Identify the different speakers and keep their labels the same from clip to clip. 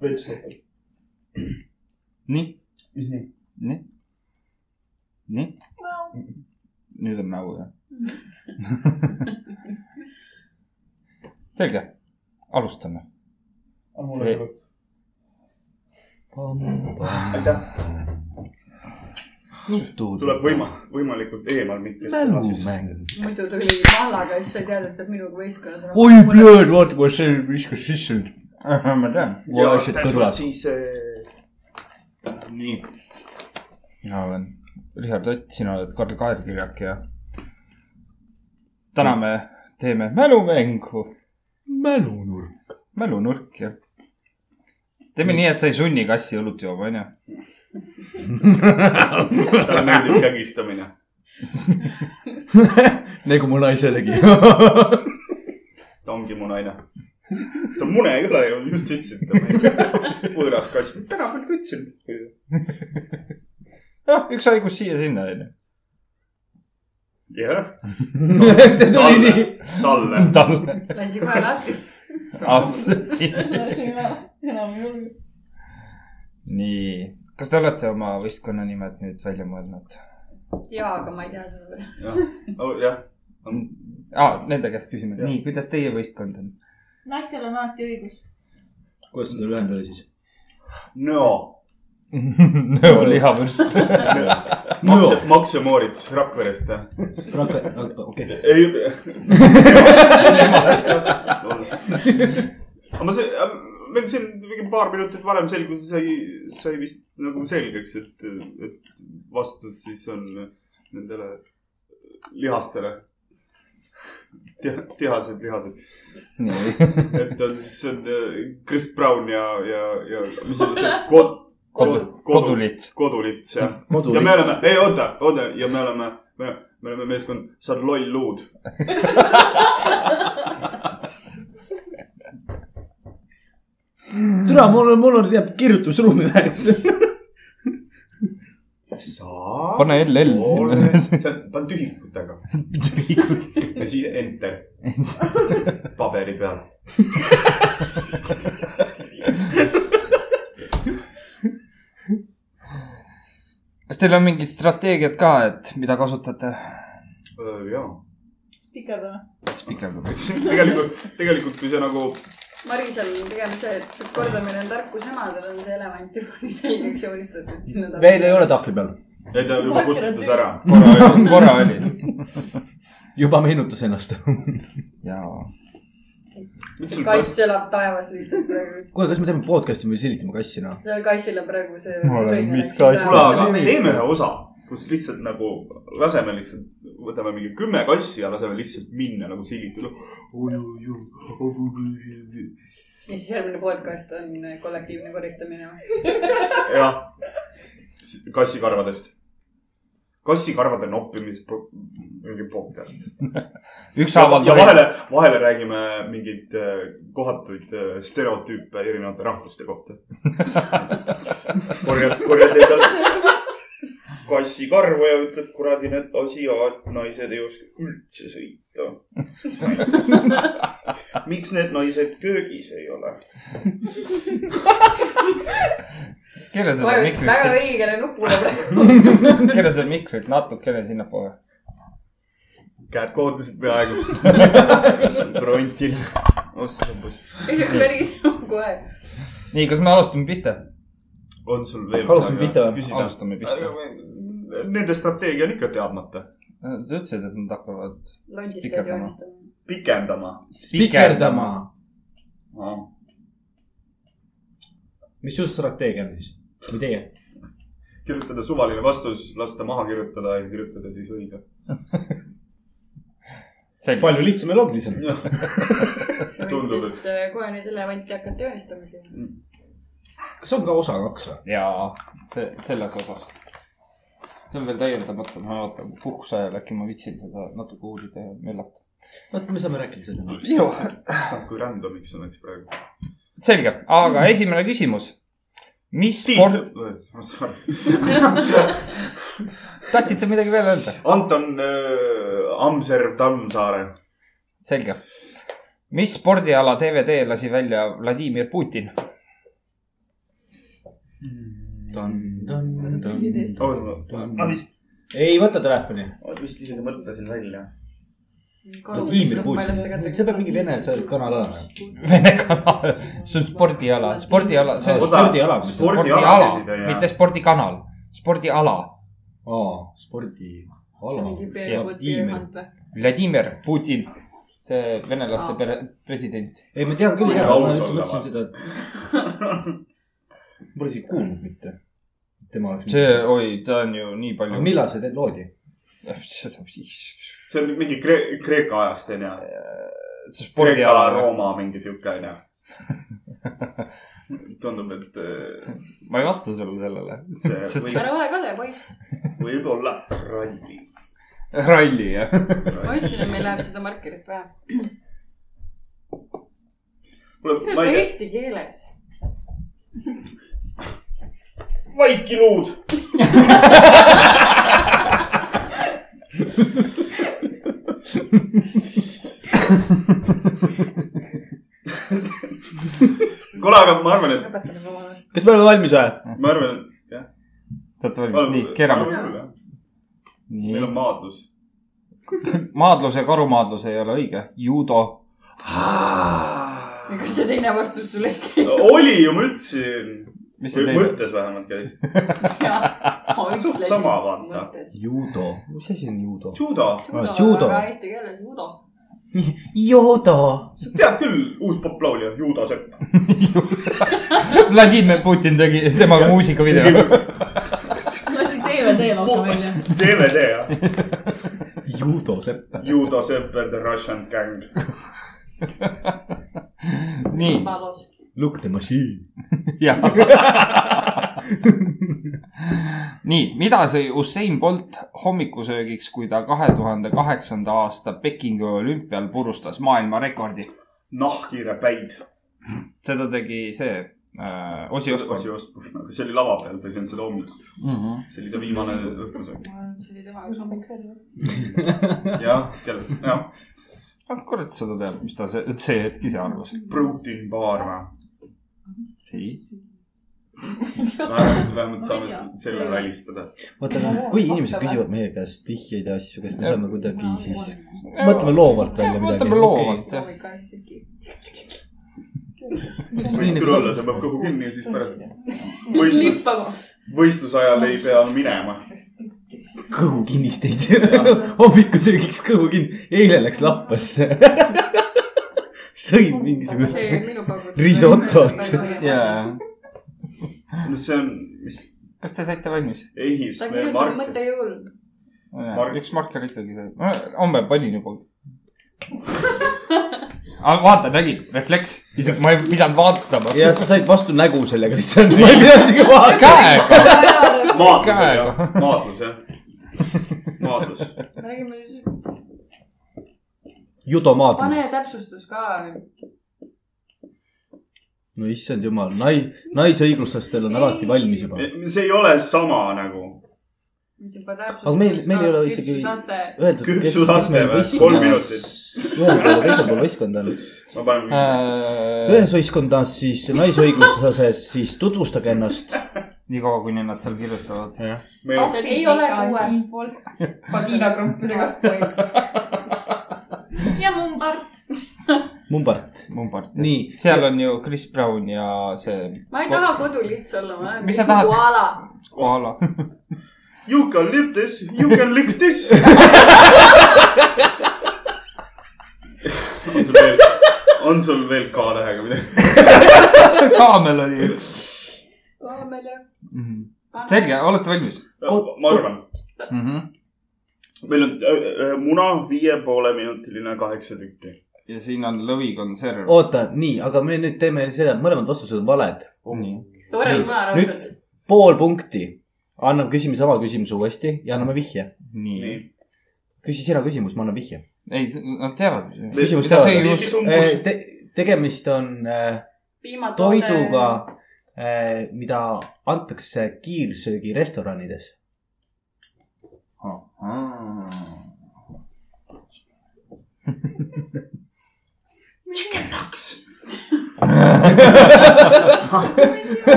Speaker 1: 20 sekund.
Speaker 2: nii ,
Speaker 1: mis nii ?
Speaker 2: nii , nii , nüüd on nägu jah . selge , alustame .
Speaker 1: on mul veel
Speaker 2: Ei.
Speaker 1: juttu ? aitäh , tuleb võima- , võimalikult eemal mikrist .
Speaker 2: mälumäng .
Speaker 3: muidu tuli mallaga , siis sa tead , et pead minuga võistkonnas olema .
Speaker 2: oi , plööd , vaata , kuidas see viskas sisse . ma tean .
Speaker 4: mul oleksid kõrvad .
Speaker 1: siis äh,
Speaker 2: nii . mina olen Richard Ott , sina oled Karl Kaerkirjak ja täna me teeme mälumängu ,
Speaker 4: mälunurk .
Speaker 2: mälunurk ja teeme nii , et sa ei sunni kassi õlut jooma , onju .
Speaker 1: talle meeldib kägistamine .
Speaker 4: nagu mu naiselegi .
Speaker 1: ta ongi mu naine . ta mune ei ole ju , just ütlesid , ta meeldib . võõras kass , täna veel võtsin .
Speaker 2: jah , Noh, üks haigus siia-sinna , onju .
Speaker 1: jah ,
Speaker 4: see tuli nii .
Speaker 1: talle .
Speaker 2: talle
Speaker 3: lasi kohe lahti .
Speaker 2: aastati .
Speaker 3: enam ei julge .
Speaker 2: nii , kas te olete oma võistkonna nimed nüüd välja mõelnud ?
Speaker 3: jaa , aga ma ei tea seda veel .
Speaker 1: Oh, jah ,
Speaker 2: aa , nende käest küsime .
Speaker 1: Jah.
Speaker 2: nii , kuidas teie võistkond on ?
Speaker 5: naistel on alati õigus .
Speaker 4: kuidas seda lühend oli siis ?
Speaker 1: no .
Speaker 2: Nõo lihavürst .
Speaker 1: Makse , Makse Moorits Rakverest , jah ?
Speaker 4: Rakve , okei .
Speaker 1: ei . aga ma see , meil siin mingi paar minutit varem selgus , sai , sai vist nagu selgeks , et , et vastus siis on nendele lihastele . tihased , lihased ,
Speaker 2: nii ,
Speaker 1: et on siis on äh, Chris Brown ja , ja , ja mis oli see kod,
Speaker 2: kodu , kodulits .
Speaker 1: kodulits jah . ja me
Speaker 4: kodulits .
Speaker 1: oleme , ei oota , oota ja me oleme , me , me oleme meeskond , sa oled loll luud .
Speaker 4: türa , mul on , mul on , jääb kirjutusruumi väheks .
Speaker 1: sa .
Speaker 2: pane LL sinna .
Speaker 1: see on , ta on tühikutega ja siis enter paberi peal .
Speaker 2: kas teil on mingid strateegiad ka , et mida kasutate ?
Speaker 1: ja ,
Speaker 5: pikendame .
Speaker 2: siis pikendame .
Speaker 1: tegelikult , tegelikult kui see nagu ,
Speaker 3: Marisel on pigem see , et kordamine on tarkus ema , tal on see elevant juba nii selgeks joonistatud sinna .
Speaker 4: veel ei ole . tahvli peal .
Speaker 1: ei ta juba kustutas ära .
Speaker 2: korra , korra oli .
Speaker 4: juba meenutas ennast .
Speaker 2: jaa .
Speaker 1: miks sul kass ,
Speaker 3: kass elab taevas lihtsalt praegu .
Speaker 4: kuule , kas me teeme podcast'i või silitame kassi , noh ?
Speaker 3: seal kassile praegu see .
Speaker 2: Ma olen mis kass.
Speaker 1: kuule , aga teeme ühe osa , kus lihtsalt nagu laseme lihtsalt , võtame mingi kümme kassi ja laseme lihtsalt minna nagu silitada .
Speaker 3: ja siis järgmine podcast on kollektiivne koristamine .
Speaker 1: jah , kassikarvadest , kassikarvade noppimise pro- mingi podcast .
Speaker 2: ükshaaval
Speaker 1: ja . vahele , vahele räägime mingeid eh, kohatuid eh, stereotüüpe erinevate rahvuste kohta . korjad , korjad endale kassikarvu ja ütled , kuradi need asiaat naised ei oska üldse sõita . miks need naised köögis ei ole ?
Speaker 2: kirja seda
Speaker 3: vajutas väga
Speaker 2: mikrit ,
Speaker 3: õigele nupule praegu .
Speaker 2: kirja seda mikrit natukene sinnapoole .
Speaker 1: käed kohutasid peaaegu . frontil .
Speaker 3: üks päris kohe .
Speaker 2: nii , kas me alustame pihta ?
Speaker 1: on sul veel
Speaker 4: Alustame pihta või?
Speaker 1: küsida ?
Speaker 2: alustame pihta .
Speaker 1: Nende strateegia on ikka teadmata . Äh,
Speaker 2: Nad ütlesid , et nad hakkavad .
Speaker 3: londist
Speaker 2: Pikendama.
Speaker 3: käid joonistama .
Speaker 1: pikendama .
Speaker 4: spikerdama .. mis su strateegia on siis ? või teie ?
Speaker 1: kirjutada suvaline vastus , lasta maha kirjutada ja kirjutada siis õige .
Speaker 2: selge .
Speaker 4: palju lihtsam ja loogilisem .
Speaker 3: sa võid
Speaker 1: Tundub,
Speaker 3: siis äh, kohe neid elevanti hakata joonistama siin .
Speaker 4: kas on ka osa kaks või ?
Speaker 2: jaa , see , selles osas . see on veel täiendamata , ma vaatan puhkuse ajal äkki ma viitsin seda natuke uurida ja möllata .
Speaker 4: vot , me saame rääkida selle teemal .
Speaker 1: issand , kui random'iks on näiteks praegu .
Speaker 2: selge , aga esimene küsimus . mis sport ,
Speaker 1: Tiit ,
Speaker 2: tahtsid sa midagi veel öelda ?
Speaker 1: Anton äh, Amserv Tammsaare .
Speaker 2: selge . mis spordiala DVD lasi välja Vladimir Putin ?
Speaker 1: oota ,
Speaker 4: Mm.
Speaker 1: ma vist ,
Speaker 4: ei võta telefoni .
Speaker 1: ma vist isegi mõtlesin välja .
Speaker 4: Iimri puudutab , see peab mingi vene see kanal olema .
Speaker 2: Vene kanal , see on spordiala , spordiala , see on
Speaker 1: Oota,
Speaker 4: spordiala .
Speaker 2: spordiala
Speaker 1: spordiala ,
Speaker 2: mitte spordikanal , spordiala .
Speaker 4: aa , spordiala .
Speaker 2: Vladimir Putin , see venelaste pere , president .
Speaker 4: ei , ma tean küll
Speaker 1: Kui
Speaker 4: jah , ma
Speaker 1: aus
Speaker 4: lihtsalt
Speaker 1: olla,
Speaker 4: mõtlesin seda , et ma pole isegi kuulnud mitte . tema oleks .
Speaker 2: see , oi , ta on ju nii palju .
Speaker 4: millal see teil loodi ?
Speaker 2: see
Speaker 1: see on mingi Kree- , Kreeka ajast onju . Kreeka ,
Speaker 2: spordiala ,
Speaker 1: Rooma mingi siuke onju . tundub , et äh,
Speaker 2: ma ei vasta sulle sellele .
Speaker 1: see
Speaker 2: Sest-
Speaker 1: võib ,
Speaker 3: ära ole kole , poiss .
Speaker 1: võib olla ralli .
Speaker 2: ralli jah .
Speaker 3: ma ütlesin , et meil läheb seda markerit vaja .
Speaker 1: kuule , ma ei tea ,
Speaker 3: eesti keeles .
Speaker 1: vaikiluud . kuule , aga ma arvan , et ,
Speaker 3: õpetame vabandust .
Speaker 4: kas me oleme valmis või ?
Speaker 1: ma arvan , et jah .
Speaker 2: Te olete valmis , nii , keerame .
Speaker 1: meil on maadlus .
Speaker 2: maadlus ja karumaadlus ei ole õige , judo .
Speaker 3: kas see teine vastus sulle ei
Speaker 1: oli ju , ma ütlesin .
Speaker 2: mis see
Speaker 1: või
Speaker 2: teine ,
Speaker 1: mõttes vähemalt käis .
Speaker 3: käi ?
Speaker 1: sama, vaata. .
Speaker 4: judo . mis asi on judo ?
Speaker 1: judo ,
Speaker 4: Aa, judo.
Speaker 3: judo . eesti keeles judo .
Speaker 4: Jodo .
Speaker 1: sa tead küll , uus poplaulja , Judo Sepp .
Speaker 2: Vladimir Putin tegi temaga muusikavideo .
Speaker 5: lasin DVD lausa välja .
Speaker 1: DVD jah ,
Speaker 4: judo sepp .
Speaker 1: Judo Sepp and the Russian gang .
Speaker 2: nii ,
Speaker 4: Look the machine .
Speaker 2: jah . nii , mida sõi Usain Bolt hommikusöögiks , kui ta kahe tuhande kaheksanda aasta Pekingi olümpial purustas maailmarekordi ?
Speaker 1: nahkhiire päid .
Speaker 2: seda tegi see äh, Osi Osborn
Speaker 1: Osi Osborn , aga see oli lava peal , ta ei söönud seda hommikul .
Speaker 2: mm . -hmm.
Speaker 1: see oli ta viimane õhtusöök .
Speaker 3: see oli tema üks hommik .
Speaker 1: jah , kellest , jah .
Speaker 2: ah kurat , seda teab , mis ta see, see hetk ise arvas .
Speaker 1: Protein baar või ?
Speaker 2: ei ,
Speaker 1: vähemalt , vähemalt saame selle välistada .
Speaker 4: vaata , kui inimesed küsivad meie käest vihjeid ja asju , kas me
Speaker 2: Jah.
Speaker 4: saame kuidagi siis , mõtleme loovalt välja midagi .
Speaker 2: mõtleme loovalt.
Speaker 1: võib küll olla , ta peab kõhu kinni nagu ja siis pärast võistlus ,
Speaker 3: lippama .
Speaker 1: võistluse ajal ei pea minema .
Speaker 4: kõhu kinnisteid . hommikusöögiks kõhu kinni , eile läks lappasse . sõin mingisugust
Speaker 3: see oli minu pakutud .
Speaker 4: risotot.
Speaker 2: jaa .
Speaker 1: no see on , mis
Speaker 2: kas te saite valmis ?
Speaker 1: ehis
Speaker 3: ta
Speaker 1: meie
Speaker 3: kirjutab
Speaker 1: mark ,
Speaker 3: mõttejõul .
Speaker 1: Mark-
Speaker 2: üks marker ikkagi sai . homme panin juba . vaata , nägid , refleks , isegi ma ei pidanud vaatama .
Speaker 4: ja sa said vastu nägu sellega lihtsalt , ma ei pidanud isegi vaatama .
Speaker 2: käega .
Speaker 1: maadlus
Speaker 2: Käega.
Speaker 1: jah , maadlus jah . maadlus ,
Speaker 3: me räägime siis ,
Speaker 4: judomaadlus .
Speaker 3: pane täpsustus ka .
Speaker 4: no issand jumal , nai- , naisõigluslastel on alati valmis juba .
Speaker 1: see ei ole sama nagu
Speaker 3: mis juba täpsustus .
Speaker 4: Aga meil- meil ei ole isegi-
Speaker 3: küpsusaste .
Speaker 4: öeldud , kes , kes
Speaker 1: Küpsusaste
Speaker 4: meil
Speaker 1: või? Kolm
Speaker 4: võistkonnas
Speaker 1: minutit. ,
Speaker 4: ühel pool ja teisel pool võistkond on .
Speaker 1: ma panen äh,
Speaker 4: ühes võistkonnas siis naisõigluslases , siis tutvustage ennast .
Speaker 2: niikaua , kuni nad seal kirjutavad .
Speaker 1: meie
Speaker 3: see ei ole uue .
Speaker 5: vagiinakrumpidega . ja mumbart .
Speaker 4: Mumbart ,
Speaker 2: Mumbart .
Speaker 4: Nii.
Speaker 2: seal on ju Chris Brown ja see
Speaker 3: ma ei taha koduliits olla , ma olen .
Speaker 2: Mis sa tahad?
Speaker 3: koala .
Speaker 2: koala .
Speaker 1: You can live this , you can lick this . on sul veel , on sul veel K-tähega midagi ?
Speaker 2: kaamel oli üks .
Speaker 3: kaamel ja .
Speaker 4: Mhm.
Speaker 2: selge , olete valmis
Speaker 1: ma arvan ,
Speaker 2: mm ?
Speaker 4: Mhm.
Speaker 2: -hmm.
Speaker 1: meil on äh, äh, muna viie poole minutiline kaheksa tükki .
Speaker 2: ja siin on lõvikonserv .
Speaker 4: oota , nii , aga me nüüd teeme seda , mõlemad vastused on valed .
Speaker 2: Oh, nii ,
Speaker 3: tore
Speaker 4: Nii,
Speaker 3: sõna
Speaker 4: nüüd-
Speaker 3: raudselt .
Speaker 4: pool punkti , anname , küsime sama küsimuse uuesti ja anname vihje .
Speaker 2: nii.
Speaker 1: nii .
Speaker 4: küsi sina küsimus , ma annan vihje .
Speaker 2: ei , nad teavad .
Speaker 4: Küsimus
Speaker 2: mida see
Speaker 1: Mis-
Speaker 2: just
Speaker 1: mis umbus ,
Speaker 4: Äh, Te, tegemist on äh,
Speaker 3: piimatoode .
Speaker 4: toiduga , mida antakse kiirsöögirestoranides .
Speaker 1: kaks .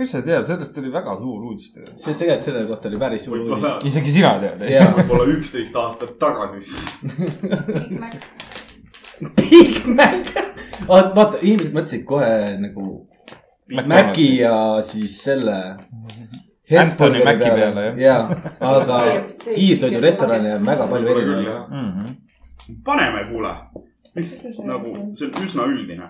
Speaker 2: kas sa tead , sellest oli väga suur uudis tegelikult .
Speaker 4: see tegelikult selle kohta oli päris suur
Speaker 1: Võib-olla.
Speaker 4: uudis .
Speaker 2: isegi sina tead , ei ?
Speaker 4: jaa .
Speaker 1: võib-olla üksteist aastat tagasi siis .
Speaker 3: Big Mac .
Speaker 4: Big Mac . vaata , inimesed mõtlesid kohe nagu Maci ja siis selle .
Speaker 2: Anthony Maci peale, jah.
Speaker 4: jaa , aga kiirtoidurestorane on väga palju
Speaker 1: Võib-olla küll, jah.
Speaker 4: erinevaid .
Speaker 2: Mhm.
Speaker 1: paneme , kuule . lihtsalt nagu , see on üsna üldine .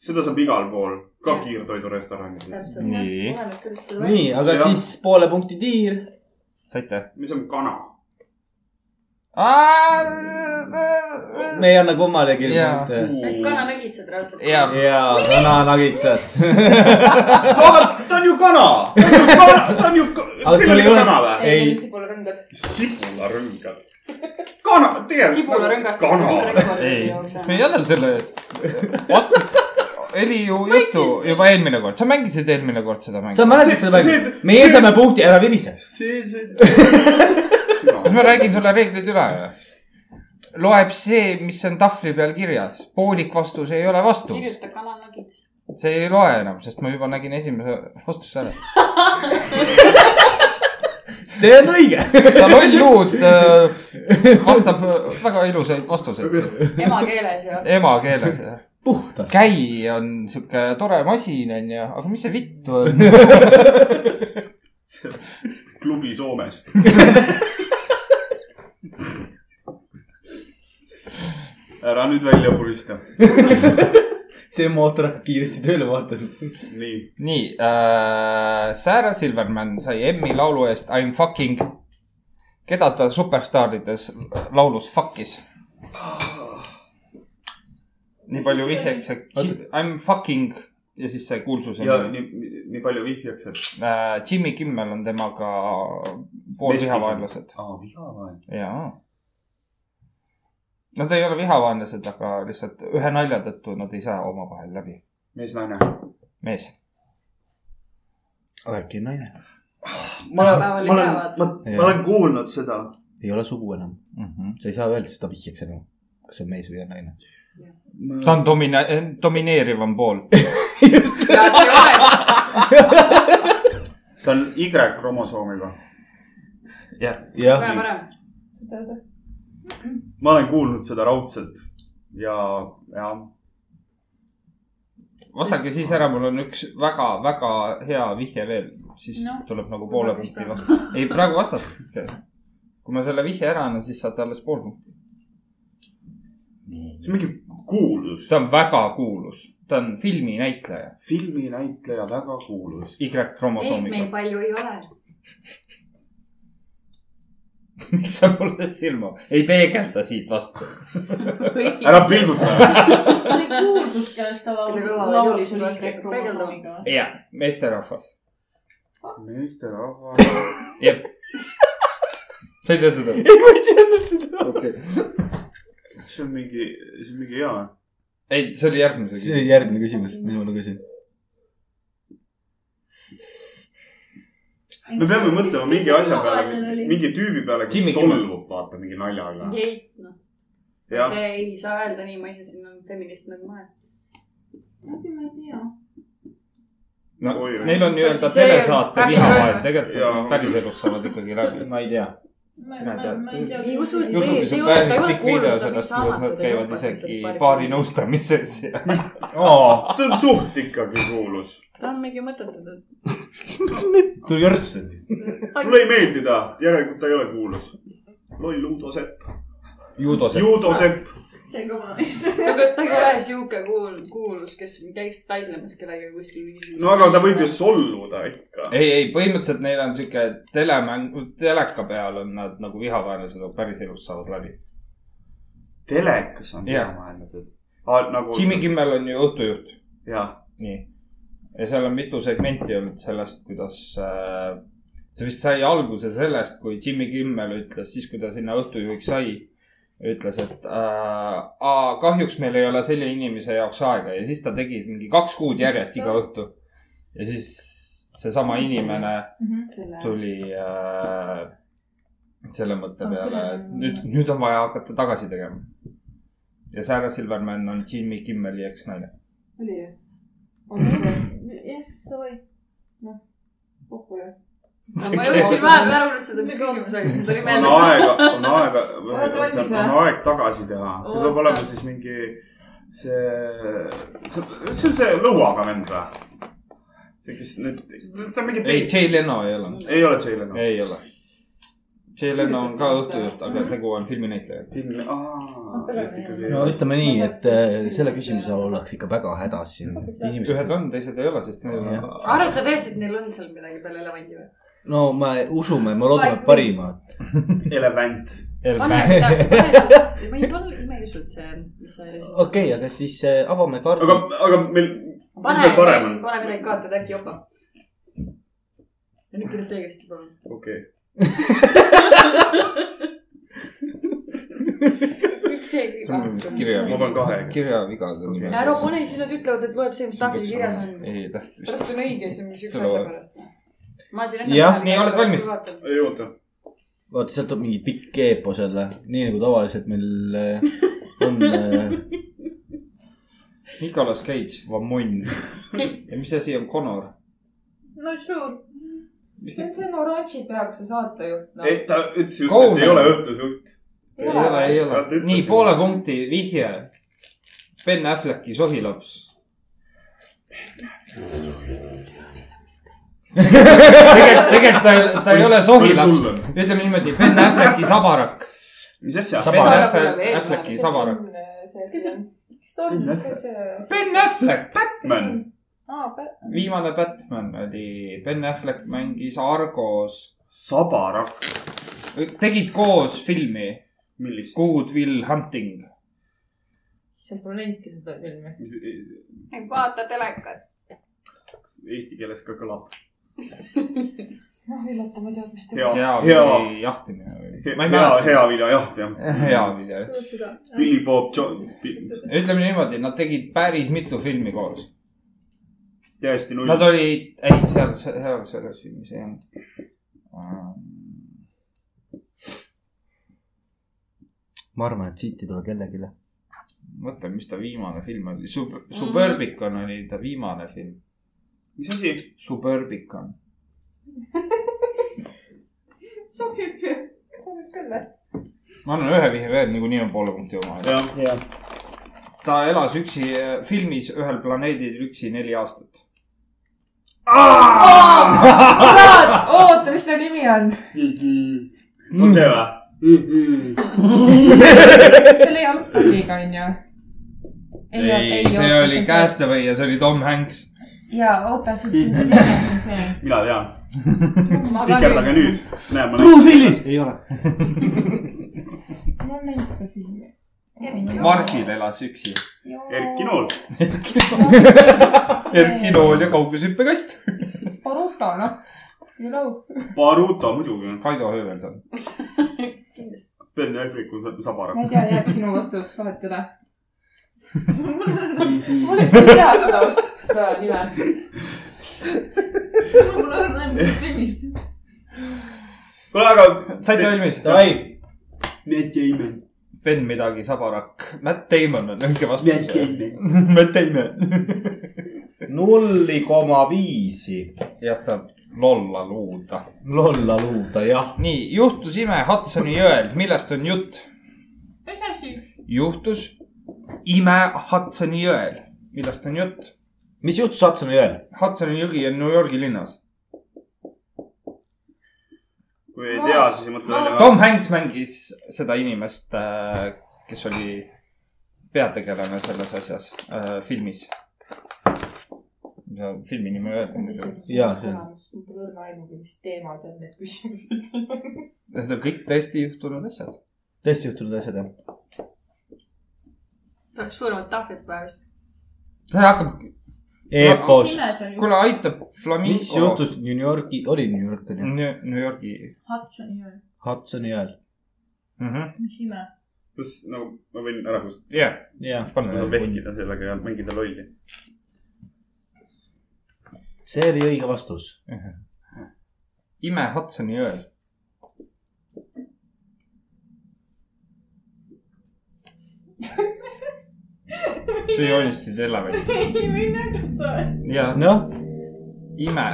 Speaker 1: seda saab igal pool , ka kiirtoidurestoranides .
Speaker 3: täpselt ,
Speaker 2: Nii.
Speaker 3: jah . oleneb , kuidas sul
Speaker 4: nii , aga
Speaker 1: Jah.
Speaker 4: siis poole punkti tiir .
Speaker 2: saite ?
Speaker 1: mis on kana ?
Speaker 4: me ei anna kummalegi
Speaker 2: Jaa.
Speaker 4: punkte .
Speaker 3: Need kananagitsed raudselt .
Speaker 2: Jaa.
Speaker 4: jaa , kananagitsad .
Speaker 1: vaata , ta on ju kana . ta on ju kana , ta on ju
Speaker 4: Aga sul ei ole-
Speaker 1: kana või ?
Speaker 4: Ei.
Speaker 3: ei , sibularõngad .
Speaker 1: sibularõngad . kana , tegelikult .
Speaker 3: sibularõngast .
Speaker 1: Nagu kana .
Speaker 2: ei , me ei anna selle eest . oli ju juttu juba eelmine kord , sa mängisid eelmine kord seda mängu
Speaker 4: sa . mäletad
Speaker 1: See-
Speaker 4: seda mängu
Speaker 1: see- ?
Speaker 4: meie
Speaker 1: see-
Speaker 4: saame punkti , ära virise .
Speaker 1: see , see .
Speaker 2: kas ma räägin ? sulle reeglid üle või ? loeb see , mis on tahvli peal kirjas , poolik vastus ei ole vastus .
Speaker 5: kirjuta kananagits .
Speaker 2: see ei loe enam , sest ma juba nägin esimese vastuse ära .
Speaker 4: see on õige .
Speaker 2: sa loll juud äh, vastab äh, väga ilusaid vastuseid siin.
Speaker 3: emakeeles ja .
Speaker 2: emakeeles .
Speaker 4: puhtas .
Speaker 2: käi on sihuke tore masin onju , aga mis see vittu on ?
Speaker 1: klubi Soomes . ära nüüd välja purista .
Speaker 4: see mootor hakkab kiiresti tööle , vaata .
Speaker 1: nii
Speaker 2: nii äh, , Sarah Silverman sai Emmy laulu eest I m fucking , keda ta superstaarides laulus fuck'is . nii palju vihjeks , et Jim- I m fucking ja siis see kuulsus on
Speaker 1: ja
Speaker 2: äh, .
Speaker 1: nii , nii palju vihjaks , et .
Speaker 2: Äh, Jimmy Kimmel on temaga pool
Speaker 1: Vestlused.
Speaker 2: vihavaenlased
Speaker 1: aa , vihavaen .
Speaker 2: ja . Nad ei ole vihavaenlased , aga lihtsalt ühe nalja tõttu nad ei saa omavahel läbi .
Speaker 1: mees , naine .
Speaker 2: mees ,
Speaker 4: äkki naine ?
Speaker 1: ma
Speaker 3: Päeval
Speaker 1: olen ,
Speaker 3: ei
Speaker 1: ma olen
Speaker 3: tea, , vaata.
Speaker 1: ma , ma olen kuulnud seda .
Speaker 4: ei ole sugu enam .
Speaker 2: mm . -hmm.
Speaker 4: sa ei saa öelda seda vihjeks enam . kas see on mees või on naine ?
Speaker 2: ta on domine- , domineerivam pool .
Speaker 4: just .
Speaker 3: ja see oleks ,
Speaker 1: ta on Y-kromosoomiga .
Speaker 2: jah ,
Speaker 4: jah ,
Speaker 3: vähe parem .
Speaker 1: ma olen kuulnud seda raudselt ja , ja
Speaker 2: vastake siis ära , mul on üks väga-väga hea vihje veel , siis no,
Speaker 5: Noh,
Speaker 2: tuleb nagu poole
Speaker 5: ma
Speaker 2: punkti
Speaker 5: vastan.
Speaker 2: vastu . ei , praegu vastake . kui ma selle vihje ära annan , siis saate alles pool punkti .
Speaker 1: see on mingi kuulus .
Speaker 2: ta on väga kuulus , ta on filminäitleja ,
Speaker 1: filminäitleja väga kuulus .
Speaker 3: ei , meil
Speaker 2: Y-kromosoomiga .
Speaker 3: palju ei ole .
Speaker 2: miks sa mulle silma , ei peegelda siit vastu .
Speaker 1: ära pilguta .
Speaker 5: see kuuldus , kellest ta
Speaker 3: Seda
Speaker 5: laulis
Speaker 3: kõva- ,
Speaker 5: laulis
Speaker 3: kõva-
Speaker 5: oli Y-kromosoomiga või ?
Speaker 2: ja , meesterahvas ,
Speaker 1: meesterahvas .
Speaker 2: jep . sa ei tea seda ?
Speaker 4: okei .
Speaker 1: see on mingi , see on mingi hea .
Speaker 2: ei , see oli järgmise
Speaker 4: see oli . järgmine küsimus , mis ma lugesin .
Speaker 1: me peame mõtlema mingi asja peale , mingi tüübi peale ,
Speaker 2: Jimmy
Speaker 1: kes solvub , vaata mingi naljaga .
Speaker 3: geit , noh .
Speaker 1: jah ,
Speaker 3: see ei saa öelda nii , ma ise siin olen feminist nagu ma olen .
Speaker 5: ma ei tea .
Speaker 2: no
Speaker 1: Oi, oi.
Speaker 2: neil on nii-öelda
Speaker 3: See- see-
Speaker 2: telesaate vihavaen , tegelikult
Speaker 1: Jaa.
Speaker 2: nad vist päriselus saavad ikkagi läbi .
Speaker 4: ma ei tea .
Speaker 2: Sina tead.
Speaker 5: ma ei tea .
Speaker 3: Ei usu, et see-
Speaker 2: Youtube'is
Speaker 3: see
Speaker 2: on
Speaker 3: ole-
Speaker 2: päris
Speaker 3: ta ei ole
Speaker 2: pikk video
Speaker 3: kuulus, ta on
Speaker 2: sellest , kuidas
Speaker 3: üks
Speaker 2: nad
Speaker 3: raamatud
Speaker 2: käivad
Speaker 3: Euroopas
Speaker 2: isegi
Speaker 3: lihtsalt paari-
Speaker 2: paari nõustamises ja
Speaker 1: ta on suht ikkagi kuulus .
Speaker 3: ta on mingi mõttetu tüüp .
Speaker 4: tuli jörtsi .
Speaker 1: mulle ei meeldi ta , järelikult ta ei ole kuulus . loll Uudo Sepp .
Speaker 2: juudos .
Speaker 1: Juudo Sepp .
Speaker 5: see on kõva mees .
Speaker 3: aga ta ei ole sihuke kuul- , kuulus , kes käiks tailemas kellegagi kuskil mingi .
Speaker 1: no aga ta võib ju solvuda ikka .
Speaker 2: ei , ei põhimõtteliselt neil on sihuke telemäng , teleka peal on nad nagu vihavaenlased , aga päriselus saavad läbi .
Speaker 1: telekas on
Speaker 2: Jah.
Speaker 1: peamaailmased . nagu .
Speaker 2: Jimmy . Kimmel on ju õhtujuht ,
Speaker 1: jah ,
Speaker 2: nii . ja seal on mitu segmenti olnud sellest , kuidas äh, , see vist sai alguse sellest , kui Jimmy Kimmel ütles , siis kui ta sinna õhtujuhiks sai , ütles , et äh, "Aa, kahjuks meil ei ole selle inimese jaoks aega ja siis ta tegi mingi kaks kuud järjest iga õhtu . ja siis seesama inimene
Speaker 3: Mhm.
Speaker 2: tuli äh, selle mõtte peale , et nüüd , nüüd on vaja hakata tagasi tegema . ja Sarah Silverman on Jimmy Kimmeli eksnaine .
Speaker 3: oli ju ?
Speaker 5: jah , davai . noh , kokku jah .
Speaker 3: ma jõudsin
Speaker 5: vahe-
Speaker 3: vähem ära unustada ,
Speaker 1: Nagu-
Speaker 3: mis küsimus oli , mul tuli
Speaker 1: on
Speaker 3: meelde .
Speaker 1: aega , on aega ,
Speaker 3: Oled valmis või?
Speaker 1: on aeg tagasi teha . see peab
Speaker 3: Oota.
Speaker 1: olema siis mingi see , see , see on see lõuaga vend või ? see , kes nüüd , ta on mingi
Speaker 2: ei ,
Speaker 1: peit-
Speaker 2: Jay Leno ei ole .
Speaker 1: ei ole Jay Leno .
Speaker 2: ei ole . Jay Leno on ka õhtujuht , aga tegu on filminäitlejaga .
Speaker 1: filmi , aa , et ikkagi
Speaker 4: no ütleme nii , et äh, selle küsimuse all ollakse ikka väga hädas siin .
Speaker 2: ühed on , teised ei ole , sest neil on
Speaker 4: Jah.
Speaker 3: arvad sa tõesti , et neil on seal midagi peale elevandi või ?
Speaker 4: no me usume , me loodame parimat .
Speaker 1: elevant .
Speaker 2: nagu
Speaker 3: pane
Speaker 2: elevant .
Speaker 3: midagi peale , siis ma ei ole , ma ei usu , et see , mis see oli .
Speaker 4: okei , aga siis äh, avame kaardi
Speaker 1: aga ., aga meil , mis
Speaker 3: pane
Speaker 1: meil , parem on ?
Speaker 3: pane midagi kaotada , äkki jopab . nüüd kirjuta õigesti , palun .
Speaker 1: okei ,
Speaker 3: kõik see kõik hakkab .
Speaker 2: kirja
Speaker 1: Ma panen kahe. ,
Speaker 2: kirjavigadega
Speaker 1: Okei.
Speaker 2: nimel .
Speaker 3: ära pane , siis nad ütlevad , et loeb see , mis tahvlil kirjas on .
Speaker 2: ei tähtis .
Speaker 3: pärast on õige , see on mingi
Speaker 2: See
Speaker 3: üks asja
Speaker 2: loeb.
Speaker 3: pärast . ma siin
Speaker 4: Jah,
Speaker 3: päevi
Speaker 2: nii, oled
Speaker 3: pärast
Speaker 2: valmis?
Speaker 3: vaatan.
Speaker 1: ei oota .
Speaker 4: vaata , sealt tuleb mingi pikk eepos jälle , nii nagu tavaliselt meil äh, on äh, .
Speaker 2: Nicolas Cage , Vamonn . ja mis asi on Connor ?
Speaker 5: Not sure .
Speaker 6: see on see oranži peaga see saatejuht , noh .
Speaker 1: ei , ta ütles just , et
Speaker 2: Kaunel.
Speaker 1: ei ole õhtusjuht .
Speaker 2: ei ole , ei ole
Speaker 1: Nad ütlesid- .
Speaker 2: nii , poole punkti vihje . Ben Afflecki sohilaps . tegelikult , tegelikult ta , ta ei ole sohilaps . ütleme niimoodi , Ben Afflecki sabarak .
Speaker 1: mis asja ?
Speaker 2: Saba- Afflecki sabarak. .
Speaker 5: kes see
Speaker 6: see ,
Speaker 5: kes ta on ?
Speaker 2: Ben Affleck ,
Speaker 1: Batman .
Speaker 5: aa ,
Speaker 2: viimane Batman oli , Ben Affleck mängis Argos .
Speaker 1: sabarakk ,
Speaker 2: tegid koos filmi
Speaker 1: millist ?
Speaker 2: Good Will Hunting .
Speaker 6: issand , ma näinudki seda filmi .
Speaker 3: ei vaata telekat .
Speaker 1: e- Eesti keeles ka kõlab .
Speaker 5: noh , üllata , ma ei teadnud , mis ta
Speaker 1: hea ,
Speaker 2: hea
Speaker 1: hea ,
Speaker 2: või jahtimine või ? ma ei
Speaker 1: hea ,
Speaker 2: mäleta .
Speaker 1: hea viljajaht jah .
Speaker 2: hea video .
Speaker 5: oli .
Speaker 1: Billy Bob John ,
Speaker 2: ütleme niimoodi , nad tegid päris mitu filmi koos .
Speaker 1: täiesti null
Speaker 2: Nad . olid , ei , seal , seal selles filmis ei olnud um, .
Speaker 4: ma arvan , et siit ei tule kellelegi .
Speaker 2: mõtlen , mis ta viimane film oli Sub , Suburbicon oli ta viimane film ,
Speaker 1: mis asi ?
Speaker 2: Suburbicon .
Speaker 5: sobib ju , sobib küll , jah .
Speaker 2: ma annan ühe vihje veel , niikuinii on poole punkti oma .
Speaker 1: jah ,
Speaker 2: ta elas üksi äh, filmis ühel planeedil üksi neli aastat .
Speaker 5: oota , mis ta nimi on ?
Speaker 1: on see või ?
Speaker 5: selle jalgpalliga on ju .
Speaker 2: ei , see oli . Castaway ja see oli Tom Hanks .
Speaker 5: ja oota , see on see , see on see .
Speaker 1: mina tean . spikerdage nüüd . näe , ma
Speaker 4: Bruce Willis . ei ole .
Speaker 5: ma olen näinud seda filmi .
Speaker 2: Marsil elas üksi .
Speaker 1: Erki . Nool .
Speaker 2: Erki Nool ja . kaugushüppekast .
Speaker 5: Boruto , noh . You know .
Speaker 1: Baruto muidugi .
Speaker 2: Kaido Höövelson .
Speaker 3: kindlasti .
Speaker 1: Ben Affleck on sa-
Speaker 5: ma
Speaker 1: sabarak .
Speaker 5: ei tea , jääb sinu vastus , vahet ei ole .
Speaker 1: Mhm.
Speaker 5: mul ei tea seda vastust , seda nime . mul on ainult nimist .
Speaker 1: kuule , aga .
Speaker 2: saite valmis ?
Speaker 4: Davai ,
Speaker 1: Matt Damon .
Speaker 2: Ben midagi sabarakk . Matt Damon on õige
Speaker 1: Matt
Speaker 2: vastus .
Speaker 1: Damon .
Speaker 2: Matt Damon .
Speaker 4: nulli koma viisi .
Speaker 2: jah , saab lolla luuda .
Speaker 4: lolla luuda , jah .
Speaker 2: nii , juhtus ime Hudsoni jõel , millest on jutt ?
Speaker 5: mis asi ?
Speaker 2: juhtus ime Hudsoni jõel , millest on jutt ?
Speaker 4: mis juhtus Hatsami jõel ?
Speaker 2: Hudsoni jõgi on New Yorgi linnas .
Speaker 1: kui ei tea , siis ei mõtle välja .
Speaker 2: Tom Hanks mängis seda inimest , kes oli peategelane selles asjas äh, , filmis . filmi nimi öelda muidugi .
Speaker 4: Jaa, see on-
Speaker 5: mul pole õrna aimugi , mis teemad on need küsimused siin .
Speaker 2: Need on kõik tõesti juhtunud asjad .
Speaker 4: tõesti juhtunud asjad , jah ?
Speaker 3: tahaks suuremat tahvlit vaja vist .
Speaker 2: see hakkab ,
Speaker 4: Eepos .
Speaker 2: kuule , aitab flamingo .
Speaker 4: mis juhtus New Yorki , oli New York , on ju ?
Speaker 2: New New Yorgi
Speaker 5: Hudsoni jõe ,
Speaker 4: Hatsami jõel .
Speaker 2: mm . -hmm.
Speaker 5: mis ime ?
Speaker 1: kas nagu ma võin ära kustutada ?
Speaker 2: Yeah.
Speaker 4: jah .
Speaker 1: ma saan vehkida sellega ja mängida lolli .
Speaker 4: see oli õige vastus .
Speaker 2: ime Hudsoni jõel . sa joonistasid elevanti .
Speaker 5: ei või näidata .
Speaker 2: ja
Speaker 4: noh ,
Speaker 2: ime .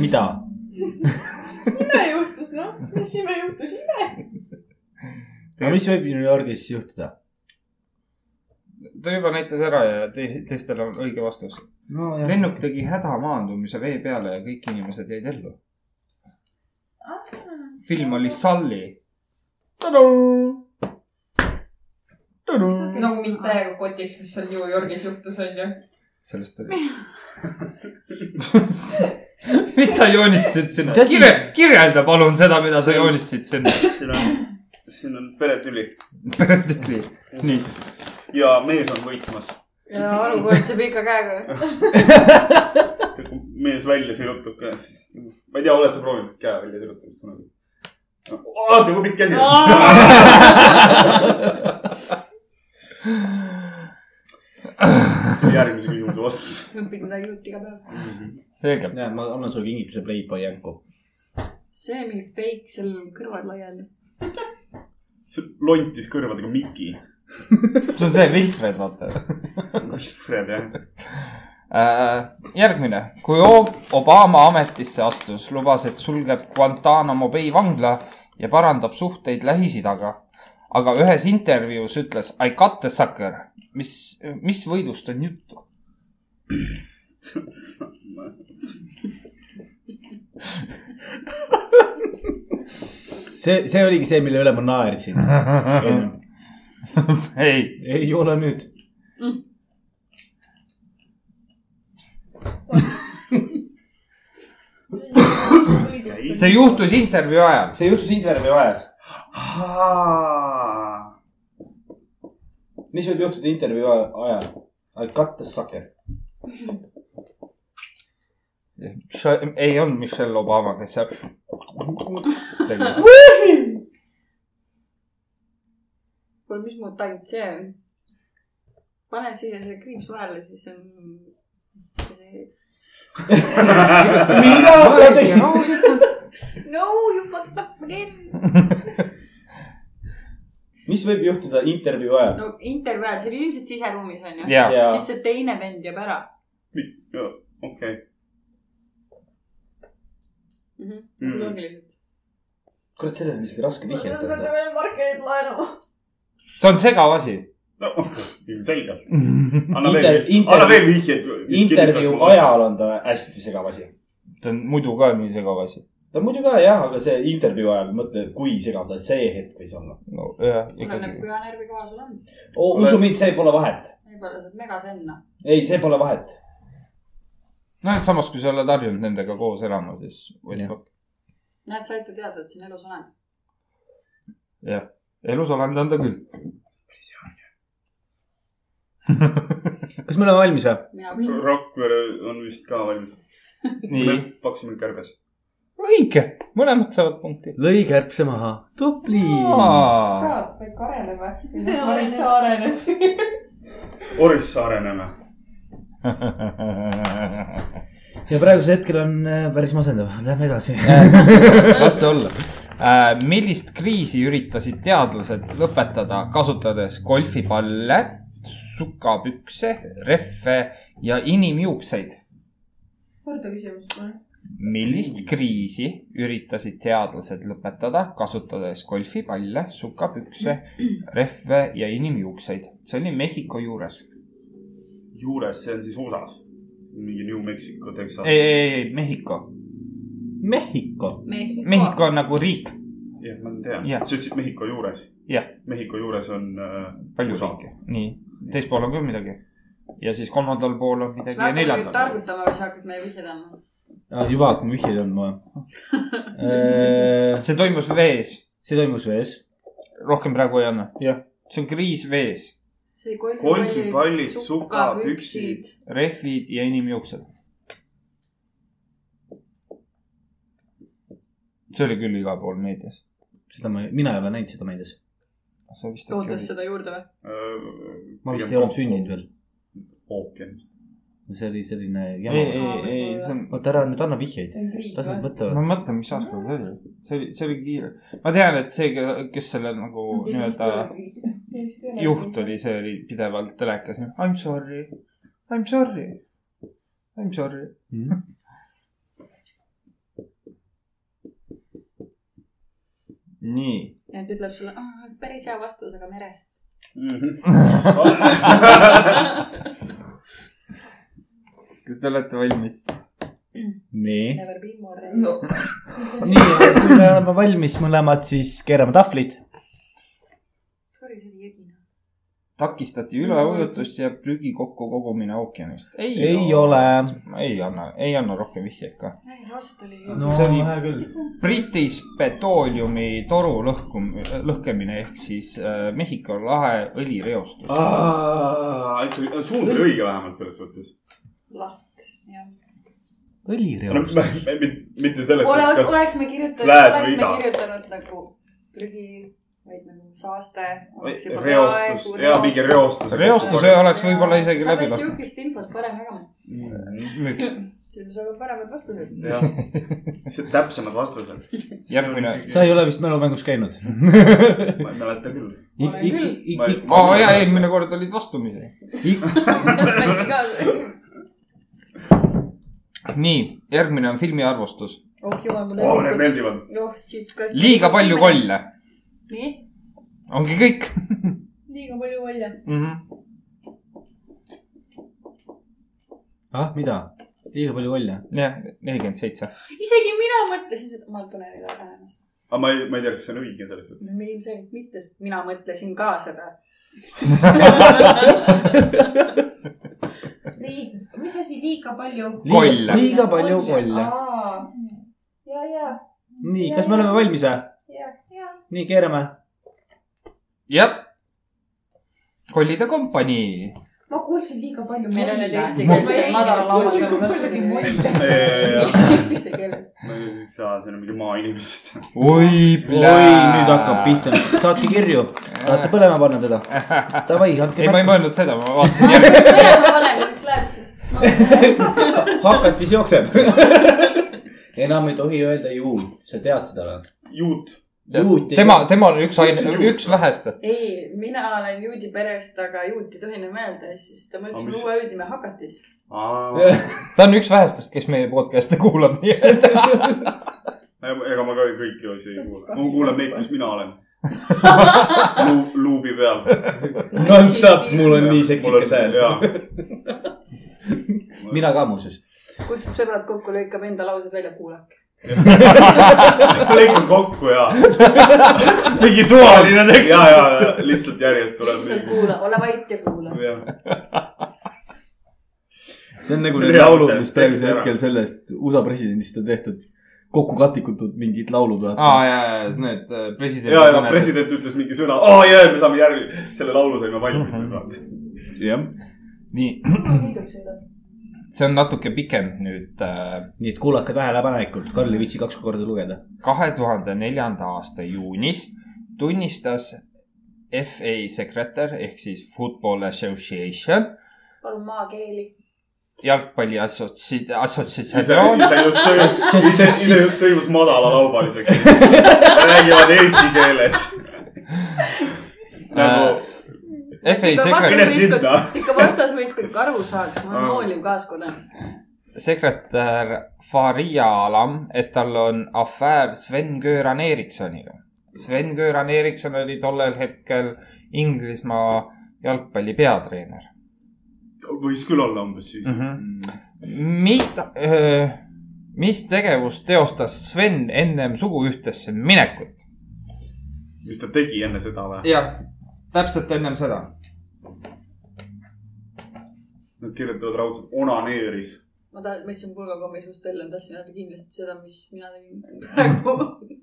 Speaker 4: mida ?
Speaker 5: ime juhtus , noh , mis ime juhtus , ime .
Speaker 4: aga mis võib New Yorgis juhtuda ?
Speaker 2: ta juba näitas ära ja te- teistel on õige vastus .
Speaker 4: nojah .
Speaker 2: lennuk tegi hädamaandumise vee peale ja kõik inimesed jäid ellu . film oli Sully .
Speaker 6: nagu mind täiega kotiks , mis seal New Yorgis juhtus , onju .
Speaker 2: sellest oli mis sa joonistasid sinna
Speaker 4: Mis ? asi?
Speaker 2: kirje , kirjelda palun seda , mida sa joonistasid sinna .
Speaker 1: siin on , siin on peretüli
Speaker 2: peretüli . nii ,
Speaker 1: ja mees on võitmas .
Speaker 3: ja olukord saab ikka käega .
Speaker 1: kui mees välja sirutab käest , siis , ma ei tea , oled sa proovinud käe välja sirutamist kunagi ? vaata , kui pikk käsi on . järgmise küsimuse vastus .
Speaker 3: õpid midagi uut iga päev .
Speaker 2: selge .
Speaker 4: näed , ma annan sulle kingituse Playboy jänku .
Speaker 3: see mingi peik , seal on kõrvad laiali .
Speaker 1: lontis kõrvadega Miki .
Speaker 2: see on see Wilfred , vaata
Speaker 1: Fred jah .
Speaker 2: Äh, järgmine , kui Ob- Obama ametisse astus , lubas , et sulgeb Guantanamo Bay vangla ja parandab suhteid Lähis-Idaga . aga ühes intervjuus ütles I got the sucker , mis , mis võidust on juttu ?
Speaker 4: see , see oligi see , mille üle ma naersin .
Speaker 2: ei ,
Speaker 4: ei ole nüüd .
Speaker 2: see juhtus intervjuu ajal .
Speaker 4: see juhtus intervjuu ajas . mis võib juhtuda intervjuu ajal ? I got the sucker .
Speaker 2: ei olnud Michelle Obama , kes seal tegi .
Speaker 3: kuule , mis mu tant see on ? pane siia see kriips vahele , siis on see .
Speaker 4: mida sa tegid ?
Speaker 5: no you fucked up again .
Speaker 4: mis võib juhtuda intervjuu ajal ?
Speaker 3: no intervjuu ajal , see oli ilmselt siseruumis onju .
Speaker 2: ja ,
Speaker 4: ja
Speaker 3: siis see teine vend jääb ära
Speaker 1: okei ,
Speaker 3: mm . -hmm.
Speaker 1: Mm.
Speaker 3: loogiliselt .
Speaker 4: kurat , sellele on isegi raske vihjata .
Speaker 5: veel markerid laenama .
Speaker 2: ta on segav asi .
Speaker 1: no ilmselgelt .
Speaker 2: ta
Speaker 1: anna
Speaker 4: Inter-
Speaker 1: veel ,
Speaker 4: inter-
Speaker 1: anna veel vihjeid .
Speaker 4: intervjuu ajal on ta hästi segav asi .
Speaker 2: on muidu ka nii segav asi .
Speaker 4: ta muidu ka jah , aga see intervjuu ajal , mõtle , kui segav ta see hetk võis olla .
Speaker 2: no jah ,
Speaker 3: oleneb ,
Speaker 2: ikkagi .
Speaker 3: kui hea nagu närvi kõva sul on .
Speaker 4: usu mind , see pole vahet .
Speaker 3: võib-olla sa oled megasenna .
Speaker 4: ei , see pole vahet .
Speaker 2: noh , et samas , kui sa oled harjunud nendega koos elama , siis
Speaker 4: Jah.
Speaker 2: võib
Speaker 3: näed , saite teada , et siin elus olen .
Speaker 2: elus olen tanda küll .
Speaker 4: kas me oleme valmis või ?
Speaker 3: mina
Speaker 1: Mm.
Speaker 3: küll .
Speaker 1: Rakvere on vist ka valmis .
Speaker 2: nii ,
Speaker 1: pakkusime kärbes .
Speaker 2: õige , mõlemad saavad punkti .
Speaker 4: lõi kärbse maha . tubli .
Speaker 6: kurat , me ikka areneme .
Speaker 5: Me
Speaker 6: Maris , sa arened .
Speaker 1: Orissaare näeme .
Speaker 4: ja praegusel hetkel on äh, päris masendav , lähme edasi .
Speaker 2: las ta olla . millist kriisi üritasid teadlased lõpetada , kasutades golfipalle , sukapükse , rehve ja inimjuukseid ?
Speaker 6: korda küsimus mul .
Speaker 2: millist kriisi üritasid teadlased lõpetada , kasutades golfipalle , sukapükse , rehve ja inimjuukseid ? see oli Mehhiko juures .
Speaker 1: juures , see on siis USA-s . mingi New Mexico , Texas .
Speaker 2: ei , ei , ei , Mehhiko .
Speaker 4: Mehhiko .
Speaker 2: Mehhiko on nagu riik ,
Speaker 1: jah , ma tean
Speaker 2: Jah.
Speaker 1: yeah. . sa ütlesid Mehhiko juures .
Speaker 2: Jah.
Speaker 1: Mehhiko juures on äh,
Speaker 2: palju
Speaker 1: USA.
Speaker 2: riike , nii . teisel pool on ka midagi . ja siis kolmandal pool on
Speaker 3: kas
Speaker 2: midagi ja
Speaker 3: me hakkame nüüd
Speaker 2: neljandal .
Speaker 3: targutama või sa hakkad meile vihjeid andma ?
Speaker 4: juba hakkame vihjeid andma . see
Speaker 2: see toimus vees ,
Speaker 4: toimus vees .
Speaker 2: rohkem praegu ei anna .
Speaker 4: Jah.
Speaker 2: see on kriis vees ,
Speaker 3: see oli
Speaker 1: Golfipallid,
Speaker 3: golfipallid ,
Speaker 1: sukapüksid.
Speaker 3: sukapüksid .
Speaker 2: rehvid ja inimjuuksed . see oli küll igal pool meedias .
Speaker 4: seda ma , mina ei ole näinud seda meedias .
Speaker 2: sa vist äkki
Speaker 3: toodud
Speaker 2: olid .
Speaker 3: seda juurde või ?
Speaker 1: äh,
Speaker 4: ma vist ei olnud sündinud veel .
Speaker 1: ookeanist .
Speaker 4: see oli selline
Speaker 2: ei ,
Speaker 4: jama .
Speaker 2: ei , ei , see on ,
Speaker 4: oota , ära nüüd anna vihjeid .
Speaker 5: see on kriis
Speaker 4: las nad
Speaker 5: või ?
Speaker 2: ma
Speaker 4: mõtlevad .
Speaker 2: mõtlen , mis aastal see oli . see oli , see oli kiire . ma tean , et see , kes selle nagu nii-öelda juht oli , see oli pidevalt telekas . I m sorry , I m sorry , I m sorry .
Speaker 4: Mm-hmm.
Speaker 2: nii .
Speaker 3: ja ta ütleb sulle , päris hea vastus , aga merest .
Speaker 2: Mhm. Te olete valmis ?
Speaker 4: nii .
Speaker 3: Never been more
Speaker 5: no
Speaker 4: nii , kui me oleme valmis mõlemad , siis keerame tahvlid .
Speaker 3: sorry , see oli jõgina .
Speaker 2: takistati üleujutust ja prügi kokkukogumine ookeanist .
Speaker 4: ei . ole .
Speaker 2: ei anna , ei anna rohkem vihjeid ka .
Speaker 3: ei , ausalt oli
Speaker 2: No, See oli- hea
Speaker 4: küll .
Speaker 2: British Petroleumi toru lõhkum- , lõhkemine ehk siis äh, Mehhiko lahe õlireostus .
Speaker 1: suund oli õige vähemalt selles suhtes .
Speaker 3: laht , jah .
Speaker 4: õlireostus .
Speaker 1: mitte selles
Speaker 3: ole ,
Speaker 1: suhtes , kas .
Speaker 3: oleks me kirjutanud ,
Speaker 1: lääs
Speaker 3: oleks
Speaker 1: või
Speaker 3: me
Speaker 1: ida?
Speaker 3: kirjutanud nagu prügi , vaid nagu saaste .
Speaker 1: reostus , jaa , mingi . reostus .
Speaker 2: Reostus, jah. oleks võib-olla isegi läbi
Speaker 3: sa pead
Speaker 2: lasknud.
Speaker 3: sihukest infot parem jagama ,
Speaker 1: Mm,
Speaker 2: müüks .
Speaker 3: siis me saame paremad vastused .
Speaker 1: jah , lihtsalt täpsemad vastused .
Speaker 2: Järgmine.
Speaker 4: sa ei . ole vist mälumängus käinud ?
Speaker 1: ma ei mäleta küll .
Speaker 3: Olen küll.
Speaker 2: aa oh, jaa , eelmine kord olid vastumisi .
Speaker 3: mängi kaasa .
Speaker 2: nii , järgmine on filmi arvustus .
Speaker 3: oh jumal , mul
Speaker 1: oo , need . meeldivad .
Speaker 3: oh , siis kas .
Speaker 2: liiga palju . kolle ,
Speaker 3: nii ,
Speaker 2: ongi kõik
Speaker 6: liiga palju välja .
Speaker 2: mm .
Speaker 4: Mhm.
Speaker 2: -hmm.
Speaker 4: ah , mida ? liiga palju välja .
Speaker 2: jah , nelikümmend seitse .
Speaker 3: isegi mina mõtlesin seda , ma tulen üle äärmast .
Speaker 1: aga ma ei , ma ei tea , kas see on õige selles suhtes .
Speaker 3: no ilmselgelt mitte , sest mina mõtlesin ka seda .
Speaker 6: liig- , mis asi liiga palju ?
Speaker 2: Kolle.
Speaker 4: liiga palju kolle .
Speaker 6: ja , ja ,
Speaker 4: nii , kas me oleme valmis või ?
Speaker 6: ja , ja .
Speaker 4: nii , keerame .
Speaker 2: jah . kollide kompanii .
Speaker 6: ma kuulsin liiga palju .
Speaker 3: meil on need eestikeelsed madalalaulud vastused . mis see keel on ?
Speaker 1: ma ei saa , siin on nagu mingi maainimesed .
Speaker 2: oi ,
Speaker 4: oi , nüüd hakkab . pihta . saatke kirju . tahate põlema panna teda ? Davai , andke
Speaker 2: ei , ma ei
Speaker 4: märku .
Speaker 2: mõelnud seda , ma vaatasin järgi .
Speaker 3: põlema panemiseks läheb siis .
Speaker 4: hakatis jookseb . enam ei tohi öelda juul , sa tead seda või ?
Speaker 1: juut .
Speaker 4: Juut ei
Speaker 2: tema
Speaker 4: ole. ,
Speaker 2: tema on üks
Speaker 1: Mis
Speaker 2: aine
Speaker 1: on , juut?
Speaker 2: üks vähestest .
Speaker 3: ei , mina olen juudi perest , aga juut ei tohi enam öelda ja siis ta
Speaker 1: Aga
Speaker 3: mõtles mulle
Speaker 1: mis-
Speaker 3: uue juudime Hakatis .
Speaker 2: ta on üks vähestest , kes meie podcast'e kuulab , nii et .
Speaker 1: ega ma ka kõiki asju ei kuula . ma kuulan neid , kes mina olen Lu, . luubi peal .
Speaker 4: Nonstop , mul on nii seksikas hääl .
Speaker 1: mina .
Speaker 4: mina ka muuseas .
Speaker 3: kutsub sõbrad kokku , lõikab enda laused välja , kuulake .
Speaker 1: lõikan kokku ja ,
Speaker 2: mingi suvaline
Speaker 1: ja , ja lihtsalt järjest tuleb .
Speaker 3: lihtsalt kuula , ole vait ja kuula .
Speaker 4: see on nagu
Speaker 1: See on
Speaker 4: need
Speaker 1: hea
Speaker 4: laulud ,
Speaker 1: mõte,
Speaker 4: mis praegusel
Speaker 1: tehke
Speaker 4: hetkel sellest USA presidendist on tehtud . kokku katikutud mingid laulud või ?
Speaker 2: aa , ja , ja need äh, presidendi .
Speaker 1: ja , ja . president ütles mingi sõna , aa jaa , me saame järgi , selle laulu saime valmis .
Speaker 4: jah .
Speaker 2: nii , see on natuke pikem nüüd . äh,
Speaker 4: nii et kuulake tähelepanelikult , Karl ei viitsi kaks korda lugeda .
Speaker 2: kahe tuhande neljanda aasta juunis tunnistas FA sekretär ehk siis Football Association ,
Speaker 3: palun maakeeli .
Speaker 2: jalgpalli assotsi- ,
Speaker 1: ise ,
Speaker 2: assotsiatsioon .
Speaker 1: ise just sõimus , ise , ise just sõimus madalalaubaliseks . räägivad eesti keeles . nagu
Speaker 3: Äh,
Speaker 2: FA sekretär .
Speaker 1: Mine sinna.
Speaker 3: ikka vastasvõistkond ka aru saaks , ma olen
Speaker 1: Aa.
Speaker 3: hooliv kaaskodanik .
Speaker 2: sekretär Faria Alam , et tal on afäär Sven-Göran Ericssoniga . Sven-Göran Ericsson oli tollel hetkel Inglismaa jalgpalli peatreener .
Speaker 1: võis küll olla umbes siis Mm.
Speaker 2: Mhm. . mida , äh, mis tegevust teostas Sven ennem suguühtesse minekut?
Speaker 1: mis ta tegi enne seda või ?
Speaker 2: jah , täpselt ennem seda .
Speaker 1: Nad kirjutavad raudselt onaneeris .
Speaker 3: ma tahan , ma jätsin pulgakommi suust välja , ma tahtsin öelda kindlasti seda , mis mina tegin Nagu- praegu .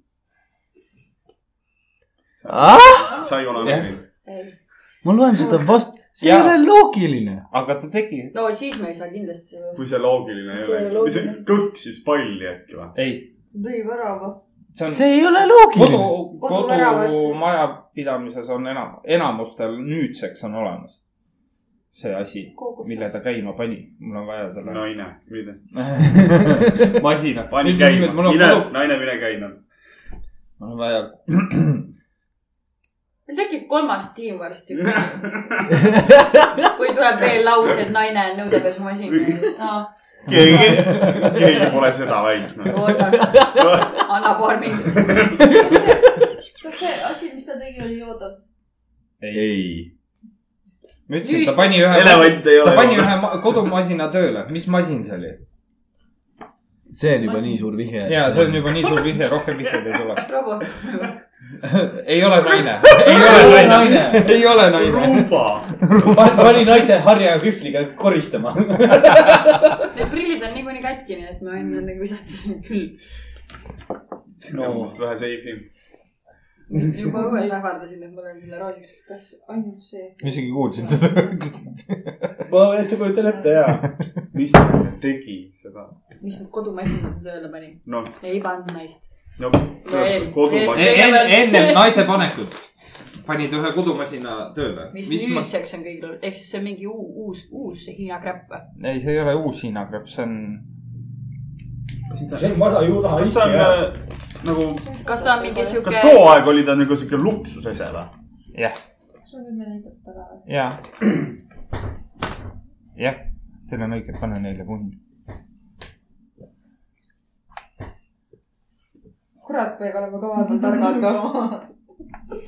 Speaker 1: sa ei onaneerinud .
Speaker 4: ma loen seda vast , see ei
Speaker 2: Jaa.
Speaker 4: ole loogiline .
Speaker 2: aga ta tegi ,
Speaker 3: no siis me ei saa kindlasti seda .
Speaker 1: kui see loogiline
Speaker 3: See
Speaker 1: ei
Speaker 3: ei
Speaker 1: ole
Speaker 3: ole .
Speaker 1: see kõksis palli äkki või ?
Speaker 2: ei ,
Speaker 3: lõi värava .
Speaker 2: see on
Speaker 4: see ei ole loogiline .
Speaker 2: kodu ,
Speaker 3: Koduväravas.
Speaker 2: kodumajapidamises on enam , enamustel nüüdseks on olemas . see asi , mille ta käima pani . mul on vaja selle no.
Speaker 1: naine , mine ,
Speaker 2: masina .
Speaker 1: pani käima ,
Speaker 2: mul on
Speaker 1: mine
Speaker 2: vaja ,,
Speaker 1: naine , mine käima .
Speaker 2: mul on vaja ,
Speaker 3: meil tekib kolmas tiim varsti , kui tuleb veel lause , et naine on nõudepesumasin .
Speaker 1: keegi , keegi pole seda väitnud .
Speaker 3: anna paar minutit .
Speaker 5: kas see asi , mis ta tegi , oli joodav ?
Speaker 2: ei ,
Speaker 4: ei .
Speaker 2: ma ütlesin , ta
Speaker 3: Nüüd
Speaker 2: pani ühe ,
Speaker 1: elevant ei
Speaker 2: ta
Speaker 1: ole
Speaker 2: pani . ühe ma- kodumasina tööle , mis masin see oli ?
Speaker 4: see on juba nii suur vihje .
Speaker 2: ja see on juba nii suur vihje , rohkem vihjeid ei tule .
Speaker 3: robot .
Speaker 2: ei ole naine , ei ole naine , ei ole naine .
Speaker 1: rumba .
Speaker 7: pani naise harjaga kühvliga koristama .
Speaker 3: Need prillid on niikuinii katki , nii et me võime nendega visata siin küll .
Speaker 1: sinna on vist vähe seifi .
Speaker 3: juba õues ähvardasin , et ma lähen selle roosiks .
Speaker 5: kas ainult see ?
Speaker 2: ma isegi kuulsin seda .
Speaker 7: ma täitsa kujutan ette ja .
Speaker 1: mis ta tegi seda ?
Speaker 3: mis mu kodumasin tööle pani ,
Speaker 1: noh , nagu
Speaker 3: ei pannud naist .
Speaker 1: no
Speaker 3: Veel.
Speaker 1: kodumasin .
Speaker 2: enne , E- enne naise panekut panid ühe kodumasina tööle .
Speaker 3: mis nüüdseks on kõigil , ehk siis see on mingi uu- uus , uus Hiina kräpp või ?
Speaker 2: ei , see ei ole uus Hiina krepp , see on .
Speaker 7: see on vana juuna .
Speaker 1: kas ta on äh, nagu ,
Speaker 3: kas ta on mingi
Speaker 1: kas
Speaker 3: sihuke ,
Speaker 1: too aeg oli ta nagu siuke luksusese või ?
Speaker 2: jah ,
Speaker 5: kas me võime näidata ka ?
Speaker 2: ja . jah , teil on õige , pane neile punn .
Speaker 6: kurat , me oleme ka vahepeal targad ka .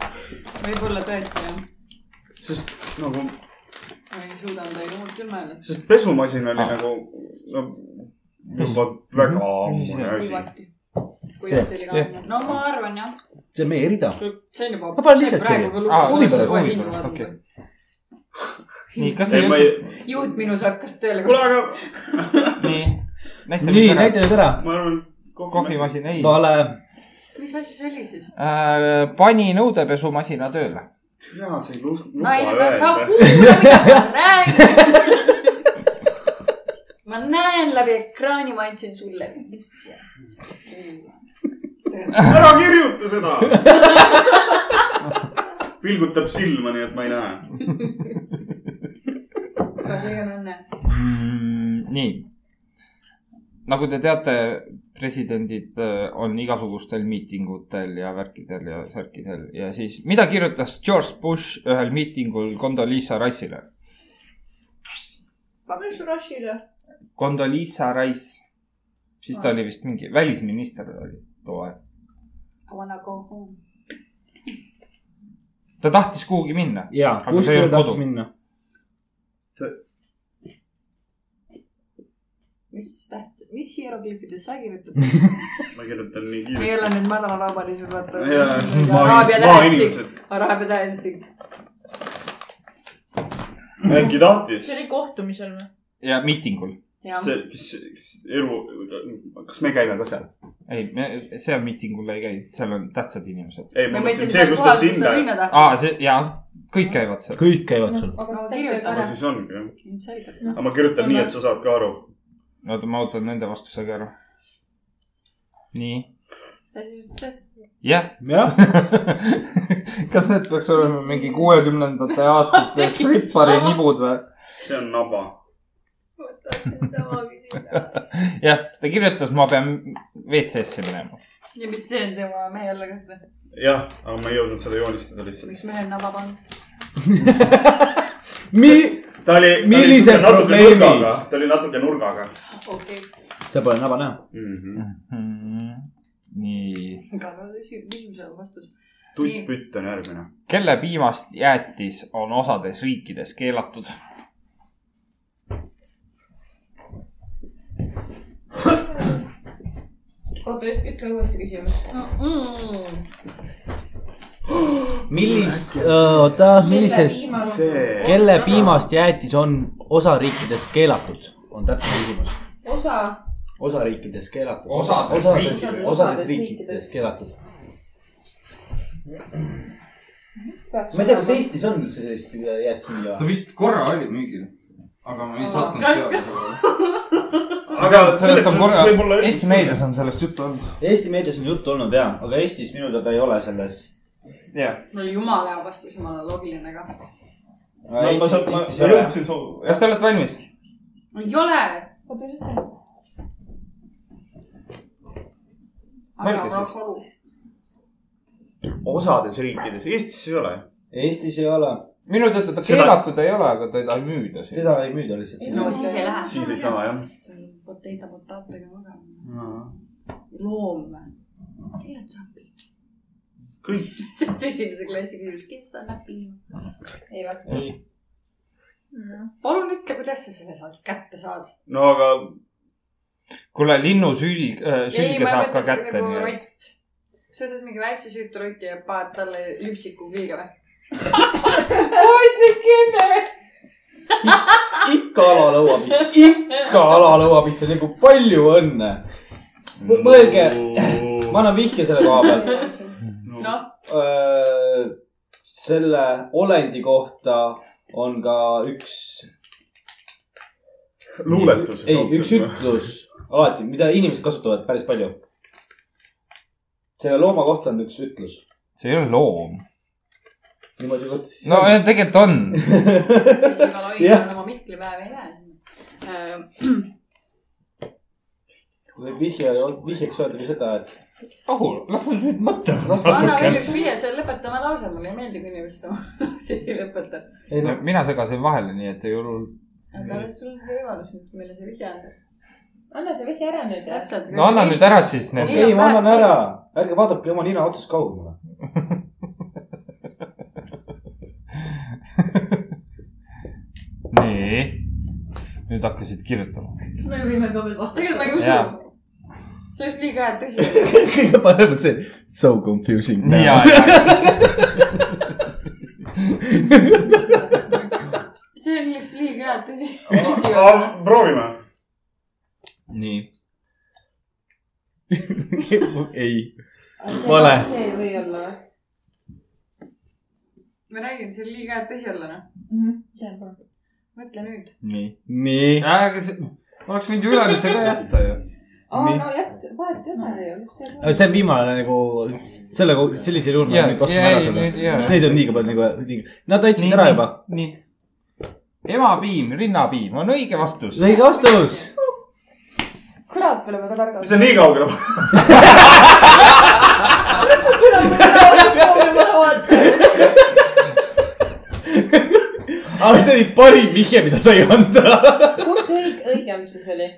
Speaker 3: võib-olla tõesti jah ,
Speaker 1: sest nagu ,
Speaker 3: ma ei suuda midagi muud küll mõelda .
Speaker 1: sest pesumasin oli
Speaker 2: Ah.
Speaker 1: nagu , no juba väga ammune
Speaker 3: kui
Speaker 1: asi .
Speaker 3: vatti . kui vatti oli ka . no ma arvan jah ,
Speaker 4: see on meie rida .
Speaker 3: see on juba .
Speaker 4: Ma panen lihtsalt teile.
Speaker 2: Aa,
Speaker 4: huvi
Speaker 2: Ah,
Speaker 4: pärast,
Speaker 2: huvi pärast, okei.
Speaker 3: jõud
Speaker 2: nii , kas
Speaker 1: ei ,
Speaker 2: ei
Speaker 1: ma
Speaker 2: ole ,
Speaker 1: ei ,
Speaker 3: minus hakkas tööle .
Speaker 1: kuule , aga
Speaker 2: nii , näita
Speaker 7: nii ,
Speaker 2: mind ära .
Speaker 7: näita nüüd ära .
Speaker 1: ma arvan , kohvimasin .
Speaker 2: kohvimasin , ei .
Speaker 7: vale .
Speaker 3: mis asi see oli siis ?
Speaker 2: pani nõudepesumasina tööle .
Speaker 1: türa , see ei lu- , luba
Speaker 3: naine , ta saab
Speaker 1: öelda .
Speaker 3: kuulda , mida ma räägin . ma näen läbi ekraani , ma andsin sulle vihje .
Speaker 1: ära kirjuta seda . pilgutab silma , nii et ma ei näe .
Speaker 3: aga see on õnne .
Speaker 2: Mm, nii . nagu te teate , presidendid öö, on igasugustel miitingutel ja värkidel ja särkidel ja siis , mida kirjutas George Bush ühel miitingul Condoleezza Rice'ile ?
Speaker 5: pange su rush'ile .
Speaker 2: Condoleezza Rice , siis ta oli vist mingi välisminister oli too aeg .
Speaker 3: I wanna go home .
Speaker 2: ta tahtis kuhugi minna .
Speaker 7: ja ,
Speaker 2: Aga
Speaker 7: kus
Speaker 2: see ei
Speaker 7: ta
Speaker 2: olnud
Speaker 7: tahtis
Speaker 2: kodu.
Speaker 7: minna ?
Speaker 3: mis tähtis , mis hieroglüüfides sa kirjutad ?
Speaker 1: ma kirjutan nii
Speaker 3: ei
Speaker 1: kiiresti .
Speaker 3: ole need madalalaualised , vaata .
Speaker 1: jaa ,
Speaker 3: araabia tähestik ,
Speaker 1: maainimesed .
Speaker 3: araabia tähestik .
Speaker 1: äkki tahtis
Speaker 5: see oli kohtumisel või ?
Speaker 2: ja miitingul .
Speaker 3: jah ,
Speaker 1: see , kes , kes elu , kas me käime ka seal ?
Speaker 2: ei , seal miitingul ei käi , seal on tähtsad inimesed .
Speaker 1: ei ,
Speaker 3: me
Speaker 1: ma mõtlesin see ,
Speaker 3: mõtlesime seal
Speaker 1: kus ta
Speaker 3: kohas , kus
Speaker 1: sinna
Speaker 3: ta . minna
Speaker 2: aa ,
Speaker 3: tahtis .
Speaker 2: see ja , kõik käivad seal .
Speaker 4: kõik käivad sul .
Speaker 3: No
Speaker 5: aga siis ta ei
Speaker 3: kirjuta
Speaker 5: tea
Speaker 1: no
Speaker 5: ära .
Speaker 1: siis ongi , jah .
Speaker 3: ilmselgelt .
Speaker 1: aga ma kirjutan nii , et sa saad ka aru .
Speaker 2: oota , ma ootan nende vastuse ka ära . nii
Speaker 3: ja siis ütles ,
Speaker 2: jah ,
Speaker 7: jah ,
Speaker 2: kas need peaks olema mingi kuuekümnendate aastate strippari nibud või ?
Speaker 1: see on naba .
Speaker 5: ma tahtsin sama küsida .
Speaker 2: jah , ta kirjutas , ma pean WC-sse minema .
Speaker 3: ja mis see on tema mehele kätte ,
Speaker 1: jah , aga ma ei jõudnud seda joonistada lihtsalt .
Speaker 3: miks mehel naba on ?
Speaker 4: Mi- ,
Speaker 1: ta oli , ta oli
Speaker 4: Millise
Speaker 1: siuke natuke
Speaker 4: probleemi?
Speaker 1: nurgaga , ta oli natuke nurgaga
Speaker 3: okei
Speaker 4: seal pole naba näha .
Speaker 1: mm . -hmm.
Speaker 2: nii ,
Speaker 3: okay. , aga küsimusele vastus .
Speaker 1: tuttpütt on järgmine .
Speaker 2: kelle piimast jäätis on osades riikides keelatud ?
Speaker 6: oota , ütle uuesti küsimus .
Speaker 4: millis , oota , millises ,
Speaker 1: see ,
Speaker 4: kelle piimast jäätis on osariikides keelatud , on täpne küsimus .
Speaker 6: osa ,
Speaker 4: osariikides keelatud .
Speaker 2: Osades
Speaker 6: riikides.
Speaker 4: osades
Speaker 6: Osades
Speaker 4: riikides
Speaker 6: riikides.
Speaker 4: keelatud .
Speaker 6: peaks
Speaker 4: ma ei tea , kas Eestis on üldse sellist jäätismüüja või ?
Speaker 2: vist korra oli müügil , aga ma
Speaker 6: ei
Speaker 2: sattunud peale sellele .
Speaker 1: aga
Speaker 2: sellest on korra ,
Speaker 1: võib-olla
Speaker 2: Eesti . meedias on sellest juttu olnud .
Speaker 4: Eesti meedias on juttu olnud ja , aga Eestis minu teada ei ole selles .
Speaker 2: jah ,
Speaker 3: no jumala hea vastus , jumala loogiline ka .
Speaker 1: ma ma saan , ma ma jõudsin su ,
Speaker 2: kas te olete valmis ?
Speaker 3: ei ole .
Speaker 6: oota , mis see on ?
Speaker 2: Mõelge siis.
Speaker 1: osades riikides , Eestis ei ole .
Speaker 7: Eestis ei ole ,
Speaker 2: minu teada ta
Speaker 1: Seda-
Speaker 2: keelatud ei ole , aga teda ei müüda siin .
Speaker 7: teda ei müüda lihtsalt
Speaker 3: no
Speaker 7: sinna .
Speaker 3: siis ei lähe .
Speaker 1: siis ei saa jah .
Speaker 3: Potato , potatoga magama . loom või ? tegelikult saab .
Speaker 1: kõik ,
Speaker 3: see on see esimese klassi küsimus , kes annab piima ?
Speaker 5: ei vä ?
Speaker 3: palun ütle , kuidas sa selle saad , kätte saad .
Speaker 1: no aga
Speaker 2: kuule , linnusülg , sülge saab ka kätte ,
Speaker 3: nagu
Speaker 2: nii et .
Speaker 3: et . sa võtad mingi väikse süütu rotti ja paned talle lüpsiku külge või ?
Speaker 7: ikka alalõua pihta , ikka alalõua pihta , nagu palju õnne . mõelge , ma annan vihje selle koha pealt .
Speaker 1: no, .
Speaker 3: noh ,
Speaker 7: selle olendi kohta on ka üks .
Speaker 1: luuletus .
Speaker 7: ei , üks . ütlus alati , mida inimesed kasutavad päris palju . selle looma kohta on üks ütlus .
Speaker 2: see ei ole loom .
Speaker 7: niimoodi vot .
Speaker 2: no äh, tegelikult on .
Speaker 3: siis igal hoidjal
Speaker 7: Jah.
Speaker 3: on oma mihklipäev ei Äh, lähe .
Speaker 7: võib vihje , vihjeks öelda ka seda , et
Speaker 2: rahu , las on nüüd mõte .
Speaker 3: anna veel üks viie , see lõpetame lause , mulle ei meeldi , kui inimesed oma lauseid ei lõpeta .
Speaker 7: ei noh ,
Speaker 2: mina segasin vahele , nii et ei olnud .
Speaker 3: aga sul on see võimalus nüüd , mille sa vihje andad .
Speaker 5: anna see vihje ära nüüd .
Speaker 3: täpselt .
Speaker 2: no anna nüüd ära siis nende .
Speaker 7: ei , ma annan ära , ärge vaadake oma nina otsast kaugemale .
Speaker 2: nii . nüüd hakkasid kirjutama .
Speaker 6: me võime ka veel vastata .
Speaker 3: tegelikult ma ei
Speaker 2: Jaa.
Speaker 3: usu . see oleks liiga hea , et tõsi .
Speaker 4: kõige parem on see so confusing .
Speaker 2: ja , ja ,
Speaker 3: see oleks liiga hea , et tõsi .
Speaker 1: proovime .
Speaker 2: nii .
Speaker 4: ei , Vale.
Speaker 6: see ei või olla või ?
Speaker 3: ma räägin , see on liiga hea , et tõsi olla , noh . mõtle nüüd .
Speaker 2: nii .
Speaker 4: nii .
Speaker 2: aga see , oleks võinud ju ülemise ka jätta ju .
Speaker 6: aa
Speaker 4: Nii. ,
Speaker 6: no jätt , vahet ei ole ju , mis see
Speaker 4: aga see on viimane nagu selle , sellisel juhul
Speaker 2: Jaa,
Speaker 4: ma nüüd vastan
Speaker 2: jaa,
Speaker 4: ära
Speaker 2: ei,
Speaker 4: sulle
Speaker 2: nüüd, . jaa.
Speaker 4: Neid on liiga palju nagu , liiga , nad täitsid ära juba ..
Speaker 2: nii . emapiim , rinnapiim on õige vastus .
Speaker 4: õige vastus .
Speaker 6: kurat , me oleme ka targad .
Speaker 1: see on nii kaugele .
Speaker 4: aga see oli parim vihje , mida sai anda .
Speaker 5: kumb see õig- õigem siis oli ?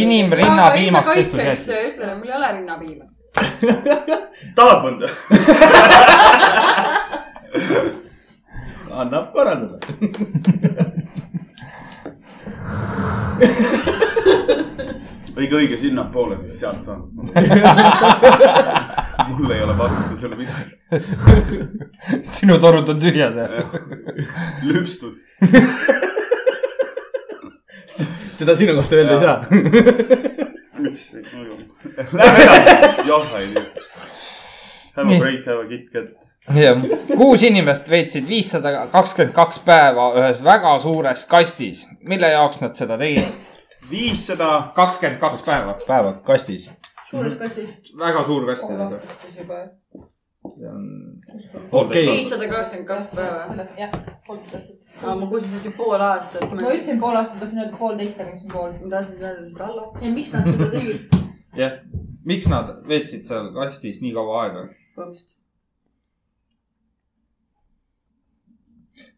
Speaker 2: inimrinnapiimast tehtud
Speaker 3: kaitseks
Speaker 2: hästi .
Speaker 3: ütlen , mul ei ole rinnapiima .
Speaker 1: tahad mõnda ?
Speaker 4: annab korraldada .
Speaker 1: õige , õige sinnapoole , siis sealt saan . mul ei ole pakkuda sulle midagi .
Speaker 2: sinu torud on tühjad .
Speaker 1: lüpstud .
Speaker 4: seda sinu kohta öelda ei
Speaker 1: Jaa.
Speaker 4: saa .
Speaker 1: üks , lähme edasi . jah , ei tea . Have a
Speaker 2: Nii.
Speaker 1: break , have a kick-cat .
Speaker 2: jah , kuus inimest veetsid viissada kakskümmend kaks päeva ühes väga suures kastis . mille jaoks nad seda tegid ?
Speaker 1: viissada ,
Speaker 2: kakskümmend kaks päeva .
Speaker 4: päeva kastis .
Speaker 6: suures kastis .
Speaker 2: väga suur kast
Speaker 6: pool
Speaker 2: oli see .
Speaker 6: aastat siis juba .
Speaker 2: Oh.
Speaker 4: okei okay. ,
Speaker 3: viissada kakskümmend kaks päeva .
Speaker 5: selles , jah , poolteist aastat .
Speaker 3: ma kuulsin siin pool aastat .
Speaker 5: ma ütlesin pool aastat , tahtsin öelda poolteist , aga ma ütlesin pool .
Speaker 3: ma tahtsin teada seda alla .
Speaker 6: ja miks nad seda tegid ?
Speaker 2: jah , miks nad veetsid seal kastis nii kaua aega ?
Speaker 3: vabandust .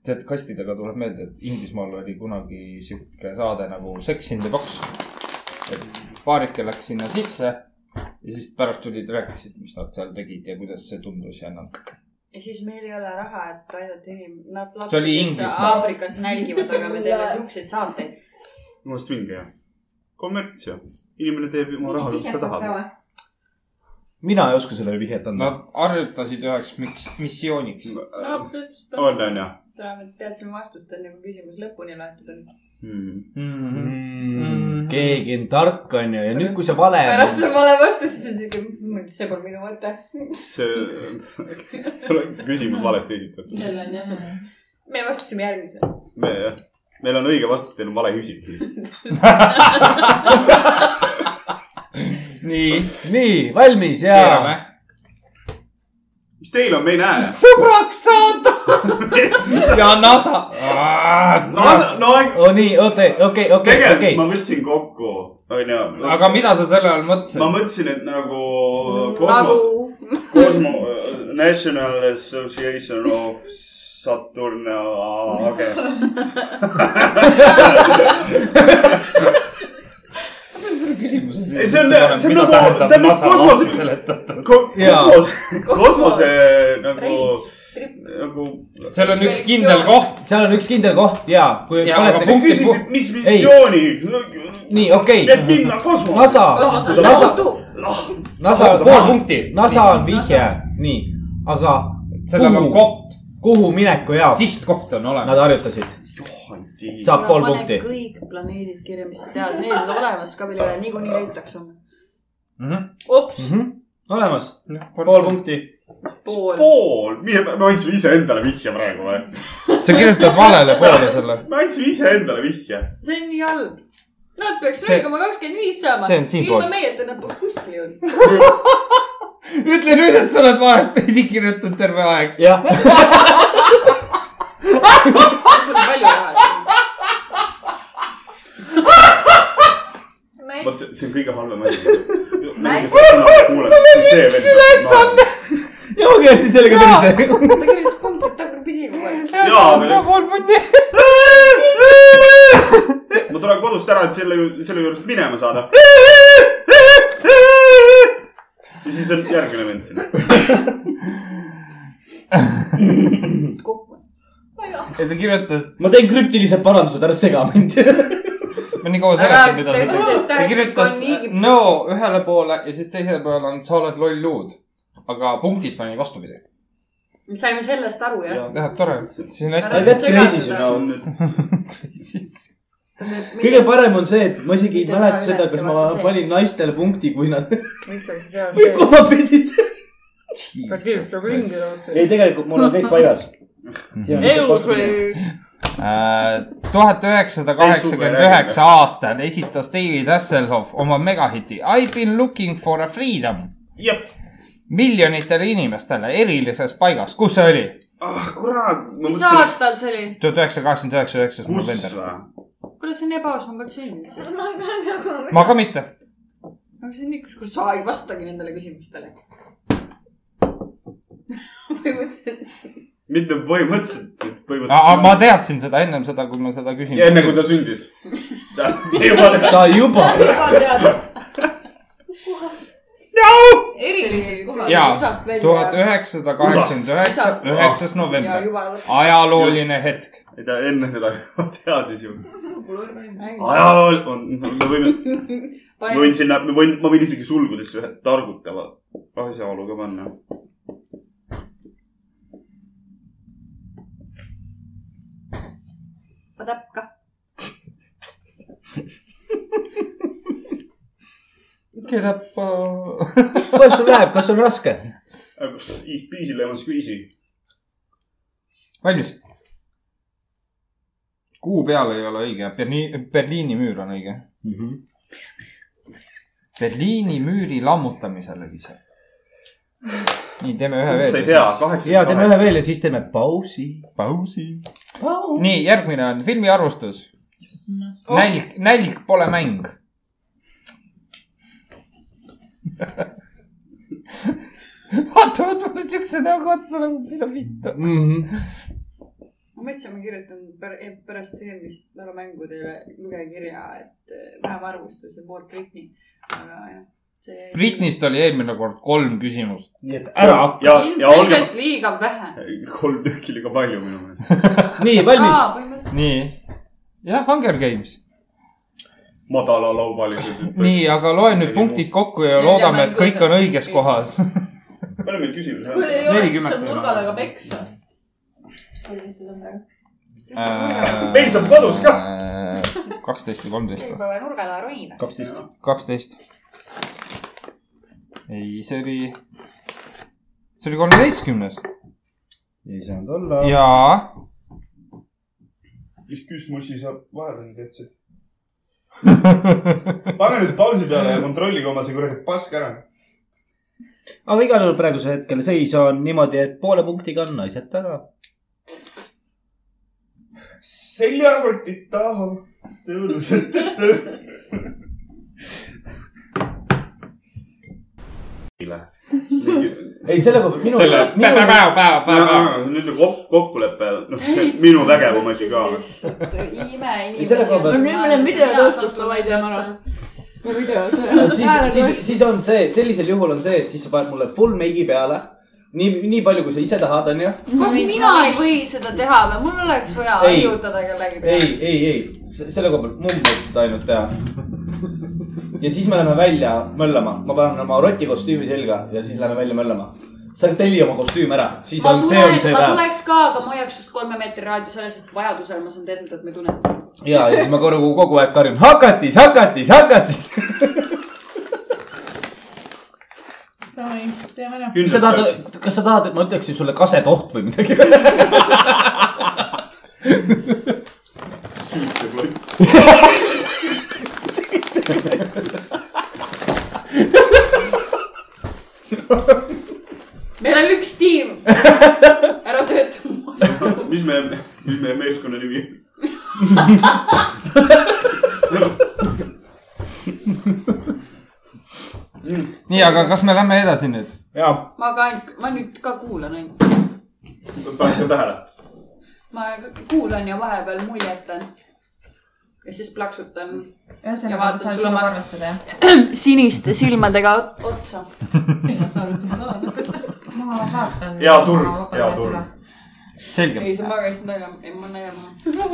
Speaker 2: tead , kastidega tuleb meelde , et Inglismaal oli kunagi sihuke saade nagu Sex in the Box . et paarike läks sinna sisse ja siis pärast tulid , rääkisid , mis nad seal tegid ja kuidas see tundus ja nad .
Speaker 3: ja siis meil ei ole raha , et aidata inim- , nad
Speaker 2: See oli
Speaker 3: lapsed , kes
Speaker 2: Inglismaa.
Speaker 3: Aafrikas nälgivad , aga me teeme siukseid saateid .
Speaker 1: minu arust vinge jah . kommerts ju . inimene teeb oma raha , mis ta tahab .
Speaker 4: mina ei oska sellele vihjet anda
Speaker 2: Nad harjutasid üheks miks- , missiooniks .
Speaker 3: on ,
Speaker 1: Äh, on , on jah
Speaker 3: teadsime vastust enne , kui küsimus lõpuni loetud on .
Speaker 1: mm. ?
Speaker 4: no. . Mm-hmm. keegi on tark , onju , ja nüüd , kui sa vale .
Speaker 3: pärast on vale vastus , siis on siuke , see pole minu mõte .
Speaker 1: see , sul on küsimus valesti esitatud .
Speaker 5: sellel on jah .
Speaker 3: me vastasime järgmisele .
Speaker 1: me , meil on õige vastus , teil on vale küsimus .
Speaker 2: nii ,
Speaker 4: nii , valmis ja
Speaker 2: keerame .
Speaker 1: mis teil on , me ei näe .
Speaker 7: sõbraks saada ja NASA .
Speaker 1: no , no
Speaker 4: oo Oh, nii , okei , okei , okei ,
Speaker 1: tegelikult
Speaker 4: okei
Speaker 1: okay. . ma võtsin kokku , onju .
Speaker 2: aga mida sa selle all mõtlesid
Speaker 1: ma ? mõtlesin , et nagu
Speaker 3: nagu
Speaker 1: kosmo , kosmo , National Association of Saturn , okei . Ei, see on- see on nagu- ta on nagu kosmoses-
Speaker 2: seletatud .
Speaker 4: Jaa.
Speaker 1: kosmos , kosmose nagu ,
Speaker 3: reis , trip .
Speaker 1: nagu .
Speaker 2: seal on üks kindel koht .
Speaker 4: seal on üks kindel koht ja kui
Speaker 2: Jaa, aga
Speaker 4: panete
Speaker 1: sa
Speaker 4: punkti .
Speaker 1: küsisid , mis missiooniga .
Speaker 4: nii , okei
Speaker 1: et minna kosmosesse .
Speaker 4: NASA ,
Speaker 3: Nagu
Speaker 1: Nagu
Speaker 4: NASA , NASA on
Speaker 2: pool
Speaker 4: pool ,
Speaker 2: punkti .
Speaker 4: NASA on vihje , nii , aga
Speaker 2: sellel on
Speaker 4: kuhu?
Speaker 2: koht ,
Speaker 4: kuhu mineku jaoks
Speaker 2: sihtkoht on olemas .
Speaker 4: nad harjutasid ?
Speaker 1: Johan Tiit .
Speaker 4: Saab pool punkti.
Speaker 3: kõik planeedid kirja , mis sa tead , need on olemas ka , mille niikuinii leitakse .
Speaker 2: Mhm.
Speaker 4: Mm -hmm. olemas , pool . punkti .
Speaker 3: pool .
Speaker 1: pool , me andsime iseendale vihje praegu või ?
Speaker 2: sa kirjutad valele poole selle .
Speaker 1: me andsime iseendale vihje .
Speaker 3: see on nii halb . Nad peaks
Speaker 2: See-
Speaker 3: neli koma kakskümmend viis saama .
Speaker 2: see on siinpool.
Speaker 3: ilma meieta nad poleks kuskile jõudnud .
Speaker 2: ütle nüüd , et sa oled vahepeal kirjutanud terve aeg .
Speaker 4: jah ,
Speaker 3: see on palju raha .
Speaker 1: vot see , see on kõige halvem asi .
Speaker 4: ja ma kirjutasin sellega perse .
Speaker 3: ta kirjutas punktid tagurpidi kogu aeg .
Speaker 1: jaa , aga
Speaker 2: pool punni .
Speaker 1: ma tulen kodust ära , et selle , selle juurest minema saada . ja siis on järgmine vend siin .
Speaker 3: kokku .
Speaker 2: ja ta kirjutas ,
Speaker 4: ma teen krüptilised parandused , ära sega mind .
Speaker 2: ma nii kaua
Speaker 3: ära
Speaker 2: seletasin , mida sa
Speaker 3: tee
Speaker 2: tegid . ta
Speaker 3: see tähestik on
Speaker 2: kirjutas
Speaker 3: niigi .
Speaker 2: no ühele poole ja siis teisele poole on sa oled loll luud . aga punktid pani vastupidi .
Speaker 3: me saime sellest aru jah ?
Speaker 2: jah , tore , siin on
Speaker 3: Ära
Speaker 2: hästi .
Speaker 4: That's crazy , you know . kõige parem on see , et ma isegi ei
Speaker 3: Mitte
Speaker 4: mäleta
Speaker 3: näha
Speaker 4: seda ,
Speaker 3: üles,
Speaker 4: kas ma
Speaker 3: vaata see.
Speaker 4: panin naistele punkti , kui nad , või kumma pidi see .
Speaker 3: ta kirjutab ringi .
Speaker 4: ei , tegelikult mul on kõik paigas . Mhm.
Speaker 2: tuhat üheksasada kaheksakümmend Äh, üheksa aastal esitas David Hasselhoff oma megahiti I been looking for a freedom
Speaker 1: jah ,
Speaker 2: miljonitele inimestele erilises paigas , kus see oli ?
Speaker 1: ah kurat , ma
Speaker 3: mis
Speaker 1: mõtlesin ,
Speaker 3: aastal see oli ?
Speaker 2: tuhat üheksasada kaheksakümmend üheksa , üheksas
Speaker 1: kus
Speaker 2: november .
Speaker 1: või ?
Speaker 3: kuidas see on ebaaus , ma polnud sündinud siis .
Speaker 2: ma ka mitte .
Speaker 3: aga see on ikka , kus sa ei vastagi nendele küsimustele . põhimõtteliselt .
Speaker 1: mitte põhimõtteliselt , põhimõtteliselt .
Speaker 2: ma teadsin seda ennem seda , kui ma seda küsin .
Speaker 1: enne kui ta sündis . ta juba teab .
Speaker 4: ta juba ,
Speaker 3: erilises kohas .
Speaker 2: Jaa, tuhat
Speaker 3: tuhat
Speaker 2: üheksasada kaheksakümmend üheksa ,
Speaker 3: Usast.
Speaker 2: üheksas
Speaker 3: ja
Speaker 2: november .
Speaker 3: juba .
Speaker 2: ajalooline hetk .
Speaker 1: ei ta enne seda teadis ju . ajalool on , me võime , ma võin sinna , ma võin , ma võin isegi sulgudesse ühe targutava asjaolu ka panna .
Speaker 3: täpp kah .
Speaker 2: keda ?
Speaker 1: äh,
Speaker 4: kuidas sul läheb , kas on raske ?
Speaker 1: Is busy lemon squeezy .
Speaker 2: valmis . kuu peal ei ole õige , Berliini , Berliini müür on õige .
Speaker 1: Mhm.
Speaker 2: Berliini müüri lammutamisel oli see . nii , teeme ühe
Speaker 1: sa
Speaker 2: veel
Speaker 1: ei . tea , kaheksakümmend .
Speaker 4: ja teeme ühe . veel ja siis teeme pausi .
Speaker 2: pausi . nii , järgmine on filmi arvustus .
Speaker 3: Oh.
Speaker 2: nälg , nälg pole mäng . vaatavad mulle siukse näoga otsa nagu , mida vittu .
Speaker 1: Mhm.
Speaker 3: ma mõtlesin , ma kirjutan pär- eh, pärast eelmist mälumängudele lugejakirja , et eh, vähem arvustus ja more Britney . aga jah , see .
Speaker 2: Britnist oli eelmine kord kolm küsimust .
Speaker 4: nii et ära hakka .
Speaker 1: ja , ja olge
Speaker 3: ilmselgelt , liiga vähe .
Speaker 1: kolm tükki liiga palju minu meelest .
Speaker 4: nii , valmis .
Speaker 2: nii . jah , Hunger Games .
Speaker 1: madalalaubalise .
Speaker 2: nii , aga loen nüüd punktid . kokku ja loodame , et kõik on õiges kohas .
Speaker 1: palju meil küsimusi
Speaker 6: kui ei
Speaker 1: on ?
Speaker 6: ole , siis
Speaker 2: Nelikümmend
Speaker 6: saab nurga taga peksa .
Speaker 1: Meil saab kodus ka. .
Speaker 2: Äh, kaksteist või kolmteist või ?
Speaker 3: peame nurga taha ronima .
Speaker 4: kaksteist .
Speaker 2: kaksteist . ei , see oli , see oli kolmeteistkümnes
Speaker 4: ei saanud olla .
Speaker 2: ja
Speaker 1: mis küsimusi sa vahele nüüd jätsid ? pange nüüd pausi peale ja kontrollige oma see kuradi pask ära .
Speaker 4: aga igal juhul praegusel hetkel seis on niimoodi , et poole punktiga on naised taga .
Speaker 1: seljakotid taha , tõulused tõu- .
Speaker 7: ei , selle koha pealt minu
Speaker 2: selle ,
Speaker 7: minu ,
Speaker 1: nüüd on kok- kokkulepe , noh , see on minu vägevam asi ka .
Speaker 3: lihtsalt ime
Speaker 7: selle koha pealt- No
Speaker 3: inimesi .
Speaker 6: nüüd meil on videotööstust vaja teha ära .
Speaker 3: no videos .
Speaker 7: siis , siis , siis on see , sellisel juhul on see , et siis sa paned mulle full meigi peale . nii , nii palju , kui sa ise tahad , onju .
Speaker 3: kas mina ei või seda teha või mul oleks vaja
Speaker 7: Ei.
Speaker 3: harjutada kellegi
Speaker 7: ei , ei , ei , selle koha pealt mumm võib seda ainult teha . ja siis me läheme välja möllama , ma panen oma rotikostüümi selga ja siis läheme välja möllama . sa telli oma kostüüm ära , siis
Speaker 3: ma
Speaker 7: on , see on
Speaker 3: tuleks ,
Speaker 7: see
Speaker 3: ma
Speaker 7: päev .
Speaker 3: tuleks ka , aga ma hoiaks just kolme meetri raadius ära , sest vajadusel ma saan teeselda , et ma ei tunne seda .
Speaker 7: ja , ja siis ma kogu , kogu aeg karjun hakatis , hakatis , hakatis .
Speaker 6: Davai , teeme ära .
Speaker 7: kas sa tahad , kas sa tahad , et ma ütleksin sulle kasetoht või midagi ?
Speaker 3: meil on üks tiim . ära tööta .
Speaker 1: mis me , mis meie meeskonna nimi on ?
Speaker 2: nii , aga kas me lähme edasi nüüd ?
Speaker 7: jaa ,
Speaker 3: ma ka , ma nüüd ka kuulan ainult .
Speaker 1: panete tähele ?
Speaker 3: ma kuulan ja vahepeal muljetan . ja siis plaksutan Ja vaatad
Speaker 6: ühesõnaga , ma saan
Speaker 3: sulle
Speaker 6: sinuga
Speaker 3: ma-
Speaker 6: arvestada , jah ?
Speaker 3: siniste silmadega ot- otsa .
Speaker 6: ma vaatan .
Speaker 1: Hea turg, hea turg. .
Speaker 2: selge .
Speaker 3: ei , sa magasid väga , ei ma nägema .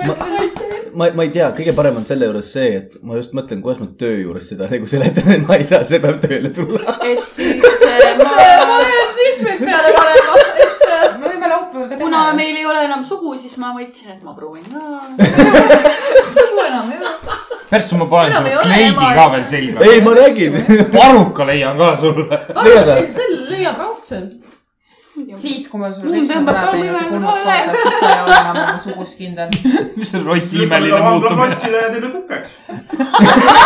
Speaker 4: ma , ma ei tea , kõige parem on selle juures see , et ma just mõtlen , kuidas ma töö juures seda nagu seletan , et ma ei saa see päev tööle tulla .
Speaker 3: et siis äh, ma ,
Speaker 6: me võime laupäeval ka teha .
Speaker 3: kuna meil ei ole enam sugu , siis ma mõtlesin , et ma proovin ka .
Speaker 6: sugu enam ei ole .
Speaker 2: persse , ma panen
Speaker 6: Enam ei
Speaker 2: sulle
Speaker 6: ole
Speaker 2: kleidi
Speaker 6: ema.
Speaker 2: ka veel selga .
Speaker 4: ei , ma räägin .
Speaker 2: varruka leian ka sulle .
Speaker 4: Leiad või?
Speaker 6: selle leiab raudselt . siis , kui ma sulle
Speaker 3: Mum tõmbab tolmu üle kohe.
Speaker 6: kohta , siis sa ei ole enam nagu sugus kindel .
Speaker 2: mis see roti
Speaker 1: lükkame
Speaker 2: imeline
Speaker 1: ta vangla
Speaker 2: muutumine .
Speaker 1: platsile ja teeme kukeks .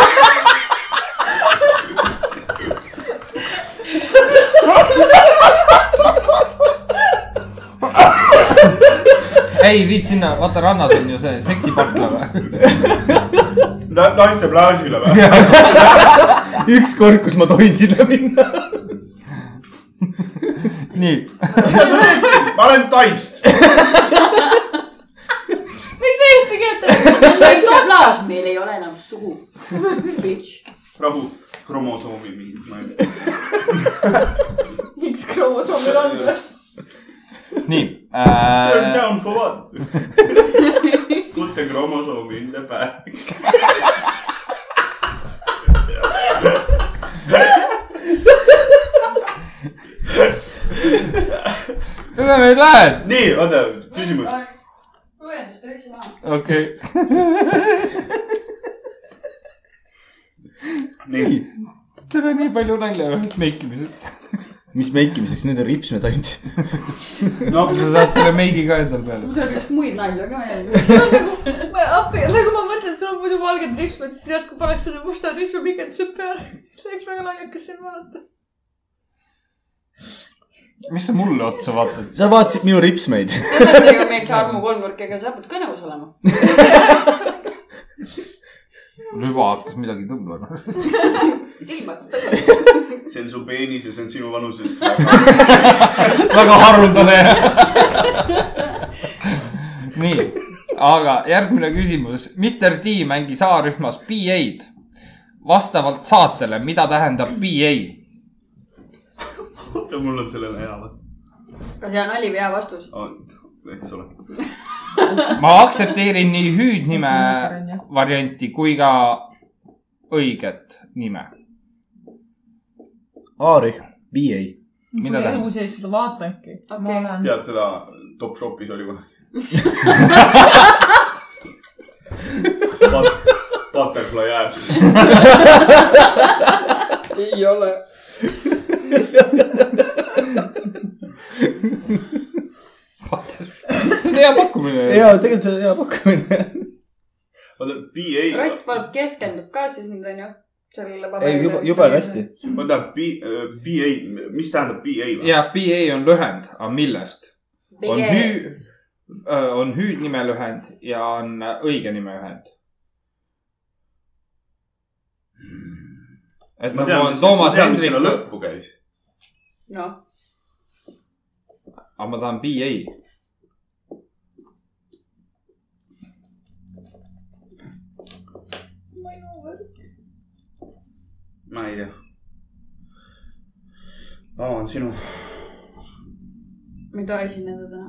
Speaker 2: ei , viid sinna , vaata rannas on ju see seksiparkla või ?
Speaker 1: naiste platsile või ?
Speaker 4: ükskord , kus ma tohin sinna minna .
Speaker 2: nii ,
Speaker 1: ma olen taist .
Speaker 6: miks sa eesti keelt ei
Speaker 3: meil ei ole enam sugu . Bitch .
Speaker 1: rahu , kromosoomi mingit , ma ei tea .
Speaker 6: miks kromosoomil on ?
Speaker 2: nii
Speaker 1: Turn
Speaker 2: äh, .
Speaker 1: down for what ? Put the chromosome in the back .
Speaker 2: kuhu meid lähed ?
Speaker 1: nii , oota , küsimus .
Speaker 3: õendust ei saa .
Speaker 2: okei okay. .
Speaker 1: nii ,
Speaker 2: seal on nii palju nalja ühest meikimisest .
Speaker 4: mis meikimiseks , need on ripsmed ainult .
Speaker 1: noh ,
Speaker 2: sa saad selle meigi ka endale peale .
Speaker 3: mul tuleks muid nalju ka meelde .
Speaker 6: ma appi , nagu ma mõtlen , sul on muidu valged ripsmed , siis järsku paneks sulle mustad ripsmepikendused peale . see oleks väga naljakas siin vaadata .
Speaker 2: mis sa mulle otsa vaatad ?
Speaker 4: sa vaatasid minu ripsmeid .
Speaker 3: ega meil see armu kolmnurk , ega sa pead ka nõus olema .
Speaker 2: lüva hakkas midagi tõmbama .
Speaker 3: silmad .
Speaker 1: see on su peenis ja see on sinu vanuses .
Speaker 2: väga haruldane . nii , aga järgmine küsimus . Mr D mängis A-rühmas PA-d vastavalt saatele , mida tähendab PA ?
Speaker 1: oota , mul on sellele hea vaat-
Speaker 3: kas hea nali või hea vastus ?
Speaker 1: oot, Oh, eks ole .
Speaker 2: ma aktsepteerin nii hüüdnime varianti kui ka õiget nime .
Speaker 4: Aari , BA .
Speaker 2: Mida
Speaker 6: mida ta
Speaker 2: tähendab?
Speaker 6: elu sees seda vaatanudki
Speaker 3: Okei.
Speaker 6: okay. . ma olen ,
Speaker 1: tead seda Top Shopis oli kunagi ? Butterfly Apps .
Speaker 2: ei ole . see on hea pakkumine .
Speaker 4: ja tegelikult see on hea pakkumine .
Speaker 1: oota , BA .
Speaker 3: Rott Valp keskendub ka siis nüüd onju . sellele
Speaker 4: ei ,
Speaker 3: paberile
Speaker 4: juba , juba on . hästi .
Speaker 1: oota , B , BA , mis tähendab BA või ?
Speaker 2: ja BA on lühend , aga millest ? On hüü- on hüüdnime lühend ja on õige nime lühend . et
Speaker 1: ma
Speaker 2: nagu
Speaker 1: tean ,
Speaker 2: on
Speaker 1: mis , ma
Speaker 2: Toomas
Speaker 1: tean , mis
Speaker 2: Hendrik
Speaker 1: sinna , lõppu käis .
Speaker 3: noh ,
Speaker 2: aga ma tahan BA .
Speaker 1: ma ei tea . Avan sinu .
Speaker 3: ma ei taha esineda täna .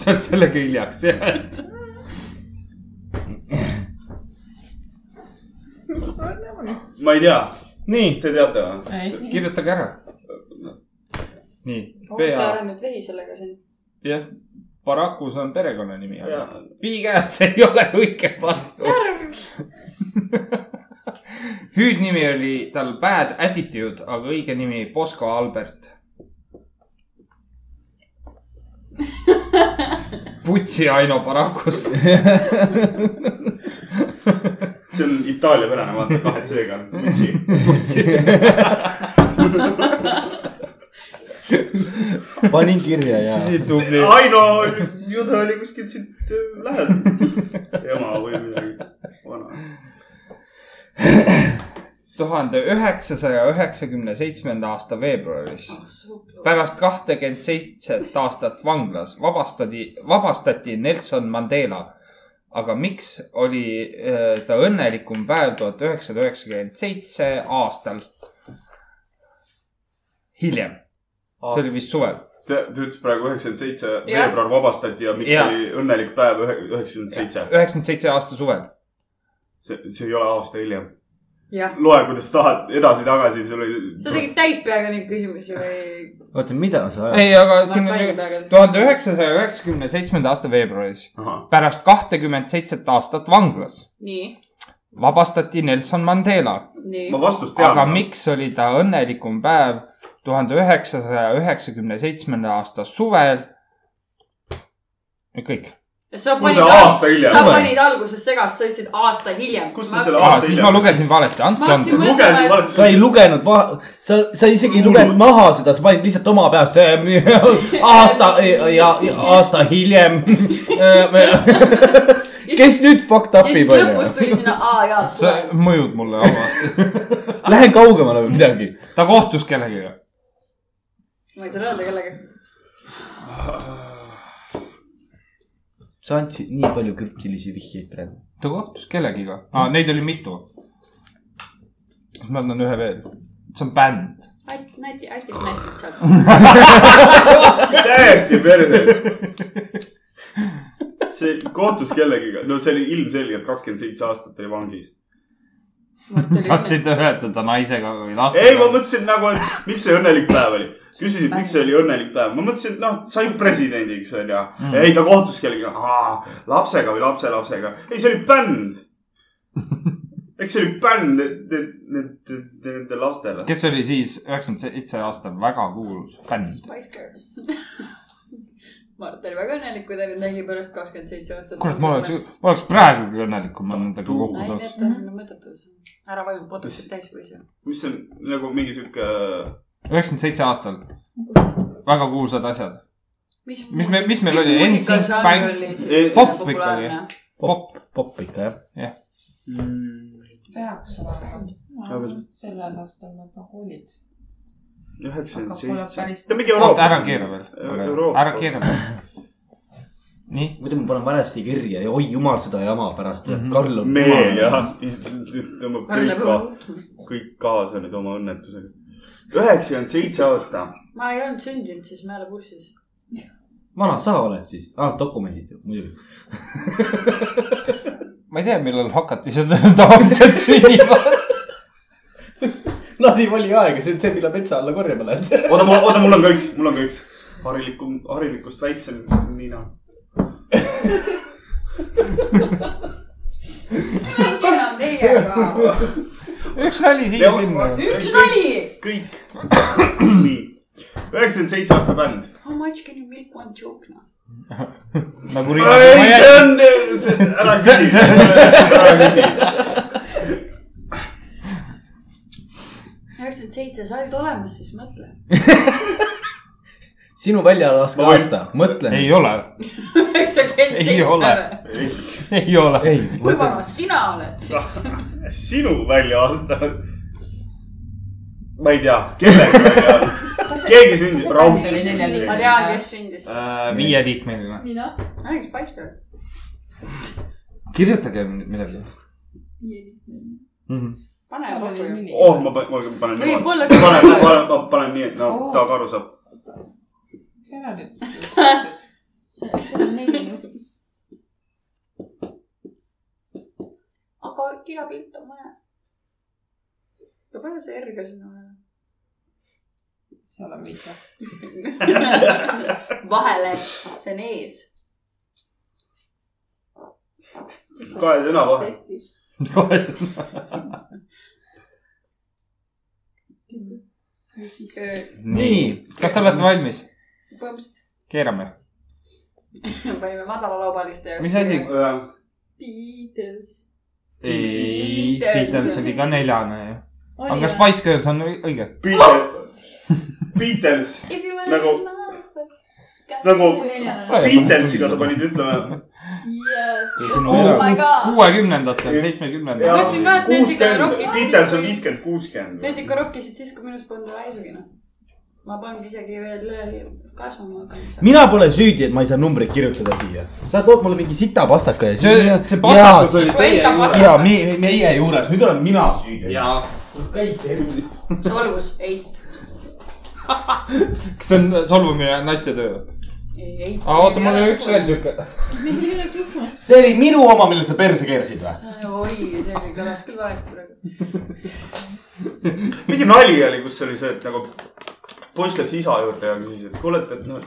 Speaker 2: sa oled sellega hiljaks jäänud .
Speaker 1: ma ei tea ,
Speaker 2: nii ,
Speaker 1: te teate või ?
Speaker 2: kirjutage ära . nii ,
Speaker 3: oota ,
Speaker 2: PA
Speaker 3: ära , nüüd vehi sellega siin .
Speaker 2: jah , Barakus on perekonnanimi , aga
Speaker 1: jaa ,
Speaker 2: Pi käest ei ole õige vastus . hüüdnimi oli tal Bad Attitude , aga õige nimi Bosco Albert . putsi Aino Barakus .
Speaker 1: see on Itaalia pärane , vaata kahe C-ga on Mitsi .
Speaker 4: panin kirja ja .
Speaker 2: tubli .
Speaker 1: Aino jude oli kuskilt siit äh, lähedalt . ema või midagi , vana .
Speaker 2: tuhande üheksasaja üheksakümne seitsmenda aasta veebruaris
Speaker 3: Oh,
Speaker 2: pärast kahtekümmet seitset aastat vanglas vabastati , vabastati Nelson Mandela . aga miks oli äh, ta õnnelikum päev tuhat üheksasada üheksakümmend seitse aastal ? hiljem , see oli vist suvel .
Speaker 1: ta ütles praegu üheksakümmend seitse
Speaker 3: Jah.
Speaker 1: veebruar vabastati ja miks
Speaker 2: Jah.
Speaker 1: oli õnnelik päev üheksakümmend seitse ?
Speaker 2: üheksakümmend seitse aasta suvel .
Speaker 1: see , see ei ole aasta hiljem .
Speaker 3: jah ,
Speaker 1: loe , kuidas tahad , edasi-tagasi , sul
Speaker 3: sa
Speaker 1: oli .
Speaker 3: tegid täispeaga neid küsimusi või ?
Speaker 4: oota , mida sa ajad ?
Speaker 2: ei , aga
Speaker 3: Noh,
Speaker 2: siin oli tuhande . üheksasaja üheksakümne seitsmenda aasta veebruaris
Speaker 1: ahah ,
Speaker 2: pärast kahtekümmet seitset aastat vanglas
Speaker 3: nii ,
Speaker 2: vabastati Nelson Mandela
Speaker 3: nii .
Speaker 1: ma vastust
Speaker 2: aga
Speaker 1: tean .
Speaker 2: miks oli ta õnnelikum päev tuhande üheksasaja üheksakümne seitsmenda aasta suvel ? kõik .
Speaker 3: sa
Speaker 1: Kui
Speaker 3: panid
Speaker 1: see , aasta hiljem
Speaker 3: sa
Speaker 4: on.
Speaker 3: panid alguses segast , sa ütlesid aasta hiljem .
Speaker 1: Kus sa selle
Speaker 2: Ah,
Speaker 1: Aasta
Speaker 2: siis
Speaker 1: hiljem.
Speaker 2: ma lugesin valesti , andke
Speaker 3: Ma hakkasin
Speaker 2: andeks .
Speaker 3: mõtlema,
Speaker 1: lugesin
Speaker 3: et-
Speaker 1: valesti .
Speaker 4: sa ei lugenud , sa , sa isegi ei lugenud maha seda , sa panid lihtsalt oma peast see- aasta ja, ja aasta hiljem . kes nüüd fucked
Speaker 3: ja
Speaker 4: up'i
Speaker 3: siis lõpus
Speaker 4: palju ?
Speaker 3: tuli sinna A ja
Speaker 2: sa
Speaker 3: suvel .
Speaker 2: mõjud mulle halvasti .
Speaker 4: Lähen kaugemale või midagi .
Speaker 2: ta kohtus kellegagi .
Speaker 3: ma ei saa öelda kellega .
Speaker 4: sa andsid nii palju krüptilisi vihjeid praegu .
Speaker 2: ta kohtus kellegiga ah, , neid oli mitu . kas ma annan ühe veel ? see on bänd .
Speaker 3: Ait , näti , Aitit näitab sealt .
Speaker 1: täiesti perse . see kohtus kellegiga , no see oli ilmselgelt kakskümmend seitse aastat oli vangis .
Speaker 2: tahtsid ühendada naisega või lastega ?
Speaker 1: ei , ma mõtlesin nagu , et miks see õnnelik päev oli . küsisid , miks see oli õnnelik päev . ma mõtlesin , et noh , sai presidendiks onju
Speaker 2: Mm.
Speaker 1: mm. . ei , ta kohtus kellegiga , lapsega või lapselapsega . ei , see oli bänd . eks see oli bänd , need , need , nende lastele .
Speaker 2: kes oli siis üheksakümmend seitse aastal väga kuulus bänd ?
Speaker 3: Spice Girls Mart oli väga õnnelik , kui ta nüüd nägi pärast kakskümmend seitse aastat .
Speaker 2: kurat , ma oleks , ma oleks praegugi õnnelik , kui ma nendega kokku
Speaker 3: ei ,
Speaker 2: saaks .
Speaker 3: need on mõttetus . ära vaju , potuksid täis või see .
Speaker 1: mis see on nagu mingi sihuke ,
Speaker 2: üheksakümmend seitse aastal . väga kuulsad asjad .
Speaker 3: mis
Speaker 2: Mis me- mis meil oli? NSYNC bäng- pop ikka pop .
Speaker 4: popp ikka jah .
Speaker 1: Mm,
Speaker 5: peaks
Speaker 1: Aga
Speaker 5: olema
Speaker 1: see- .
Speaker 5: sellel aastal nad nagu olid .
Speaker 1: üheksakümmend
Speaker 5: Aga pole päris-
Speaker 1: seitse . ta mingi
Speaker 2: oota ,
Speaker 1: Euroopa .
Speaker 2: ära keera veel .
Speaker 1: Euroopa.
Speaker 2: ära keera veel . nii ,
Speaker 4: muidu ma panen valesti kirja ja oi jumal seda jama pärast mm .
Speaker 2: Mhm.
Speaker 4: -hmm. Karl on .
Speaker 1: me jah , tõmbab kõik ka , kõik kaasa nüüd oma õnnetusega . üheksakümmend seitse aasta .
Speaker 3: ma ei olnud sündinud , siis ma ei ole kursis .
Speaker 4: vana sa oled siis ah, ? dokumendid ju muidugi .
Speaker 2: ma ei tea , millal hakati seda tavaliselt sünnima .
Speaker 4: Nad ei vali aega , see on see , millal metsa alla korjama lähed .
Speaker 1: oota , mul , oota , mul on ka üks , mul on ka üks . harilikum , harilikust väiksem Niina .
Speaker 3: mina on teiega .
Speaker 2: üks nali siia-sinna .
Speaker 3: üks nali .
Speaker 1: kõik . nii , üheksakümmend seitse aasta bänd .
Speaker 3: How much can you milk one joke now ?
Speaker 2: nagu
Speaker 1: ei , see
Speaker 2: Riina .
Speaker 1: on , ära
Speaker 2: See-
Speaker 1: küsi , ära küsi .
Speaker 3: kakskümmend seitse sald olemas , siis mõtle .
Speaker 4: sinu väljalaske
Speaker 1: Ma võin-
Speaker 4: aasta , mõtle .
Speaker 2: ei ole ,
Speaker 3: üheksakümmend
Speaker 2: Ei ole.
Speaker 3: seitse .
Speaker 2: ei ole .
Speaker 4: ei ,
Speaker 3: kui
Speaker 4: mõtle ,
Speaker 3: vana sina oled siis ?
Speaker 1: sinu väljaaasta . ma ei tea , kellega välja , keegi sündis raudselt .
Speaker 3: ma tean , kes sündis siis .
Speaker 2: Äh, viieliikmeline .
Speaker 5: mina ?
Speaker 3: räägiks paispeal .
Speaker 2: kirjutage nüüd midagi .
Speaker 3: pane kokku ju .
Speaker 1: oh , ma panen , ma panen niimoodi .
Speaker 3: Võib-olla
Speaker 1: ma panen , ma panen , ma panen nii , et noh , Taag aru saab .
Speaker 5: mis ära nüüd ?
Speaker 3: aga kirjapilt on vaja . ja pane see R ka sinna
Speaker 5: seal on viis .
Speaker 3: vahele . vahele , see on ees .
Speaker 1: kahe sõna vahel .
Speaker 2: kohe seda .
Speaker 4: nii .
Speaker 2: kas te olete valmis ?
Speaker 3: põhimõtteliselt
Speaker 2: keerame .
Speaker 3: panime madalalaubaliste jaoks .
Speaker 2: Mis asi?
Speaker 6: Beatles .
Speaker 2: ei ,
Speaker 3: Beatles.
Speaker 2: Beatles oli ka neljane ju . aga kas Spice Girls on õi- õige ?
Speaker 1: Beatles , Nagu- nagu
Speaker 6: nagu .
Speaker 1: Beatlesiga sa panid ütleme .
Speaker 2: sinu
Speaker 3: Oh my
Speaker 2: elu
Speaker 3: god.
Speaker 2: kuuekümnendatel , seitsmekümnendatel .
Speaker 3: mõtlesin ka, et need ikka
Speaker 1: kuuskümmend ,
Speaker 3: rokisid
Speaker 1: Beatles on
Speaker 3: siis, kui-
Speaker 1: viiskümmend ,
Speaker 3: Need
Speaker 1: kuuskümmend .
Speaker 3: ikka rokkisid siis , kui minust polnud väisugina . ma polnud isegi veel äh, kasvama hakanud .
Speaker 4: mina pole süüdi , et ma ei saa numbreid kirjutada siia . sa tood mulle mingi sita pastaka ja
Speaker 2: see , see pastakas oli teie juures .
Speaker 4: ja me, me, meie juures , nüüd olen mina süüdi .
Speaker 2: jaa .
Speaker 7: kõik elu .
Speaker 3: solvus , eit .
Speaker 2: kas see on solvumine naiste töö või ?
Speaker 3: ei , eit .
Speaker 2: aa , oota , mul oli üks veel . siuke .
Speaker 4: see oli minu oma , millele sa perse keersid või ?
Speaker 3: oi , see oli- kõlas küll valesti praegu .
Speaker 1: mingi nali oli , kus oli see , et nagu poiss läks isa juurde ja küsis , et kuule , et , et noh , et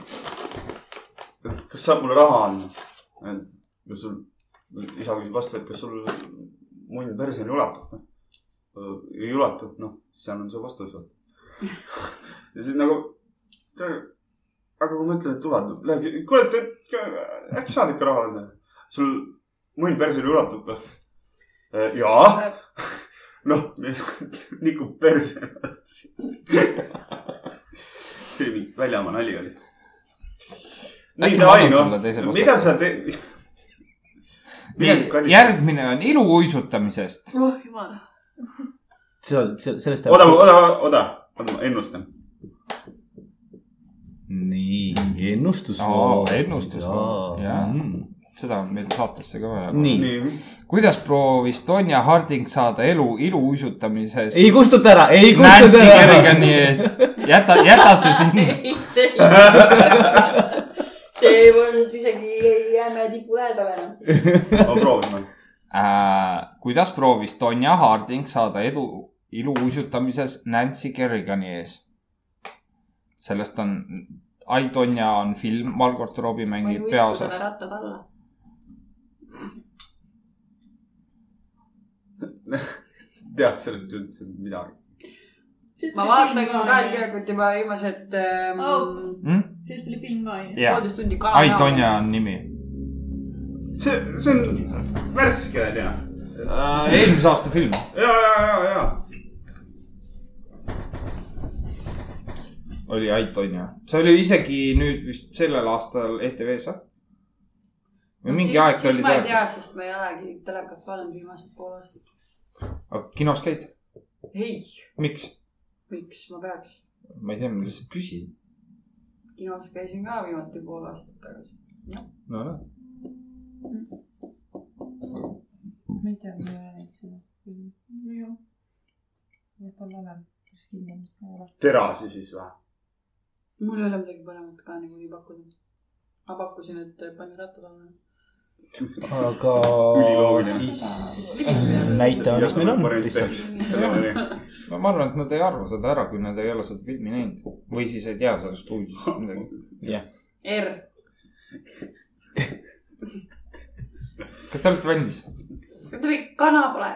Speaker 1: kas saab mulle raha anda . kas sul , isa küsis vastu , et kas sul munn perseni ulatub , noh . ei ulatu , noh , seal on see vastus . ja siis nagu , aga kui ma ütlen , et ulatub , läheb , kuule , et , et äkki saad ikka raha anda . sul munn perseni ulatub noh. või ? jaa ,
Speaker 2: Ah?
Speaker 1: noh , nikub perse vastu . see oli mingi väljamaa nali oli .
Speaker 2: Äkki
Speaker 1: nii ,
Speaker 2: ma
Speaker 1: davai
Speaker 2: annan
Speaker 1: noh
Speaker 2: sulle teise , kohtade?
Speaker 1: mida sa teed ?
Speaker 2: järgmine on ilu uisutamisest .
Speaker 3: oh jumal .
Speaker 4: see , see , sellest
Speaker 1: oota , oota , oota , oota , ma ennustan .
Speaker 4: nii , ennustusvoor
Speaker 2: Aa, . ennustusvoor, jaa. seda on meil saatesse ka vaja .
Speaker 4: Nii.
Speaker 1: nii ,
Speaker 2: kuidas proovis Donja Harding saada elu ilu uisutamisest ?
Speaker 4: ei kustuta ära , ei
Speaker 2: Nancy
Speaker 4: kustuta ära .
Speaker 2: Kergani ees , jäta , jäta see sinna .
Speaker 3: ei , see ei , see ei olnud isegi jäme tipu noh. lähedal enam .
Speaker 1: ma proovin .
Speaker 2: Äh, kuidas proovis Donja Harding saada edu ilu uisutamises Nancy Kergani ees ? sellest on , I Donja on film , Margot Robbie
Speaker 3: ma ei
Speaker 2: mängib
Speaker 3: uisu
Speaker 2: peaosas
Speaker 3: talle . rattad alla .
Speaker 1: noh. tead sellest üldse midagi ?
Speaker 3: ma vaatan kaelkirjakut juba viimased ähm,
Speaker 5: Oh.
Speaker 3: oh.
Speaker 2: hm? .
Speaker 5: siis oli film ka ju .
Speaker 2: jaa ,
Speaker 3: poolteist tundi
Speaker 2: I Donja . on nimi .
Speaker 1: see , see on värske on ju .
Speaker 4: Äh,
Speaker 2: eelmise aasta film .
Speaker 1: ja , ja , ja , ja .
Speaker 2: oli Ait Onja . see oli isegi nüüd vist sellel aastal E ETV-s või ? või mingi aeg ta oli
Speaker 3: siis ma ei
Speaker 2: teleka-
Speaker 3: tea , sest ma ei olegi telekat vaadanud viimased pool aastat .
Speaker 2: aga kinos käid ?
Speaker 3: ei ,
Speaker 2: miks ?
Speaker 3: miks ma peaks ?
Speaker 2: ma ei tea , ma lihtsalt küsin .
Speaker 3: kinos käisin ka viimati pool aastat tagasi .
Speaker 2: no noh ,
Speaker 5: ma ei tea , ma ei ole näinud seda . nojah . võib-olla olen , kas kindlam ei ole .
Speaker 1: terasi siis või ?
Speaker 3: mul ei ole midagi paremat ka niikuinii pakkuda . ma pakkusin , et pange rattad alla .
Speaker 4: aga
Speaker 1: Üliloogiline.
Speaker 4: Oh, siis näita , mis meil on lihtsalt .
Speaker 1: lihtsalt .
Speaker 2: no ma arvan , et nad ei arva seda ära , kui nad ei ole seda filmi näinud või siis ei tea sellest uudisest midagi .
Speaker 3: R ,
Speaker 2: kas te olete valmis ?
Speaker 3: oota või kana pole .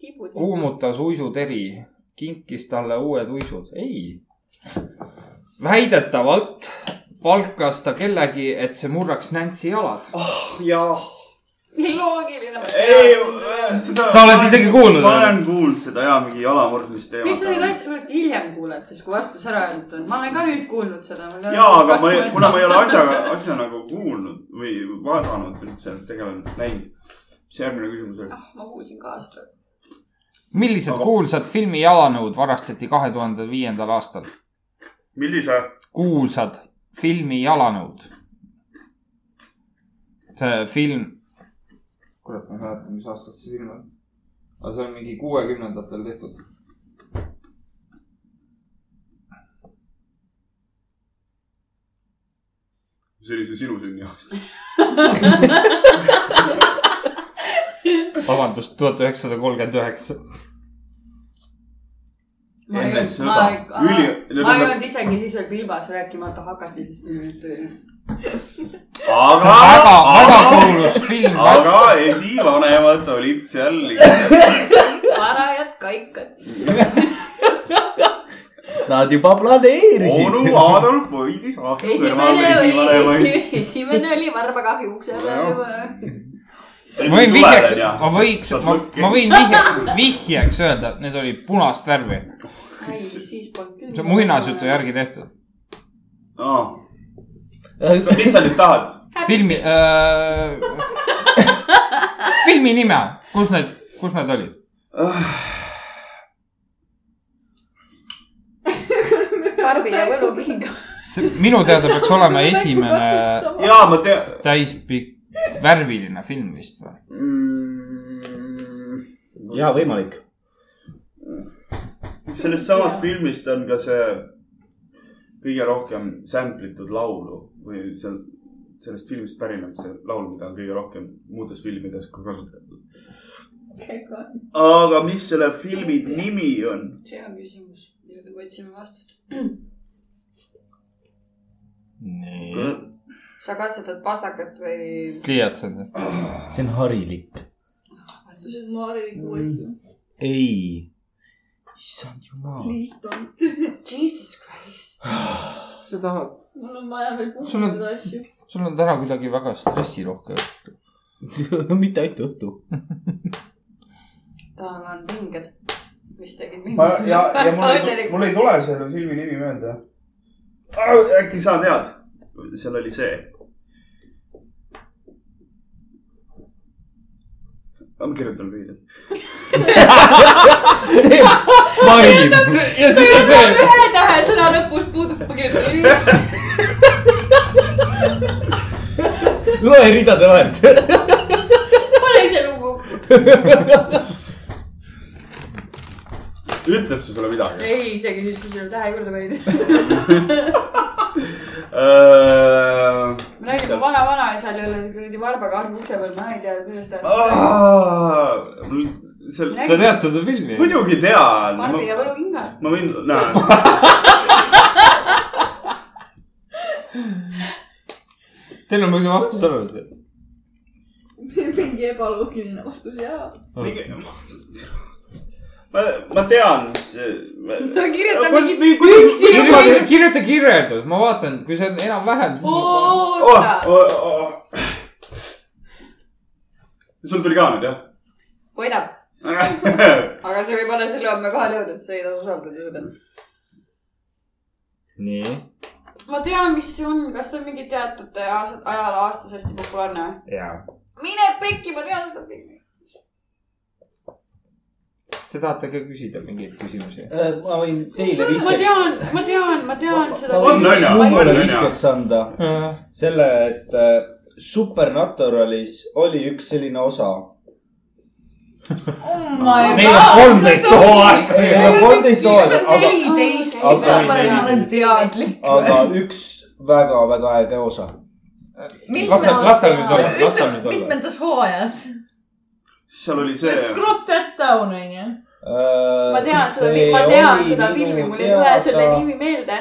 Speaker 3: tibud .
Speaker 2: kuumutas uisuteri , kinkis talle uued uisud . ei . väidetavalt palkas ta kellegi , et see murraks Nancy jalad .
Speaker 1: jah ,
Speaker 3: nii loogiline .
Speaker 1: ei , seda .
Speaker 2: Sa oled isegi kuulnud,
Speaker 1: ma
Speaker 2: on ju?
Speaker 1: olen kuulnud seda ja mingi jalamurdmist teemat .
Speaker 3: miks sa neid asju alati hiljem kuuled , siis kui vastus ära öeldud on ? ma olen ka nüüd kuulnud seda .
Speaker 1: jaa , aga ma , kuna ma ei ole asjaga , asja nagu kuulnud või vaadanud üldse , tegelenud , näinud . mis järgmine küsimus oli ?
Speaker 3: ah , ma kuulsin ka seda .
Speaker 2: millised
Speaker 1: Aga-
Speaker 2: kuulsad filmi jalanõud varastati kahe tuhande viiendal aastal ?
Speaker 1: millise ?
Speaker 2: kuulsad filmi jalanõud . see film . kurat , ma ei mäleta , mis aastast see film on . aga see on mingi kuuekümnendatel tehtud .
Speaker 1: see oli see sinu sünni aasta .
Speaker 2: vabandust , tuhat üheksasada kolmkümmend üheksa .
Speaker 3: ma ei
Speaker 1: Enne
Speaker 3: olnud ,
Speaker 1: sõda.
Speaker 3: ma ei ,
Speaker 1: Üli-
Speaker 3: ma ei
Speaker 1: tähendab-
Speaker 3: olnud isegi siis veel pilbas , rääkimata hakati , siis tuli nüüd eh, töö .
Speaker 2: see on väga , väga kuulus film .
Speaker 1: aga esivanemad olid seal .
Speaker 3: varajad kaikad .
Speaker 4: Nad juba planeerisid .
Speaker 1: onu Adolf hoidis ahju kõrval
Speaker 3: esimene oli
Speaker 1: esivanemaid .,
Speaker 3: esimene oli varbakahju ukse peal .
Speaker 2: ma võin vihjeks , ma võiks , ma , ma võin vihjeks , vihjeks öelda , et need olid punast värvi .
Speaker 3: ei , siis polnud küll .
Speaker 2: see on muinasjutu . järgi tehtud .
Speaker 1: aa , mis sa nüüd tahad ?
Speaker 2: filmi äh, , filmi nime , kus need , kus need olid ?
Speaker 3: Barbi ja võluking .
Speaker 2: see minu teada peaks olema
Speaker 6: nagu
Speaker 2: esimene
Speaker 1: jaa , ma tean .
Speaker 2: täispikk värviline film vist või ?
Speaker 4: jaa , võimalik .
Speaker 1: sellest samast filmist on ka see kõige rohkem samplitud laulu või see , sellest filmist pärineb see laul , mida on kõige rohkem muudes filmides ka kasutatud . aga mis selle filmi nimi on ?
Speaker 3: see on küsimus , millele me otsime vastust .
Speaker 2: nii .
Speaker 3: sa katsetad pastakat või ?
Speaker 2: pliiatsed .
Speaker 4: see on harilik .
Speaker 6: siis ma hariliku
Speaker 2: Mm.
Speaker 6: uuesti .
Speaker 4: ei . issand jumal .
Speaker 6: Please don't .
Speaker 3: Jesus Christ .
Speaker 2: sa tahad ,
Speaker 6: mul on vaja veel
Speaker 2: Sul on-
Speaker 6: puhtalt asju .
Speaker 2: sul on täna kuidagi väga stressirohke .
Speaker 4: mitte ainult õhtu .
Speaker 3: tal on pinged , mis tegid mind .
Speaker 1: ma ja , ja mul ei , mul ei tule selle filmi nimi meelde . äkki sa tead ? seal oli see . ma kirjutan lühidalt .
Speaker 4: see parim .
Speaker 2: ja siis on see .
Speaker 3: ühe tähe sõna lõpus puudub , ma kirjutan lühidalt .
Speaker 4: loe ridade vahelt .
Speaker 3: pane ise lugu .
Speaker 1: ütleb see sulle midagi ?
Speaker 3: ei , isegi siis , kui sulle tähe juurde panid .
Speaker 1: Äh,
Speaker 3: me räägime vana-vanaisal jälle kuradi varbakahju ukse peal , ma ei tea , kuidas ta .
Speaker 1: seal ,
Speaker 2: sa tead seda filmi ?
Speaker 1: muidugi tean .
Speaker 3: Barbi ja võlukinga .
Speaker 1: ma võin , näe .
Speaker 2: Teil on muidu vastus olemas .
Speaker 6: mingi ebaloogiline vastus ja .
Speaker 1: ma , ma tean .
Speaker 3: ta kirjutab mingit .
Speaker 2: kirjuta , kirjuta kirjeldus , ma vaatan , kui see on enam-vähem , siis ma
Speaker 1: Oh,
Speaker 3: oota ,
Speaker 1: sul tuli ka nüüd jah ?
Speaker 3: võidab , aga see võib olla selle homme kohale jõudnud , sa ei tasu usaldada seda .
Speaker 2: nii ,
Speaker 3: ma tean , mis see on , kas ta on mingi teatud aast- ajal aastas hästi populaarne või ?
Speaker 2: jaa .
Speaker 3: mine pekki , ma tean seda filmi .
Speaker 2: kas te tahate ka küsida mingeid küsimusi ?
Speaker 7: Äh, ma võin teile
Speaker 3: ma
Speaker 7: vihjeks .
Speaker 3: tean , ma tean , ma tean seda .
Speaker 1: on, on ju?
Speaker 7: ma võin
Speaker 1: On, on ju?
Speaker 7: vihjeks anda
Speaker 4: Äh.
Speaker 7: selle , et äh, Supernaturalis oli üks selline osa .
Speaker 6: oh my
Speaker 2: Neil on kolmteist hooaega .
Speaker 7: Neil on kolmteist hooaega , aga ,
Speaker 6: neliteist ,
Speaker 3: Aga-
Speaker 6: mis ma panen , ma olen teadlik .
Speaker 7: aga üks väga-väga äge osa .
Speaker 2: las tal , las tal nüüd olla , las tal nüüd olla .
Speaker 6: mitmendas hooajas ?
Speaker 1: seal oli see .
Speaker 6: Let's crop that down , onju .
Speaker 7: Äh,
Speaker 3: ma tean seda , ma tean seda filmi , mul ei tule selle . nimi meelde .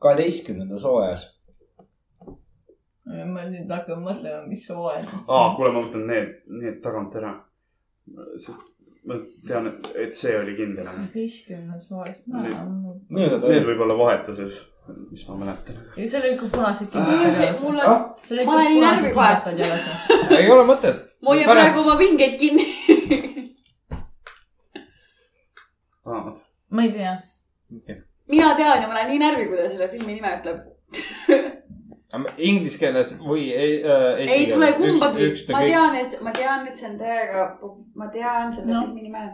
Speaker 7: kaheteistkümnendas hooajas .
Speaker 6: ma nüüd hakkan mõtlema , mis hooajas .
Speaker 1: aa , kuule , ma võtan need , need tagant ära . sest ma tean , et see oli kindel .
Speaker 5: viiskümnes soes , ma
Speaker 1: Nii.
Speaker 5: olen .
Speaker 7: nii-öelda ta
Speaker 1: Need
Speaker 7: oli .
Speaker 1: võib olla vahetuses , mis ma mäletan .
Speaker 5: ja seal olid ka punased
Speaker 1: Ah.
Speaker 3: Mul see ,
Speaker 5: sitad .
Speaker 3: mul on , ma olen nii närvi kohe.
Speaker 5: kohe .
Speaker 2: ei ole mõtet .
Speaker 3: ma hoian
Speaker 2: Parem.
Speaker 3: praegu oma vingeid kinni .
Speaker 5: ma ei tea .
Speaker 3: mina tean ja ma olen nii närvi , kui ta selle filmi nime ütleb .
Speaker 2: Inglise keeles või ei äh, eesti
Speaker 3: ei tule
Speaker 2: keeles?
Speaker 3: kumbagi
Speaker 2: Üks- , ükskõik.
Speaker 3: ma tean , et , ma tean , et see on täiega , ma tean selle
Speaker 5: No.
Speaker 3: filmi nime .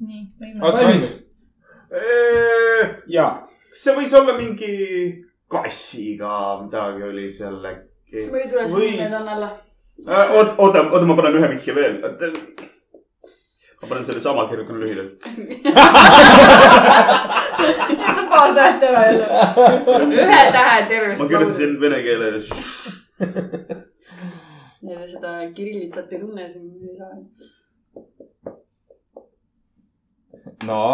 Speaker 5: nii ,
Speaker 2: Oot,
Speaker 5: võime .
Speaker 2: valmis?
Speaker 1: kas
Speaker 7: jaa .
Speaker 1: see võis olla mingi kassiga midagi oli seal äkki ?
Speaker 3: ma ei tule selle
Speaker 1: Võis-
Speaker 3: nime talle alla .
Speaker 1: oota , Äh, oota , oota , ma panen ühe vihje veel . ma panen selle sama , kirjutan lühidalt .
Speaker 6: jäta paar tähte ära jälle .
Speaker 3: ühe tähe tervest
Speaker 1: ma . kirjutasin vene keeles .
Speaker 3: Neile seda kirillitsat ei tunne , siis ei saa .
Speaker 2: no ,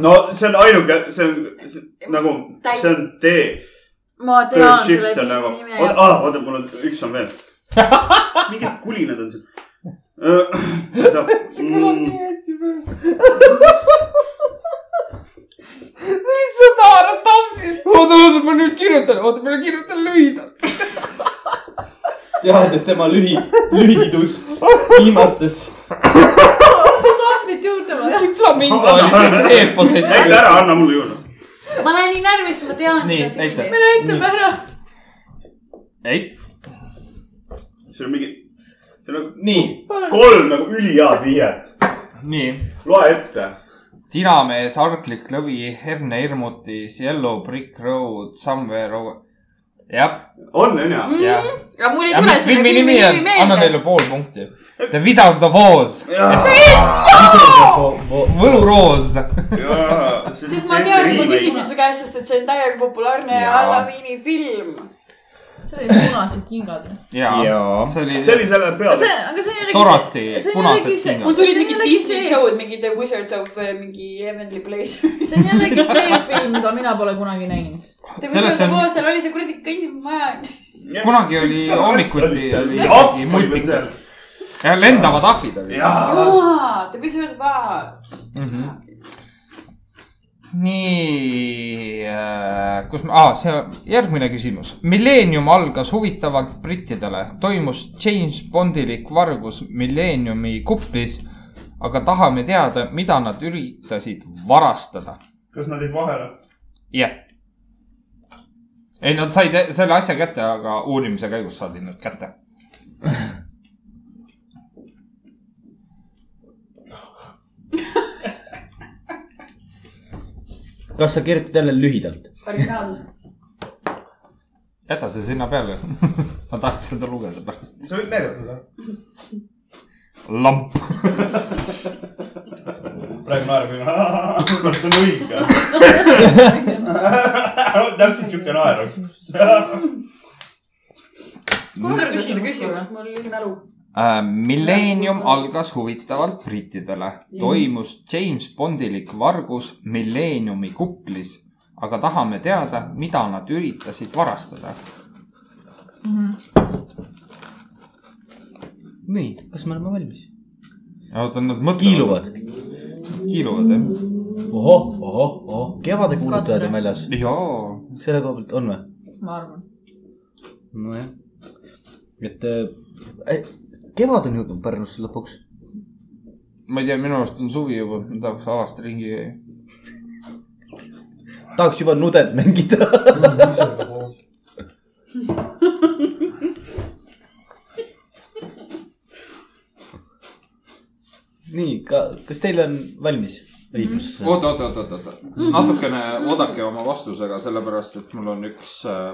Speaker 1: no see on ainuke , see on see, nagu , see on tee .
Speaker 3: ma
Speaker 1: Third shift on nagu , oota , oota , mul on , üks on veel . mingid kulinad on siin . Äh, Mm.
Speaker 7: see kõlab nii hästi praegu . mis sa tahad , Tammi ?
Speaker 2: oota , oota , ma nüüd kirjutan , oota , ma kirjutan lühidalt .
Speaker 7: teades tema lühi , lühidust viimastes .
Speaker 6: sul tahvlit juurde vaja .
Speaker 2: Flamingo oli see eeposeid .
Speaker 1: näita ära , anna mulle juurde .
Speaker 3: ma olen nii närvis , ma tean
Speaker 2: Nii,
Speaker 3: seda
Speaker 2: näita.
Speaker 3: filmi .
Speaker 6: näitame ära .
Speaker 2: ei ,
Speaker 1: siin on mingi , siin on nagu-
Speaker 7: nii ,
Speaker 1: kolm nagu ülihead vihjet .
Speaker 2: nii .
Speaker 1: loe ette .
Speaker 2: tinamees , arklik lõvi , herne hirmutis , yellow brick road , somewhere over . jah ,
Speaker 1: on , on ju ?
Speaker 2: jah .
Speaker 3: Mm? aga mul ei
Speaker 2: ja
Speaker 3: tule
Speaker 2: mis
Speaker 3: selle
Speaker 2: filmi nimi on ? anna
Speaker 3: meelde .
Speaker 2: neile pool punkti . The Wizard of Oz , võluroos .
Speaker 3: sest ma teadsin , ma küsisin . su käest , sest et see on täiega populaarne
Speaker 2: Jaa.
Speaker 3: Alla Viini film .
Speaker 5: seal olid punased kingad .
Speaker 2: ja , see oli .
Speaker 1: see oli selle peal .
Speaker 6: see , aga see ei ole .
Speaker 2: Dorothy , punased
Speaker 3: mul
Speaker 2: kingad .
Speaker 3: tulid
Speaker 6: See
Speaker 3: mingid
Speaker 6: jällegi
Speaker 3: Disney
Speaker 6: see-
Speaker 3: show'd , mingi The Wizards of eh, mingi Heavenly Place .
Speaker 5: see on jällegi see film , mida mina pole kunagi näinud .
Speaker 3: The
Speaker 2: Sellest
Speaker 3: Wizards of
Speaker 2: on-
Speaker 3: Oz , seal oli see kuradi kõndimaja .
Speaker 2: kunagi oli hommikuti
Speaker 1: ahv oli
Speaker 2: oli isegi
Speaker 1: veel seal
Speaker 2: multikas .. ja lendavad ahvid olid .
Speaker 1: jaa .
Speaker 3: jaa , The Wizards of Oz .
Speaker 2: nii , kus ma ah, , see järgmine küsimus . Millennium algas huvitavalt brittidele , toimus James Bondilik vargus Millenniumi kuplis , aga tahame teada , mida nad üritasid varastada .
Speaker 1: kas nad jäid vahele ?
Speaker 2: jah . ei , nad said e- selle asja kätte , aga uurimise käigus saadi nad kätte .
Speaker 4: kas sa kirjutad jälle lühidalt ?
Speaker 3: originaalsus .
Speaker 2: jäta see sinna peale . ma tahaks seda lugeda pärast .
Speaker 1: sa võid näidata .
Speaker 2: lamp .
Speaker 1: praegu naerab juba . see on õige . täpselt siuke naer on .
Speaker 3: korda seda
Speaker 5: Küsimus
Speaker 3: küsimust , mul oli mälu .
Speaker 2: Äh, Millennium algas huvitavalt brittidele , toimus James Bondilik vargus Millenniumi kuplis , aga tahame teada , mida nad üritasid varastada .
Speaker 4: nii , kas me oleme valmis ?
Speaker 2: oota , nad mõtlevad .
Speaker 4: kiiluvad .
Speaker 2: kiiluvad jah ?
Speaker 4: ohoh , ohoh , ohoh , kevade kuulutajad
Speaker 5: Katre.
Speaker 4: on väljas .
Speaker 2: jaa .
Speaker 4: selle koha pealt on või ?
Speaker 5: ma arvan .
Speaker 4: nojah . et äh, kevad on jõudnud Pärnusse lõpuks .
Speaker 2: ma ei tea , minu arust on suvi juba , ma tahaks alast ringi käia .
Speaker 4: tahaks juba nudet mängida . nii , ka , kas teil on valmis õigus ?
Speaker 2: oota , oota , oota , oota , oota . natukene oodake oma vastusega , sellepärast et mul on üks äh, ,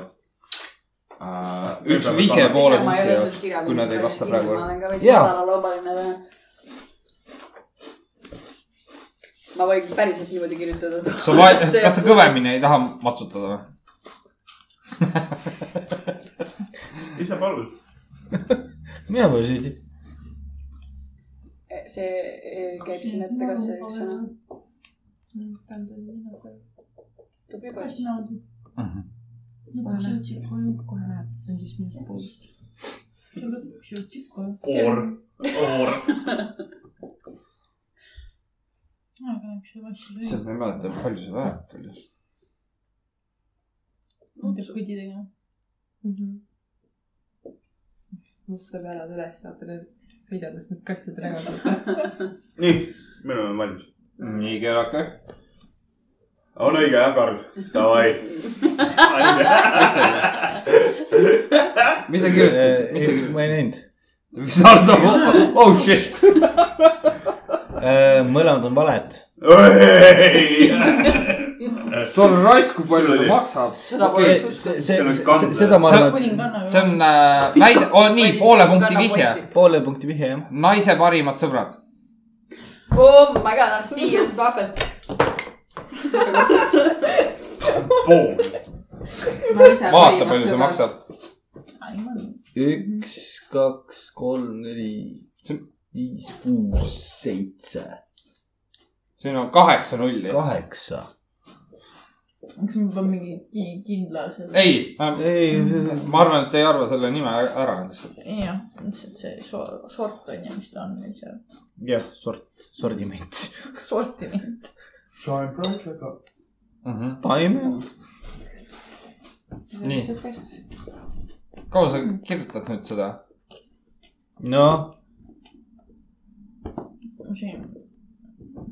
Speaker 2: äh, üks vihje poole punkti jaoks , kui nad ei vasta praegu
Speaker 3: ma
Speaker 2: ära .
Speaker 3: olen ka veits
Speaker 4: Jaa.
Speaker 3: madalaloobaline täna . ma võin päriselt niimoodi kirjutada .
Speaker 2: sa loed , kas sa ? kõvemini ei taha matsutada või ?
Speaker 1: ise palun .
Speaker 4: mina pole süüdi .
Speaker 3: see eh, käib siin ette , kas see üks sõna ? tubli poiss .
Speaker 2: Mhm.
Speaker 5: kohe jõudsid koju , kohe näed , see on siis minust puudust . jõudsid koju .
Speaker 1: Oor , oor .
Speaker 2: issand , ma ei mäleta , palju see väärt oli .
Speaker 5: mida pidi tegema ? Mhm. mustad hääled üles , saate need videotest need kassid rängata .
Speaker 1: nii , me oleme valmis .
Speaker 2: nii , keelake .
Speaker 1: on õige jah , Karl ? Davai .
Speaker 2: mis sa
Speaker 7: Äh,
Speaker 2: kirjutasid , mis te
Speaker 4: ma Äh,
Speaker 2: kirjutasite ?
Speaker 4: ei näinud .
Speaker 2: mis Ardo , oh shit .
Speaker 4: mõlemad on valed .
Speaker 2: sul on raisk , kui
Speaker 1: Sul
Speaker 2: palju ta
Speaker 1: oli-
Speaker 2: maksab .
Speaker 3: seda
Speaker 4: see
Speaker 3: poleks ,
Speaker 4: see ,
Speaker 1: Teil on
Speaker 4: see
Speaker 1: kanded. ,
Speaker 4: seda ma arvan ,
Speaker 5: kuning kanna .
Speaker 2: see on äh, väide oh, , nii poole punkti vihje .
Speaker 4: et poole punkti vihje jah .
Speaker 2: naise parimad sõbrad .
Speaker 3: Oh my god , I m serious puppet .
Speaker 1: pool .
Speaker 2: vaata , palju see maksab .
Speaker 4: üks , kaks , kolm , neli , viis , kuus , seitse ,
Speaker 2: siin on kaheksa nulli .
Speaker 4: kaheksa .
Speaker 5: kas ma pean mingi ki- kindla selle ?
Speaker 2: ei ,
Speaker 4: ei ,
Speaker 2: ma arvan , et ei arva selle nime ära lihtsalt .
Speaker 5: jah , lihtsalt see sor- sort on ju , mis ta on , ei saa .
Speaker 2: jah .
Speaker 4: sort , sordiment .
Speaker 5: sortiment .
Speaker 1: Shine bright like a .
Speaker 4: taime .
Speaker 2: Nii. . kaua sa kirjutad nüüd seda ?
Speaker 4: noh ,
Speaker 5: siin .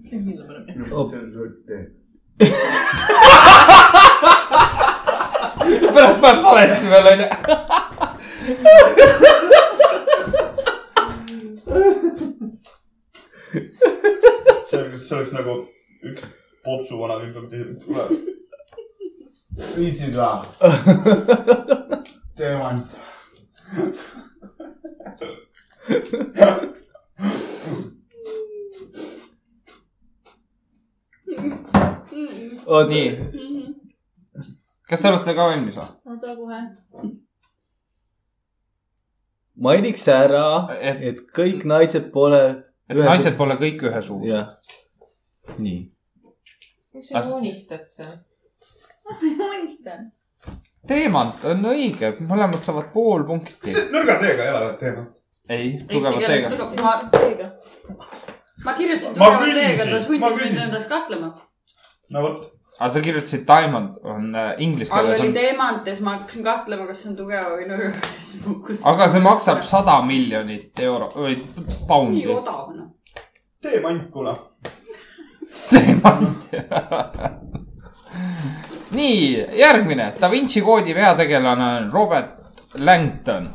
Speaker 5: kindla paneb jah .
Speaker 4: Oh.
Speaker 2: pärast paned valesti veel onju .
Speaker 1: see oleks , see oleks nagu üks popsu vana kõik tuleb tule . viitsid või ? teemant .
Speaker 4: oota ,
Speaker 2: nii . kas te olete ka valmis või ?
Speaker 5: oota kohe .
Speaker 4: mainiks ära ,
Speaker 2: et ,
Speaker 4: et kõik naised pole
Speaker 2: et naised pole kõik ühesugused .
Speaker 4: jah , nii .
Speaker 5: miks
Speaker 2: sa As-
Speaker 5: joonistad seal ?
Speaker 3: joonistan .
Speaker 2: teemant on õige , mõlemad saavad pool punkti .
Speaker 1: nõrga teega ei ole teemant .
Speaker 2: ei ,
Speaker 3: eesti
Speaker 2: tugeva
Speaker 3: keeles
Speaker 2: teega .
Speaker 3: tugev , ma ,
Speaker 5: seega .
Speaker 3: ma kirjutasin
Speaker 1: Ma
Speaker 3: tugeva
Speaker 1: küsisin,
Speaker 3: teega , ta
Speaker 1: ma
Speaker 3: sundis mind
Speaker 1: küsisin.
Speaker 3: endas kahtlema .
Speaker 1: no vot ,
Speaker 2: aga sa kirjutasid diamond on äh, inglise
Speaker 3: all
Speaker 2: keeles
Speaker 3: oli
Speaker 2: on ,
Speaker 3: teemantes , ma hakkasin kahtlema , kas see on tugev või nõrg . siis ma kustusin .
Speaker 2: aga see maksab sada miljonit euro või
Speaker 3: nii
Speaker 2: poundi .
Speaker 3: odav noh .
Speaker 1: teemant kuna .
Speaker 2: teemant . nii , järgmine Da Vinci koodi peategelane on Robert Langton .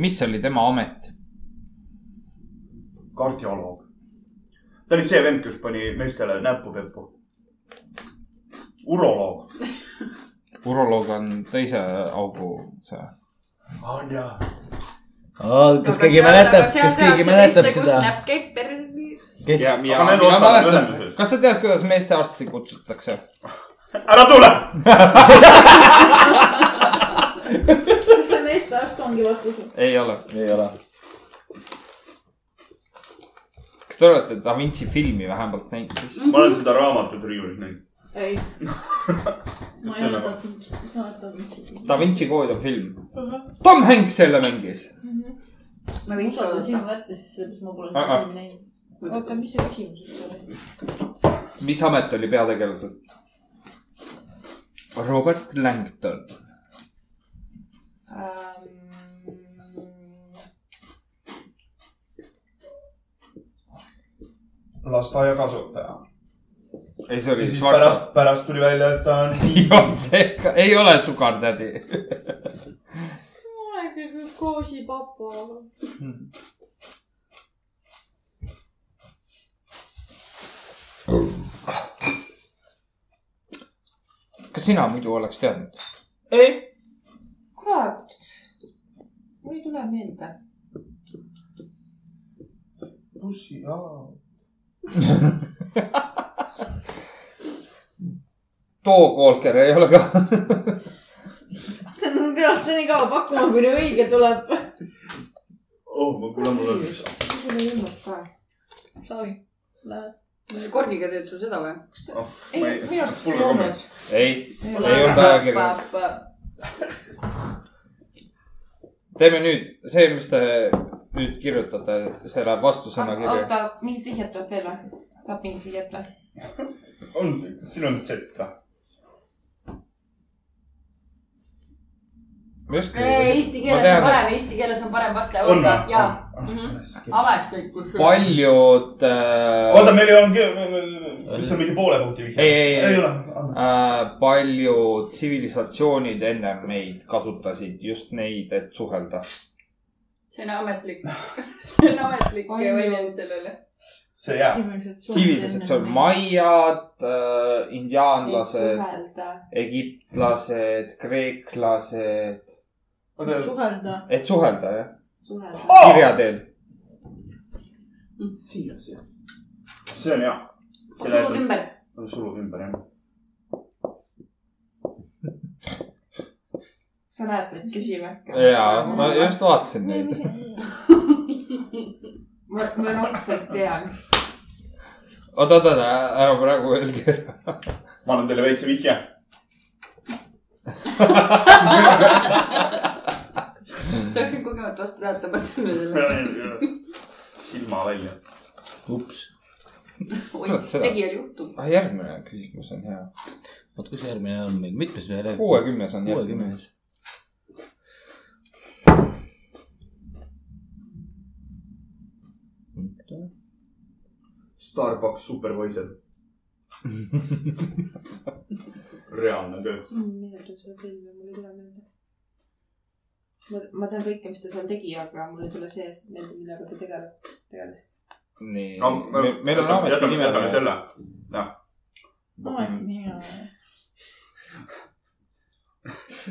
Speaker 2: mis oli tema amet ?
Speaker 1: kardioloog . ta oli see vend , kes pani meestele näppu peppu . uroloog .
Speaker 2: uroloog on teise augu see .
Speaker 1: on Ah, jaa .
Speaker 4: kas keegi
Speaker 3: nagu
Speaker 4: mäletab , kas keegi mäletab seda ,
Speaker 3: näpkeid päriselt .
Speaker 4: kes ,
Speaker 1: Aga need otsad on ühenduses.
Speaker 2: kas sa tead , kuidas meestearsti kutsutakse ?
Speaker 1: ära tule .
Speaker 5: kas see meestearst ongi vastus ?
Speaker 2: ei ole .
Speaker 7: ei ole .
Speaker 2: kas te olete Da Vinci filmi vähemalt näinud siis ?
Speaker 1: ma olen seda raamatut riiulis näinud .
Speaker 5: ei . ma ei
Speaker 1: see
Speaker 5: ole
Speaker 1: nagu-
Speaker 5: tahtnud , ma olen tahtnud .
Speaker 2: Da Vinci kood on film .
Speaker 1: Uh-huh.
Speaker 2: Tom Hanks selle mängis .
Speaker 3: ma võin
Speaker 5: miks sa
Speaker 3: sulle
Speaker 5: sinu
Speaker 3: siin .
Speaker 5: kätte , siis sellepärast ma pole
Speaker 2: seda
Speaker 5: seda
Speaker 2: Aga-
Speaker 5: filmi näinud . oota , mis see küsimus üldse oli ?
Speaker 2: mis amet oli peategelasel ? Robert Langton .
Speaker 1: lasteaia kasutaja .
Speaker 2: ei , see
Speaker 1: ja
Speaker 2: oli
Speaker 1: siis
Speaker 2: Schwarzenegger .
Speaker 1: pärast , pärast tuli välja , et ta on .
Speaker 2: ei olnud see , ei ole Sugar Daddy .
Speaker 6: aeg on koosipapa .
Speaker 2: kas sina muidu oleks teadnud ?
Speaker 4: ei ,
Speaker 5: kurat , mul ei tule meelde .
Speaker 1: bussi , jaa .
Speaker 2: Doog Walker ei ole ka .
Speaker 6: tead , see on nii kaua pakkuma , kuni õige tuleb .
Speaker 1: oh , ma kuulen , mul on üks .
Speaker 5: mul ei olnud ka . Sorry .
Speaker 3: Korniga teed sul seda või ?
Speaker 5: ei , minu arust ei olnud .
Speaker 2: ei , ei olnud ajakirjandus . teeme nüüd see , mis te nüüd kirjutate , see läheb vastusõna kirja .
Speaker 3: Ah,
Speaker 5: oota , mingit vihjet tuleb veel või ? saab mingit vihjet või ?
Speaker 1: on , siin on Z ka .
Speaker 3: Äh, Eesti keeles on parem , eesti keeles on parem vastaja ,
Speaker 1: on Ah,
Speaker 3: oota ,
Speaker 1: või ?
Speaker 3: jaa , Mhm. ametlikult .
Speaker 2: paljud
Speaker 1: oota ,
Speaker 2: äh, ,
Speaker 1: meil ei olnud , mis on mingi poole punkti vihje ?
Speaker 2: Ei, ei, ei.
Speaker 1: ei ole . Ah,
Speaker 2: äh, paljud tsivilisatsioonid enne meid kasutasid just neid , et suhelda .
Speaker 3: see on ametlik , see on ametlik
Speaker 5: Ainult.
Speaker 3: väljend sellele .
Speaker 1: see jääb .
Speaker 2: tsivilisatsioon , maiad äh, , indiaanlased ,
Speaker 5: suhelda .
Speaker 2: egiptlased , kreeklased ,
Speaker 1: oota ,
Speaker 5: suhelda ,
Speaker 2: et suhelda jah ,
Speaker 5: suhelda .
Speaker 2: kirja teel .
Speaker 1: siia , siia . see on hea .
Speaker 3: sulud ümber .
Speaker 1: sulud ümber , jah .
Speaker 5: sa näed , et küsime .
Speaker 2: ja ma just vaatasin neid .
Speaker 5: ma , ma raudselt tean .
Speaker 2: oot , oot , oot , ära praegu öelge .
Speaker 1: ma annan teile väikse vihje .
Speaker 3: tahaksin kogemata vastu rääkida , mõtleme selle .
Speaker 1: silma välja .
Speaker 4: ups ,
Speaker 3: oi
Speaker 2: Kurat, , seda-
Speaker 3: tegijal juhtub .
Speaker 2: ah , järgmine küsimus on hea .
Speaker 4: oot , kus järgmine on meil , mitmes me räägime ?
Speaker 2: kuuekümnes on järgmine .
Speaker 4: kuuekümnes .
Speaker 1: Starbucks superpoiser reaalne töö .
Speaker 5: meelduse film ja mul ei tule meelde . ma , ma tean kõike , mis ta seal tegi , aga mul ei tule sees meelde , millega ta tegeleb , tegeles .
Speaker 2: nii , meil on ameti
Speaker 1: jätame ,
Speaker 2: nimel
Speaker 1: jätame . selle .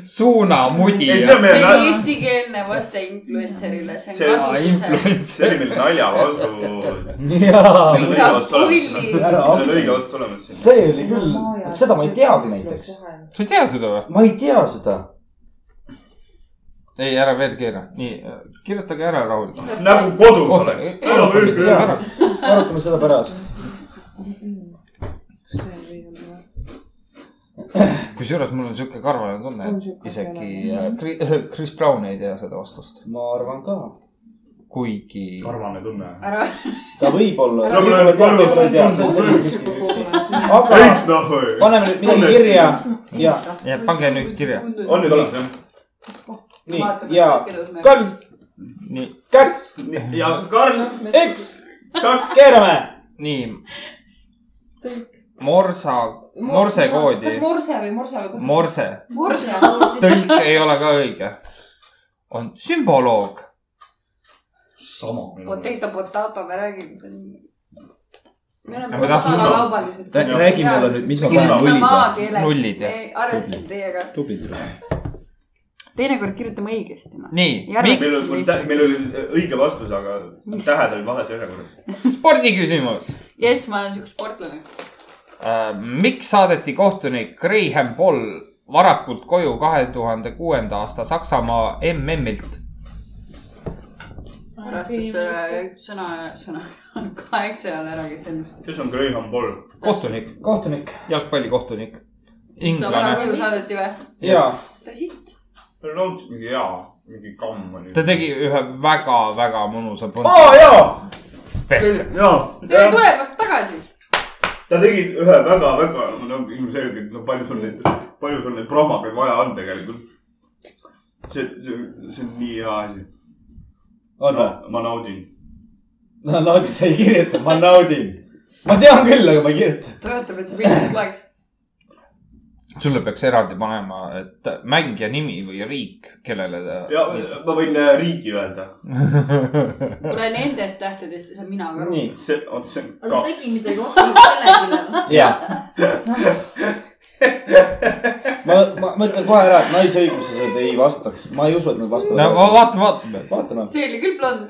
Speaker 2: suunamudi
Speaker 1: ei , see on
Speaker 3: see
Speaker 1: meie
Speaker 3: oli
Speaker 1: nalja ,
Speaker 3: eestikeelne vaste influencer'ile , see
Speaker 1: See-
Speaker 3: on
Speaker 2: Ah,
Speaker 3: kasutusel .
Speaker 1: see oli meil nalja vastus .
Speaker 7: jaa ,
Speaker 3: mis sa pulli .
Speaker 7: Ära
Speaker 1: see on
Speaker 7: hakka.
Speaker 1: õige vastus olemas siin .
Speaker 7: see oli küll , seda ma ei teagi näiteks .
Speaker 2: sa ei tea seda või ?
Speaker 7: ma ei tea seda .
Speaker 2: ei , ära veel keera . nii , kirjutage ära rahulikult .
Speaker 1: nagu kodus
Speaker 2: Oota,
Speaker 1: oleks
Speaker 2: ei, arutame seda . pärast .
Speaker 7: arutame seda pärast .
Speaker 5: see ei ole .
Speaker 2: kusjuures mul on sihuke karvane tunne ,
Speaker 5: On
Speaker 2: et
Speaker 5: sihuke
Speaker 2: isegi
Speaker 5: karvane.
Speaker 2: äh, Kri- Chris Brown ei tea seda vastust .
Speaker 7: ma arvan ka .
Speaker 2: kuigi ,
Speaker 1: karvane tunne .
Speaker 3: ära ,
Speaker 7: ta võib-olla .
Speaker 1: No mul on karv, et ma ei tea.
Speaker 7: aga
Speaker 1: kõik noh .
Speaker 7: paneme nüüd midagi kirja ja ,
Speaker 2: Nii, et pange nüüd kirja. .
Speaker 1: on nüüd olemas jah ?
Speaker 7: nii
Speaker 3: vaatame
Speaker 7: ja
Speaker 3: kuidas me .
Speaker 7: kolm ,
Speaker 2: nii ,
Speaker 7: kaks ,
Speaker 1: ja Karl ,
Speaker 7: üks ,
Speaker 1: kaks .
Speaker 7: keerame .
Speaker 2: nii . morsa , morsekoodi
Speaker 5: kas , morse või morsa või kuidas ?
Speaker 2: morse ,
Speaker 5: morse .
Speaker 2: tõlk ei ole ka õige . on sümboloog .
Speaker 1: sama .
Speaker 3: Potato , potato , me räägime siin . me
Speaker 2: Aga
Speaker 3: oleme
Speaker 2: tahtsin-
Speaker 3: osakaalaubalised .
Speaker 4: Rää- räägi mulle nüüd, mis ma
Speaker 1: panen,
Speaker 4: nullid või?
Speaker 2: Nullid,
Speaker 3: nullid
Speaker 2: jah.
Speaker 3: jah ? arvestasin teiega .
Speaker 4: tubli tüdruk .
Speaker 3: teinekord kirjutame õigesti , noh .
Speaker 2: nii ,
Speaker 3: Järve-
Speaker 2: miks
Speaker 1: meil oli , meil oli õige vastus , aga tähed olid vahes ühe korra .
Speaker 2: spordiküsimus
Speaker 3: jess , ma olen siuke sportlane .
Speaker 2: Äh, miks saadeti kohtunik Graham Poll varakult koju kahe tuhande kuuenda aasta Saksamaa MM-ilt ?
Speaker 3: arvestas selle äh, sõna , sõna kaheksa ajal ära , kes ennustas .
Speaker 1: kes on Graham Ball ?
Speaker 2: kohtunik ,
Speaker 7: kohtunik
Speaker 2: jalgpallikohtunik ,
Speaker 3: ta vana
Speaker 2: inglane .
Speaker 3: koju saadeti või ?
Speaker 7: ja
Speaker 3: tõsiselt ?
Speaker 1: tal on olnud mingi hea , mingi kamm oli .
Speaker 2: ta tegi ühe väga-väga mõnusa
Speaker 1: aa , jaa ,
Speaker 2: persse .
Speaker 1: jaa ,
Speaker 3: tere tulemast tagasi .
Speaker 1: ta tegi ühe väga-väga , no ilmselgelt , no palju sul neid , palju sul neid promokaid vaja on tegelikult . see , see , see on nii hea asi .
Speaker 7: on või ?
Speaker 1: ma naudin .
Speaker 7: no naudid , sa ei kirjuta , ma naudin . ma tean küll , aga ma ei kirjuta .
Speaker 3: tõotab , et see pilt loeks .
Speaker 2: sulle peaks eraldi panema , et mängija nimi või riik , kellele
Speaker 1: ja
Speaker 2: ta .
Speaker 1: ma võin äh, riigi öelda .
Speaker 3: kuule , nendest tähtedest ei saa mina ka aru .
Speaker 7: nii ,
Speaker 1: see , oot , see on
Speaker 6: aga ta tegi
Speaker 1: kaks .
Speaker 6: midagi otseselt kellelegi .
Speaker 7: ja . ma , ma ma ütlen kohe ära , et naisõiguslased ei vastaks , ma ei usu , et nad
Speaker 2: no
Speaker 7: vastavad .
Speaker 2: va- vaatame , vaatame .
Speaker 7: vaatame ,
Speaker 3: see oli küll blond .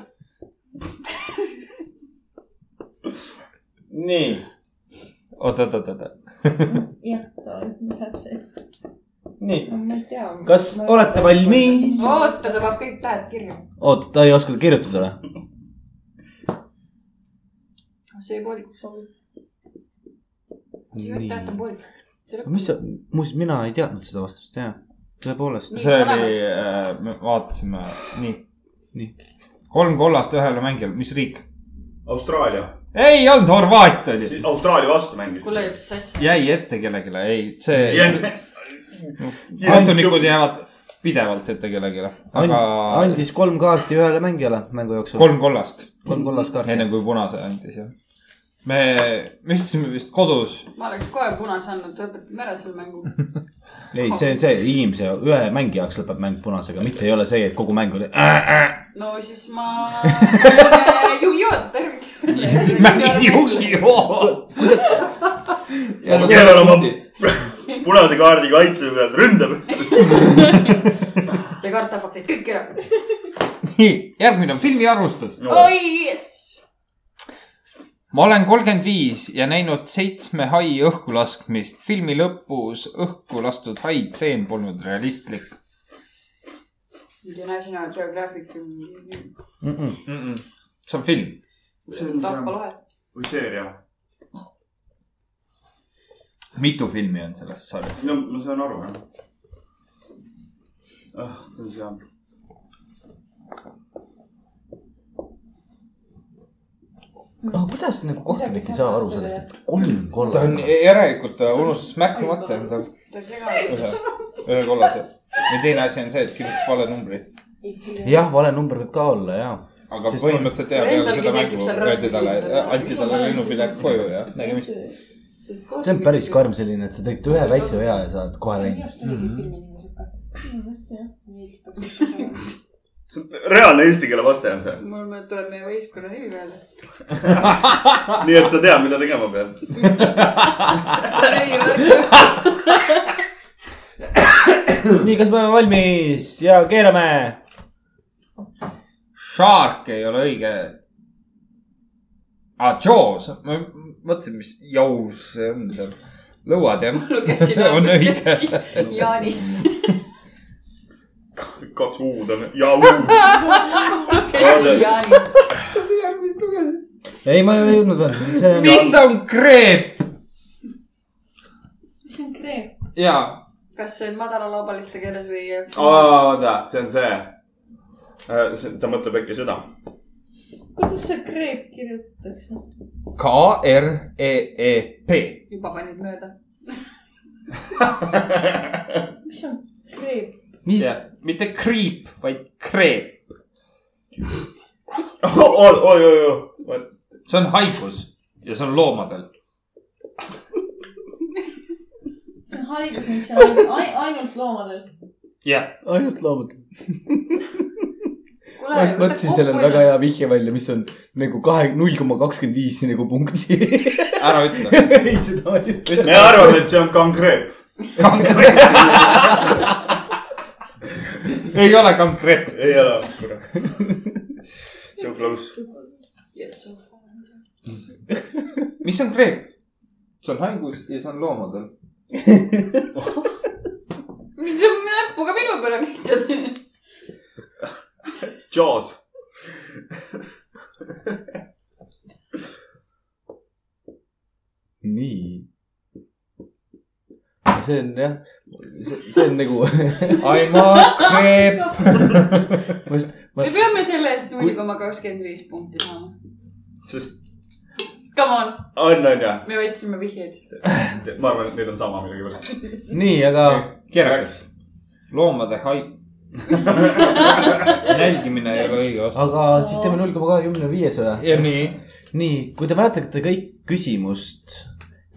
Speaker 7: nii ,
Speaker 2: oot , oot , oot , oot .
Speaker 6: jah , ta täpselt .
Speaker 7: nii ,
Speaker 5: ma ei tea .
Speaker 4: kas olete ? valmis ?
Speaker 3: oota , ta paneb kõik tähed kirja .
Speaker 4: oot , ta ei oska kirjutada või ?
Speaker 3: Oh, see oli poolik , sobib . see täht on poolik .
Speaker 4: mis sa , muuseas , mina ei teadnud seda vastust , jah . tõepoolest .
Speaker 3: Nii,
Speaker 2: see oli äh,
Speaker 3: olemas. ,
Speaker 2: me vaatasime , nii .
Speaker 4: Nii.
Speaker 2: kolm kollast ühele mängijale , mis riik ?
Speaker 1: Austraalia .
Speaker 2: ei olnud Horvaat oli .
Speaker 1: Austraalia vastu mängis .
Speaker 3: kuule , jääb sassi .
Speaker 2: jäi ette kellelegi , ei , see , kohtunikud
Speaker 1: jah .
Speaker 2: jäävad pidevalt ette kellelegi , aga
Speaker 4: andis kolm kaarti ühele mängijale mängu jooksul .
Speaker 2: kolm kollast ,
Speaker 4: kolm nagu- kollast kaarti .
Speaker 2: enne kui punase andis jah . me , me istusime vist kodus
Speaker 3: ma oleks kohe punase andnud , lõpetame ära selle mängu .
Speaker 4: ei , see , see inimese , ühe mängija jaoks lõpeb mäng punasega , mitte ei ole see , et kogu mäng oli äh, . Äh.
Speaker 3: no siis ma Yu-Gi-Oh ,
Speaker 2: mängid
Speaker 3: tervitan .
Speaker 2: Yu-Gi-Oh .
Speaker 1: kellel oma punase kaardiga kaitse peal ründab .
Speaker 3: see kart tapab teid kõik ära . Oh,
Speaker 2: nii , järgmine on filmi arvustus .
Speaker 3: oi jess .
Speaker 2: ma olen kolmkümmend viis ja näinud seitsme hai õhkulaskmist . filmi lõpus õhku lastud haid seen polnud realistlik
Speaker 3: International Geographic .
Speaker 4: Mm -mm.
Speaker 2: mm . -mm. see on film .
Speaker 3: see on Tappa lahe .
Speaker 1: või seeria .
Speaker 2: mitu filmi on selles sarjas ?
Speaker 1: no ma saan aru jah . ah , see on seal .
Speaker 4: no kuidas nagu kohtunik ei saa aru sellest , et kolm
Speaker 2: ta on
Speaker 4: kollast .
Speaker 2: järelikult , ta unustas märkimata
Speaker 3: Ai,
Speaker 2: endale
Speaker 3: ta on segane .
Speaker 2: ühe , ühe kollase . ja teine asi on see , et kirjutas vale numbri .
Speaker 4: jah , vale number võib ka olla ja .
Speaker 2: aga
Speaker 4: Sest-
Speaker 2: põhimõtteliselt jaa , peale
Speaker 3: Endalgi
Speaker 2: seda
Speaker 3: tekib
Speaker 2: mängu
Speaker 3: seal
Speaker 2: öeldi talle
Speaker 3: raskus endale. ,
Speaker 2: anti talle lennupilet koju ja nägemist .
Speaker 4: see on päris . karm selline , et sa tegid ühe väikse vea ja sa oled kohe läinud .
Speaker 5: nagu
Speaker 1: see on reaalne eesti keele vaste on see .
Speaker 3: mul nüüd tuleb meie võistkonna nimi peale .
Speaker 1: nii et sa tead , mida tegema pead .
Speaker 4: nii , kas me oleme valmis ja keerame .
Speaker 2: Shark ei ole õige . aa , Jaws , ma mõtlesin , mis jaus see on seal . lõuad jah
Speaker 3: lugesin .
Speaker 2: on õige .
Speaker 3: Jaanis .
Speaker 1: kaks U-d on ja oh, U .
Speaker 3: lugesin Jaanis .
Speaker 4: ei , ma ei jõudnud veel , see
Speaker 2: mis
Speaker 4: on .
Speaker 2: on kreep ?
Speaker 6: mis on kreep ?
Speaker 2: jaa .
Speaker 3: kas see on madalalaubaliste keeles või ?
Speaker 1: oota , see on see . ta mõtleb äkki seda .
Speaker 6: kuidas see kreep kirjutatakse ?
Speaker 2: K R E E P .
Speaker 3: juba panid mööda .
Speaker 6: mis on kreep ?
Speaker 4: mis ,
Speaker 2: mitte kriip , vaid kreep .
Speaker 1: oi , oi , oi , oi .
Speaker 2: see on haigus ja see on loomadel .
Speaker 6: see on haigus , mis on ainult, ai- ainult loomadel .
Speaker 2: jah .
Speaker 4: ainult loomad . ma just mõtlesin sellele väga hea vihje välja , mis on nagu kahe , null koma kakskümmend viis nagu punkti .
Speaker 2: ära ütle .
Speaker 4: ei , seda ma ei ütle .
Speaker 1: me arvame , et see on kankreep .
Speaker 2: ei ole konkreetne .
Speaker 1: ei ole , kurat . So close .
Speaker 2: mis on kreep ? see on haigus ja see on loomadel .
Speaker 3: mis sa näpuga minu peale viitad ?
Speaker 1: Jaws .
Speaker 4: nii . see on jah , see on nagu ,
Speaker 2: I'm a kreep .
Speaker 4: ma just , ma
Speaker 3: me peame selle eest null koma kakskümmend viis punkti saama .
Speaker 1: sest ,
Speaker 3: Come on ,
Speaker 1: on , on ju .
Speaker 3: me võtsime vihjeid .
Speaker 1: ma arvan , et neil on sama millegipärast .
Speaker 4: nii , aga
Speaker 2: keerakas . loomade haig- . nälgimine ei ole õige vastus .
Speaker 4: aga siis teeme null koma kahekümne viies või ?
Speaker 2: ja nii .
Speaker 4: nii , kui te mäletate kõik küsimust ,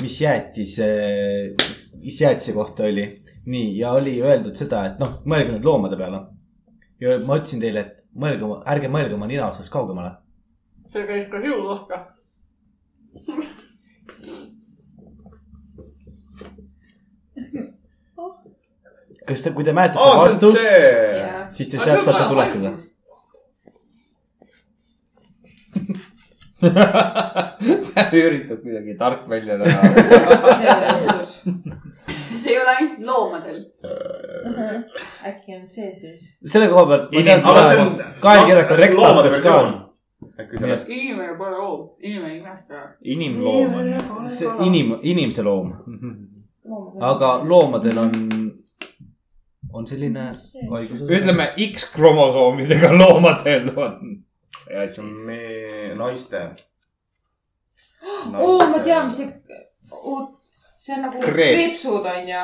Speaker 4: mis jäätise , mis jäätise kohta oli , nii , ja oli öeldud seda , et noh , mõelge nüüd loomade peale . ja ma ütlesin teile , et mõelge , ärge mõelge oma nina otsast kaugemale .
Speaker 3: see käis ka sinu kohta .
Speaker 4: kas te , kui te mäletate
Speaker 1: aa , see on
Speaker 4: vastust ,
Speaker 1: see .
Speaker 4: siis te sealt saate tuletada ..
Speaker 2: üritab kuidagi tark välja näha .
Speaker 3: see ei ole ainult loomadel .
Speaker 5: äkki on see siis ?
Speaker 4: selle koha pealt ma tean
Speaker 1: aga see
Speaker 4: seda
Speaker 1: on ,.
Speaker 4: kaelkirjaga rektorites ka on ..
Speaker 1: äkki sellest .
Speaker 3: inimene pole loom , inimene ei imesta .
Speaker 2: inimloom on .
Speaker 4: see inim , inimese loom , aga . loomadel on , on selline haigus .
Speaker 2: ütleme X-kromosoomidega loomadel on see asi .
Speaker 1: me , naiste .
Speaker 3: oh,
Speaker 5: oo , ma tean , mis see , see on nagu
Speaker 2: Kreep.
Speaker 5: kreepsud onju .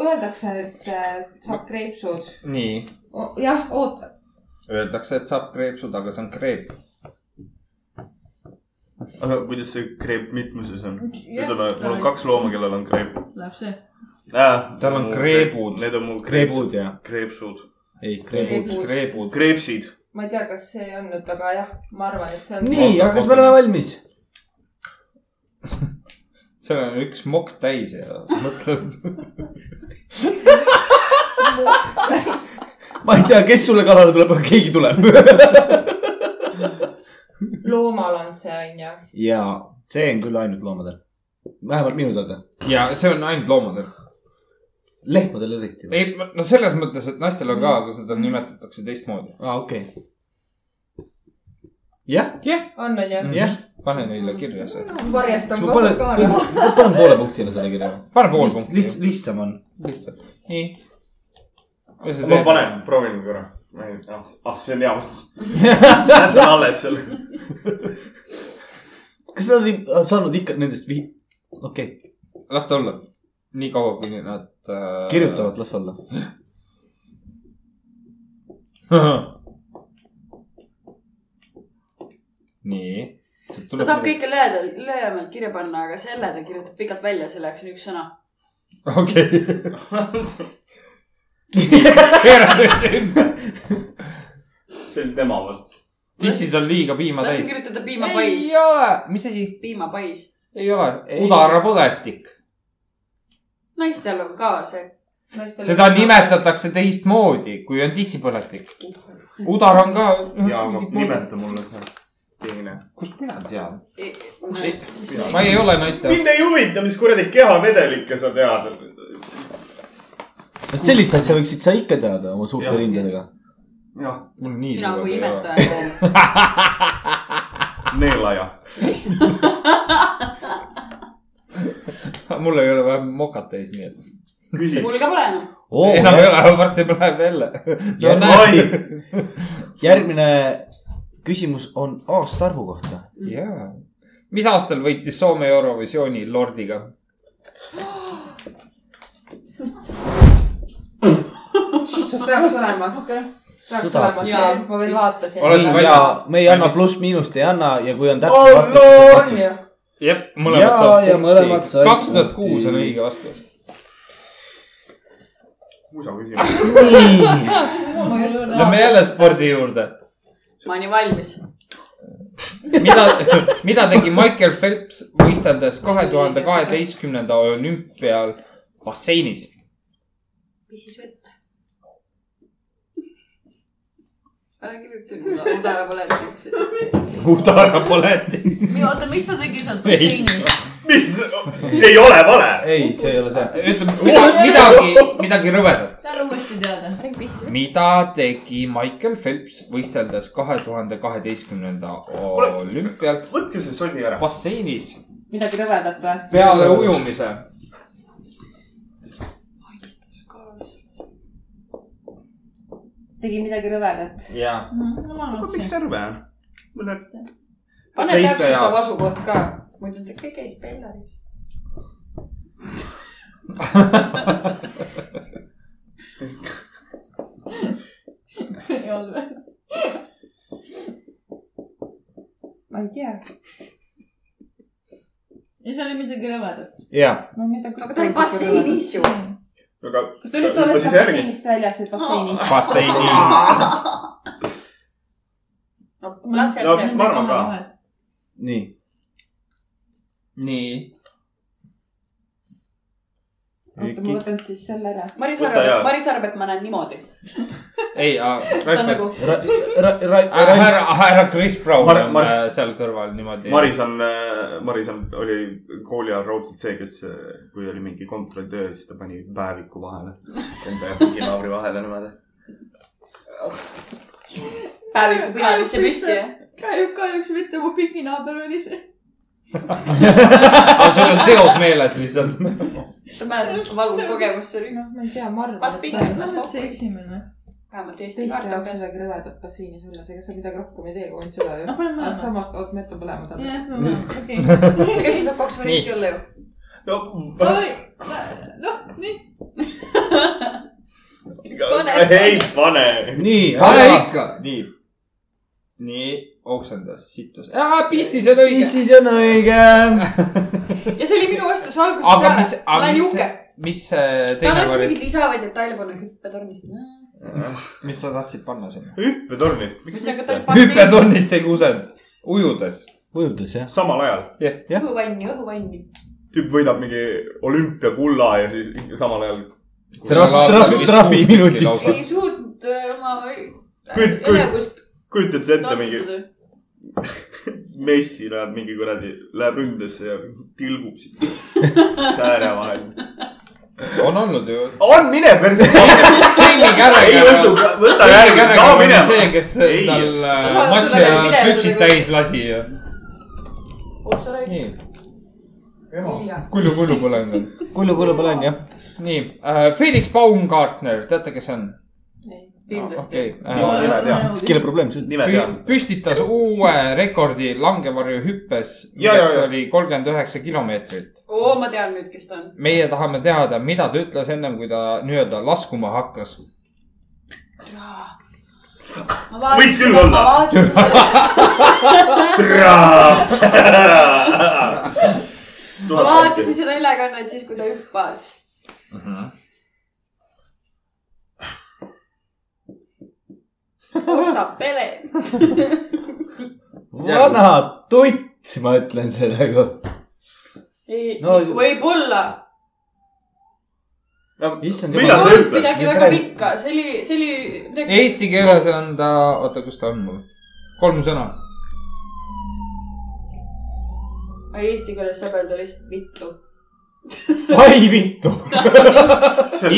Speaker 5: Öeldakse , et äh, saab kreepsud .
Speaker 2: nii ,
Speaker 5: jah , oota ,
Speaker 2: öeldakse , et saab kreepsud , aga see on kreep .
Speaker 1: aga kuidas see kreep mitmuses on ?
Speaker 6: Jah,
Speaker 1: ütleme , mul on
Speaker 6: ta-
Speaker 1: kaks looma , kellel on kreep
Speaker 6: Läheb see .
Speaker 1: äh, .
Speaker 2: Tal on kreebud.
Speaker 1: Need on mul kreebud ,
Speaker 4: kreebud ja ,
Speaker 1: kreepsud ,
Speaker 4: ei kreebud .
Speaker 2: kreebud .
Speaker 1: kreepsid .
Speaker 5: ma ei tea , kas see on nüüd , aga jah , ma arvan , et see on .
Speaker 4: nii , aga kas me oleme valmis ?
Speaker 2: seal on üks mokk täis ja mõtled .
Speaker 4: ma ei tea , kes sulle kallale tuleb , aga keegi tuleb
Speaker 5: loomal on see onju .
Speaker 4: ja see on küll ainult loomadel . vähemalt minu teada .
Speaker 2: ja see on ainult loomadel .
Speaker 4: lehmadel eriti .
Speaker 2: ei , no selles mõttes , et naistel on ka , aga seda nimetatakse teistmoodi .
Speaker 4: aa , okei okay. . jah ,
Speaker 5: on onju .
Speaker 2: Mm.
Speaker 4: jah .
Speaker 2: pane neile kirja see .
Speaker 5: varjastan
Speaker 4: ma panen ,
Speaker 5: vasakaala .
Speaker 4: panen poole punktile selle kirja .
Speaker 2: pane pool punkti .
Speaker 4: lihtsalt , lihtsam on .
Speaker 2: lihtsalt . nii .
Speaker 1: ma . panen , proovin korra . ah , ah , see on hea vastus . jätan alles selle .
Speaker 4: kas nad ei äh, saanud ikka nendest vi- , okei okay. ,
Speaker 2: las ta olla . nii kaua , kuni nad äh...
Speaker 4: kirjutavad , las olla .
Speaker 2: nii . sealt
Speaker 3: ta
Speaker 2: tuleb
Speaker 3: tahab . kõike lühedalt , lühemalt kirja panna , aga selle ta kirjutab pikalt välja , selle jaoks on üks sõna .
Speaker 2: okei . keera nüüd enda .
Speaker 1: see oli tema vastus .
Speaker 2: dissid on liiga piima
Speaker 3: las ta
Speaker 2: täis .
Speaker 3: kirjutada
Speaker 2: ei
Speaker 3: piimapais ,
Speaker 2: ole , mis asi ?
Speaker 3: piimapais .
Speaker 2: ei ole ,
Speaker 4: Ei.
Speaker 2: udarapõletik .
Speaker 3: naistel on ka see .
Speaker 2: seda . nimetatakse teistmoodi , kui on dissipõletik . udar on ka .
Speaker 1: ja , aga nimeta mulle see teine .
Speaker 2: kust mina tean ? ma
Speaker 3: ma
Speaker 2: ei ole naiste .
Speaker 1: mind ei huvita , mis kuradi kehavedelikke sa tead .
Speaker 4: sellist asja võiksid sa ikka teada oma suurte
Speaker 1: Jah.
Speaker 4: rindadega .
Speaker 1: jah ,
Speaker 2: mul nii .
Speaker 3: sina kui . imetaja .
Speaker 1: neelaja .
Speaker 2: mul ei ole vähem mokat täis , nii et .
Speaker 1: küsi .
Speaker 3: mul ka pole enam .
Speaker 4: oo ,
Speaker 2: enam ei ole , varsti läheb jälle .
Speaker 4: Ja-
Speaker 1: oi ,
Speaker 4: järgmine küsimus on aastaarvu kohta .
Speaker 6: Mm.
Speaker 2: jaa . mis aastal võitis Soome Eurovisiooni Lordiga ?
Speaker 5: peaks olema . peaks
Speaker 4: Sõda.
Speaker 5: olema see
Speaker 3: Jaa. ,
Speaker 5: ma veel vaatasin .
Speaker 2: Oled valmis?
Speaker 4: ja me ei anna
Speaker 2: Valmis.
Speaker 4: pluss-miinust , ei anna ja kui on
Speaker 1: Oh,
Speaker 4: täpne
Speaker 1: no!
Speaker 4: vastus ,
Speaker 5: on ju ?
Speaker 2: jep ,
Speaker 4: Jaa,
Speaker 2: mõlemad saavad
Speaker 4: ja mõlemad said
Speaker 2: kaks tuhat kuus
Speaker 4: punkti.
Speaker 2: on õige vastus .
Speaker 1: musa küsimus .
Speaker 4: nii ,
Speaker 5: ma just .
Speaker 2: Lähme jälle spordi juurde .
Speaker 3: ma olen ju valmis .
Speaker 2: mida , mida tegi Michael Phelps võisteldes kahe tuhande kaheteistkümnenda olümpial basseinis ?
Speaker 3: mis siis võtta ? ära kirjuta seda , udara pole .
Speaker 2: udara poleti .
Speaker 6: oota , miks ta tegi seal basseinis ?
Speaker 1: mis , ei ole vale .
Speaker 4: ei , see ei ole see .
Speaker 2: ütleme mida- midagi , midagi rõvedat .
Speaker 6: tahan uuesti teada .
Speaker 2: mida tegi Michael Phelps võisteldes kahe tuhande kaheteistkümnenda olümpial
Speaker 1: võtke see sodi ära .
Speaker 2: basseinis
Speaker 5: midagi rõvedat või ?
Speaker 2: peale ujumise ?
Speaker 5: tegi midagi rõvedat .
Speaker 2: jaa .
Speaker 6: Mhm,
Speaker 1: miks sõrme on ? mul on .
Speaker 3: pane
Speaker 2: Teiste
Speaker 3: täpsustav
Speaker 2: jaoks.
Speaker 3: asukoht ka , muidu ta kõik käis Bellaris .
Speaker 6: ei olnud või ?
Speaker 5: ma ei tea .
Speaker 6: ja see oli midagi rõvedat .
Speaker 4: ja ,
Speaker 5: no midagi .
Speaker 3: aga ta oli basseinis ju .
Speaker 1: aga
Speaker 5: kas te olite olete basseinist väljas või basseinis ?
Speaker 2: basseinis .
Speaker 3: no
Speaker 1: No,
Speaker 3: las jääb see .
Speaker 1: ma arvan ka. .
Speaker 4: nii ,
Speaker 2: nii .
Speaker 5: oota , ma võtan siis selle ära .
Speaker 3: Maris
Speaker 1: Võta
Speaker 3: arvab
Speaker 1: ja- ,
Speaker 3: Maris arvab , et ma näen niimoodi .
Speaker 2: ei ,
Speaker 3: ta on nagu ,
Speaker 4: ra- , ra- , ra- , ra- ,
Speaker 2: härra , härra Chris Brown
Speaker 1: Mar-
Speaker 2: on
Speaker 1: Mar-
Speaker 2: äh, seal kõrval niimoodi .
Speaker 1: Maris on , Maris on , äh, oli kooli ajal raudselt see , kes , kui oli mingi kontrolltöö , siis ta pani päeviku vahele . Enda ja puginaabri vahele niimoodi .
Speaker 3: päeviku pilarisse püsti ja .
Speaker 6: kahjuks , kahjuks mitte , mu pikinaaber oli see .
Speaker 2: aga sul on teod meeles lihtsalt .
Speaker 3: sa mäletad , mis valus kogemus see oli ?
Speaker 5: noh , ma ei tea , ma
Speaker 3: Vaat
Speaker 5: arvan ,
Speaker 3: pikk-
Speaker 5: et
Speaker 6: ma arvan , et see esimene .
Speaker 3: vähemalt Eesti
Speaker 5: teiste jaoks
Speaker 3: kartab .
Speaker 5: midagi rõvedat bassiinis olles , ega sa midagi rohkem ei tee , kui ainult seda ju
Speaker 3: no . paneme
Speaker 5: aga
Speaker 3: mõlema .
Speaker 5: samas oled mett on põlema
Speaker 6: jah
Speaker 5: talle .,
Speaker 6: okei . tegelikult see saab kaks varianti olla ju .
Speaker 1: no ,
Speaker 6: noh , nii .
Speaker 1: ei pane .
Speaker 4: nii ,
Speaker 2: pane . ikka . nii . nii , oksendas , sittus . pissi , see on õige .
Speaker 4: pissis on õige .
Speaker 6: ja see oli minu vastus algusest
Speaker 2: aga
Speaker 6: peale .
Speaker 2: mis , aga
Speaker 6: Ole
Speaker 2: mis
Speaker 6: juhke. ,
Speaker 2: mis see
Speaker 3: ta
Speaker 2: teine
Speaker 3: oleks
Speaker 2: variant ,
Speaker 3: mingit lisavaid detaile pannud hüppetornist .
Speaker 2: mis sa tahtsid panna sinna ?
Speaker 1: hüppetornist , miks
Speaker 3: see on ka
Speaker 1: mitte ?
Speaker 3: tal .
Speaker 2: hüppetonnist ei kusenud , ujudes .
Speaker 4: ujutas jah ?
Speaker 1: samal ajal
Speaker 3: õhuvanni , õhuvanni .
Speaker 1: tüüp võidab mingi olümpiakulla ja siis samal ajal
Speaker 4: Trahv- trahv- trahviminutid.
Speaker 3: ei suutnud öö, oma
Speaker 1: Kuid- kuid-
Speaker 3: elevust
Speaker 1: kujutad sa ette mingi
Speaker 3: natsutada .
Speaker 1: Messi läheb mingi kuradi , läheb ründesse ja tilgub siit sääre vahel .
Speaker 2: on olnud ju .
Speaker 1: on , mine persse .
Speaker 2: Jamie
Speaker 1: ei usu
Speaker 2: Carragher ,.
Speaker 1: võta
Speaker 2: Jamie
Speaker 1: järgi , kao
Speaker 2: Carragher oli see
Speaker 1: minema .,
Speaker 2: kes
Speaker 1: Ei.
Speaker 2: tal äh,
Speaker 6: saad
Speaker 2: matši
Speaker 6: seda veel
Speaker 2: ajal
Speaker 6: pidevalt
Speaker 2: püksid
Speaker 6: nagu-
Speaker 2: täis lasi ju .
Speaker 3: otsa raisk .
Speaker 2: nii , kulju , kulju põlendan .
Speaker 4: kullu , kullu põlen jah .
Speaker 2: nii äh, , Felix Baumgartner , teate , kes see on ?
Speaker 3: kindlasti .
Speaker 2: okei
Speaker 1: Jaa.
Speaker 2: äh, ,
Speaker 4: kelle probleem see on ?
Speaker 1: nime tean .
Speaker 2: püstitas uue rekordi langevarjuhüppes ,
Speaker 1: Ja, ja,
Speaker 2: milleks
Speaker 1: ja.
Speaker 2: oli kolmkümmend üheksa kilomeetrit .
Speaker 3: oo , ma tean nüüd , kes ta on .
Speaker 2: meie tahame teada , mida ta ütles ennem , kui ta nii-öelda laskuma hakkas .
Speaker 1: Võis küll olla. .
Speaker 3: ma vaatasin seda ülekannet siis , kui ta hüppas . ostab pere .
Speaker 4: vana tutt , ma ütlen selle kohta .
Speaker 3: ei
Speaker 4: No-
Speaker 3: no, , võib-olla .
Speaker 4: issand
Speaker 1: Mida
Speaker 3: ei
Speaker 1: sa
Speaker 4: jumal .
Speaker 3: olnud
Speaker 1: ütled?
Speaker 3: midagi
Speaker 4: Ja
Speaker 3: väga
Speaker 4: praegu-
Speaker 3: pikka , see oli , see oli midagi .
Speaker 2: Eesti keeles on ta , oota , kus ta on mul ? kolm sõna .
Speaker 3: Eesti keeles saab öelda lihtsalt vittu .
Speaker 4: ai vittu .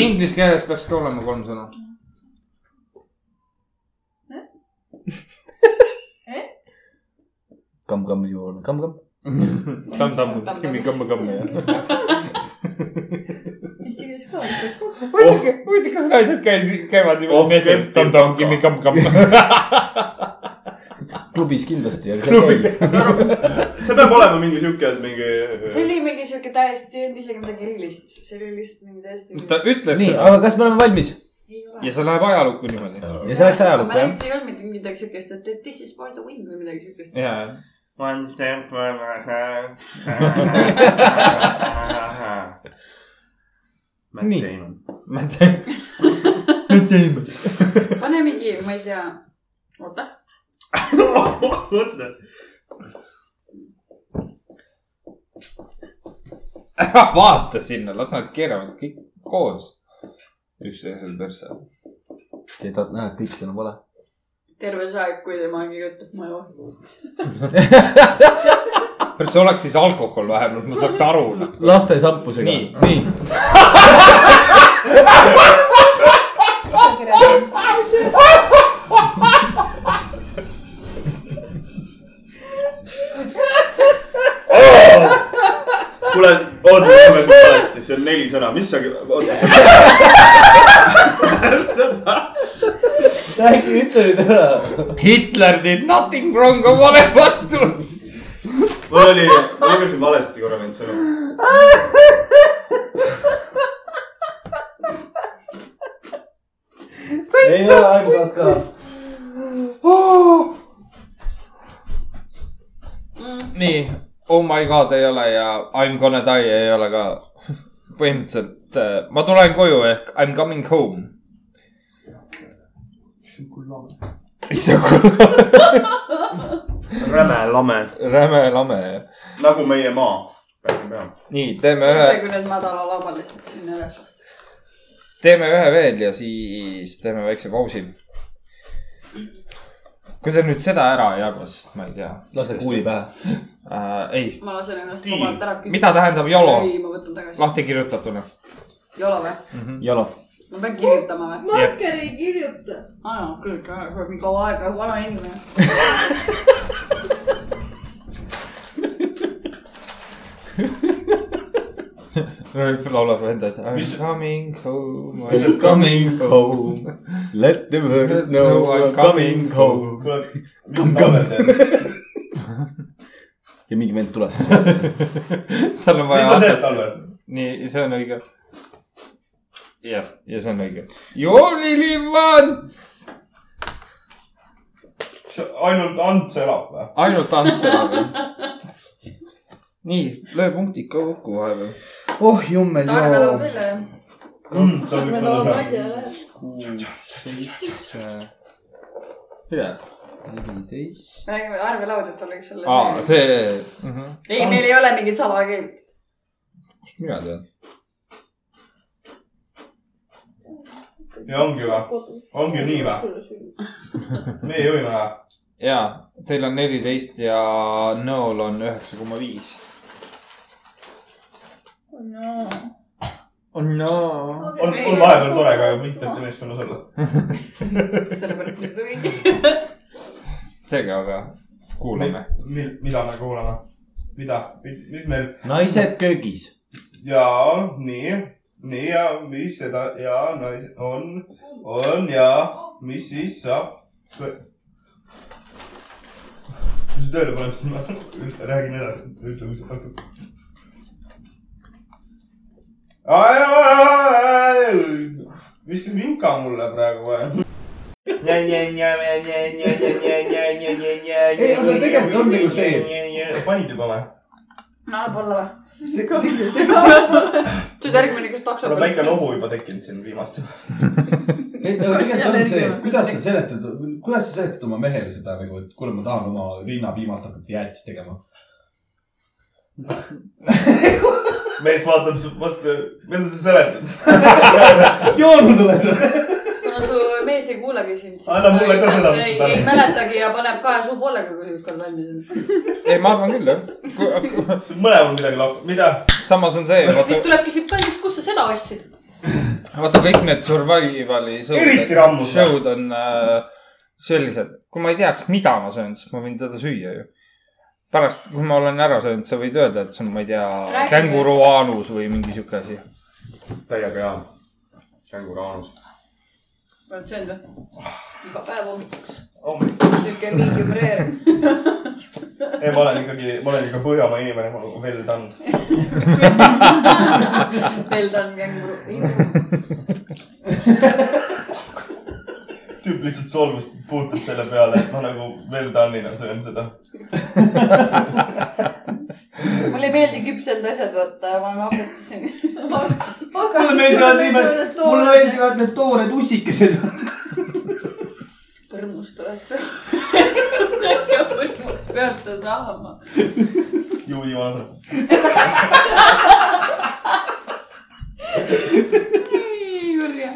Speaker 2: Inglise keeles peaks ka olema kolm sõna .
Speaker 4: kamm-kamm juurde , kamm-kamm .
Speaker 2: tamm-tamm , kimmi-kõmm-kõmm , jah . muidugi , muidugi , kas naised käisid , käivad
Speaker 1: Oh,
Speaker 2: meestel
Speaker 1: Kempti
Speaker 2: tamm-tamm ,
Speaker 1: taga.
Speaker 2: kimmi-kõmm-kõmm .
Speaker 4: klubis kindlasti , aga seal käib .
Speaker 1: see peab olema mingi siuke ,
Speaker 3: see
Speaker 1: mingi .
Speaker 3: oli mingi siuke täiesti , see ei olnud isegi midagi erilist , see oli lihtsalt mingi täiesti .
Speaker 2: ta ütles
Speaker 4: nii ,
Speaker 2: seda
Speaker 4: aga kas me oleme valmis ?
Speaker 3: ei ole
Speaker 2: ja see läheb ajalukku niimoodi .
Speaker 4: ja see läks
Speaker 3: ma
Speaker 4: ajalukku jah
Speaker 3: nägin ,? see ei olnud mitte midagi siukest , et et this is for the win või midagi siukest .
Speaker 2: ja ,
Speaker 1: One step for the .
Speaker 4: Nii.
Speaker 1: Matt Damon .
Speaker 2: ma tean .
Speaker 3: pane mingi , ma ei tea , oota .
Speaker 1: mõtle .
Speaker 2: ära vaata sinna , las nad keeravad kõik koos üksteisele persse .
Speaker 4: ei tahad näha , et kõik on vale .
Speaker 3: terve see aeg , kui tema kirjutab , ma joon .
Speaker 2: kas see oleks siis alkohol vähemalt , ma saaks aru .
Speaker 4: laste sampusega .
Speaker 2: Nii.
Speaker 4: nii .
Speaker 1: kuule , oota , kuule see on valesti , see on neli sõna , mis sa , oota ,
Speaker 4: räägi , ütle nüüd ära .
Speaker 2: Hitler did nothing wrong on vale vastus .
Speaker 1: mul oli , ma lugesin valesti korra neid sõnu .
Speaker 7: ei ole aeg-ajalt ka .
Speaker 2: nii , oh my god ei ole ja I m gonna die ei ole ka . põhimõtteliselt äh, ma tulen koju ehk I m coming home . see on kullamäe . see on
Speaker 1: räme lame .
Speaker 2: kullamäe , räme lame .
Speaker 1: nagu meie maa . ma
Speaker 2: nii ,
Speaker 3: see
Speaker 2: teeme
Speaker 3: on
Speaker 2: ühe
Speaker 3: see , kui need madala laba lihtsalt sinna üles lastakse .
Speaker 2: teeme ühe veel ja siis teeme väikse pausi . kui te nüüd seda ära ei arva , siis ma ei tea .
Speaker 4: lase kuuli . pähe .
Speaker 2: äh, . ei ,
Speaker 3: ma lasen ennast
Speaker 1: Tiim,
Speaker 3: vabalt ära .
Speaker 2: mida tähendab YOLO?
Speaker 3: ei , ma võtan tagasi .
Speaker 2: lahti kirjutatuna
Speaker 3: YOLO või ?
Speaker 2: mm . -hmm.
Speaker 4: jalo .
Speaker 3: ma pean kirjutama või ?
Speaker 6: marker ei kirjuta .
Speaker 3: aa , no küll , küll , mingi kaua aega , vana inimene .
Speaker 2: laulab enda , et I
Speaker 1: Mis-
Speaker 2: m coming home , I
Speaker 1: Mis-
Speaker 2: m coming home .
Speaker 8: Let the world
Speaker 2: know I m coming home .
Speaker 1: kuule , mis Tanel teeb ?
Speaker 8: ja mingi vend tuleb .
Speaker 2: tal on
Speaker 1: mis
Speaker 2: vaja
Speaker 1: sa . teed Tanel ?
Speaker 2: nii , see on õige . jah , ja see on õige . You only live once .
Speaker 1: ainult Ants elab või ?
Speaker 2: ainult Ants elab . nii , löö punktid ka kokku vahepeal .
Speaker 4: oh jummel
Speaker 3: Tanel elab
Speaker 4: joo .
Speaker 3: küll , jah .
Speaker 1: see on
Speaker 6: me
Speaker 1: üks
Speaker 6: loome
Speaker 1: lõdvem .
Speaker 6: välja jah .
Speaker 2: kuus , seitse , üle , neliteist .
Speaker 3: me räägime arvelaudet oleks selle .
Speaker 2: aa , see uh . -huh.
Speaker 3: ei , meil ei ole mingit salakeelt .
Speaker 2: mina tean .
Speaker 1: ja ongi või ? ongi nii või ? me juhime või ?
Speaker 2: ja teil on neliteist ja nõol on üheksa koma viis .
Speaker 6: no .
Speaker 2: no .
Speaker 1: on , on vahepeal tore ka võitjate meeskonnas olla .
Speaker 3: sellepärast nüüd tuligi .
Speaker 2: seega aga kuulame .
Speaker 1: mil- , mida me kuulame ? mida , mis meil
Speaker 8: naised köögis .
Speaker 1: ja nii , nii ja mis seda ja nais- on , on ja mis siis saab ? kui sa tööle paned , siis ma üt- räägin edasi , ütle , mis hakkab . viska vinka mulle praegu või ? ei ,
Speaker 4: aga tegelikult on nagu
Speaker 1: see . panid juba või ?
Speaker 3: no võib-olla või ? see on järgmine , kes takso
Speaker 1: mul on väike . nohu juba tekkinud siin viimastel .
Speaker 4: tegelikult on see
Speaker 6: allergia- ,
Speaker 4: kuidas sa seletad , kuidas sa seletad oma mehele seda nagu , et kuule , ma tahan oma rinnapiimast hakata jäätist tegema .
Speaker 1: mees vaatab su vastu , mida sa seletad ?
Speaker 4: joonma tuled .
Speaker 3: kuna su mees ei kuulegi sind , siis
Speaker 1: Anna
Speaker 3: ta
Speaker 1: mulle ka
Speaker 3: ilmselt
Speaker 1: seda, mis
Speaker 3: ei,
Speaker 1: ta
Speaker 3: ei
Speaker 1: tahab.
Speaker 3: mäletagi ja paneb kahe suu poolega , kui see ükskord valmis on .
Speaker 2: ei , ma arvan küll jah .
Speaker 1: sul mõlemal midagi lapp , mida ?
Speaker 2: samas on see , vaata
Speaker 3: siis , tuleb , küsib kallis , kust sa seda ostsid ?
Speaker 2: vaata kõik need survival'i
Speaker 1: Eriti rammud.
Speaker 2: show'd on äh, sellised , kui ma ei teaks , mida ma söön , siis ma võin teda süüa ju . pärast , kui ma olen ära söönud , sa võid öelda , et see on , ma ei tea ,
Speaker 3: Räägi.
Speaker 2: känguru aanus või mingi sihuke asi .
Speaker 1: täiega hea . känguraanus .
Speaker 3: oled söönud või ? iga päev hommikuks .
Speaker 1: ei ,
Speaker 3: sihuke medium rare .
Speaker 1: ma olen ikkagi , ma olen ikka Põhjamaa inimene , ma olen veel tand .
Speaker 3: Peldan känguru .
Speaker 1: tüüp lihtsalt solvus , puutud selle peale , et ma nagu veel tannina söön seda .
Speaker 3: mulle ei meeldi küpsenud asjad , vaata , ma hakatasin .
Speaker 4: mulle meeldivad nimed , mulle meeldivad need toored ussikesed .
Speaker 3: põrmust oled sa . ja põrmust pead sa saama .
Speaker 1: juudi vana .
Speaker 3: ei , Jürja .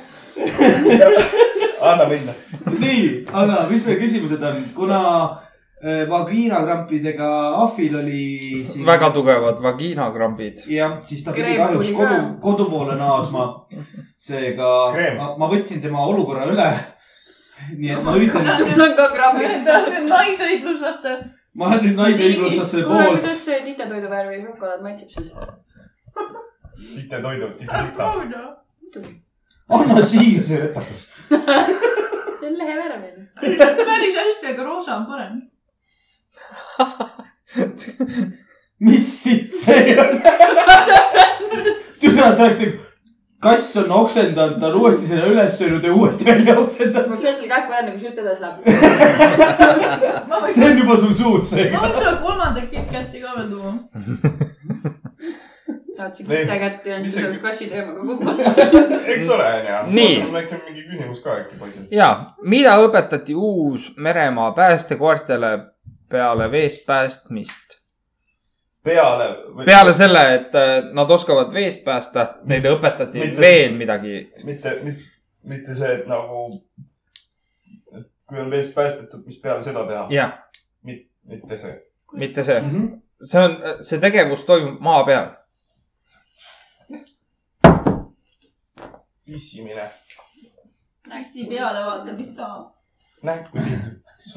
Speaker 1: anna minna .
Speaker 4: nii , aga mis meil küsimused on , kuna äh, vagiinakrampidega Ahvil oli siin...
Speaker 2: väga tugevad vagiinakrambid .
Speaker 4: jah , siis ta pidi
Speaker 3: Kreem
Speaker 4: kahjuks
Speaker 3: tuli
Speaker 4: kodu
Speaker 3: ka. ,
Speaker 4: kodu poole naasma . seega
Speaker 1: Kreem.
Speaker 4: ma, ma võtsin tema olukorra üle . nii et ma üritan ,
Speaker 3: sul on ka grammid .
Speaker 6: naisõigluslaste .
Speaker 4: ma olen nüüd naise õigluslaste
Speaker 3: kuule ,
Speaker 4: poolt .
Speaker 3: kuidas see titetoidu värvi šokolaad maitseb siis ?
Speaker 1: tite toidu , tite tita .
Speaker 6: aga
Speaker 3: muidugi .
Speaker 4: anna siia see retakas .
Speaker 3: see on lehevärviline .
Speaker 6: päris hästi , aga roosa on parem .
Speaker 4: mis sitt see on ? türa , see oleks nagu , kass on oksendanud , ta on uuesti selle üles söönud ja uuesti välja oksendanud .
Speaker 3: ma söön selle kähku ära , nagu sütt edasi läheb .
Speaker 6: ma võin
Speaker 4: see on juba sul suus seega
Speaker 6: ma . võin sulle kolmanda KitKati ka veel tuua .
Speaker 3: tahtsin kitta kätte ja
Speaker 1: mis
Speaker 3: siis
Speaker 1: see-
Speaker 3: oleks kassi teemaga kokku .
Speaker 1: eks ole , onju .
Speaker 2: Nii.
Speaker 1: mul läks mingi küsimus ka äkki poisil .
Speaker 2: ja , mida õpetati Uus-Meremaa päästekoertele peale veest päästmist ?
Speaker 1: peale või...
Speaker 2: peale selle , et äh, nad oskavad veest päästa , neile õpetati
Speaker 1: Mitte-
Speaker 2: veel midagi .
Speaker 1: mitte , mitte see , et nagu , et kui on veest päästetud , mis peale seda teha ,
Speaker 2: jah ,
Speaker 1: mitte see .
Speaker 2: mitte see , see on , see tegevus toimub maa peal .
Speaker 1: pissimine ,
Speaker 6: Läksi peale , vaata , mis saab .
Speaker 1: näkku siin .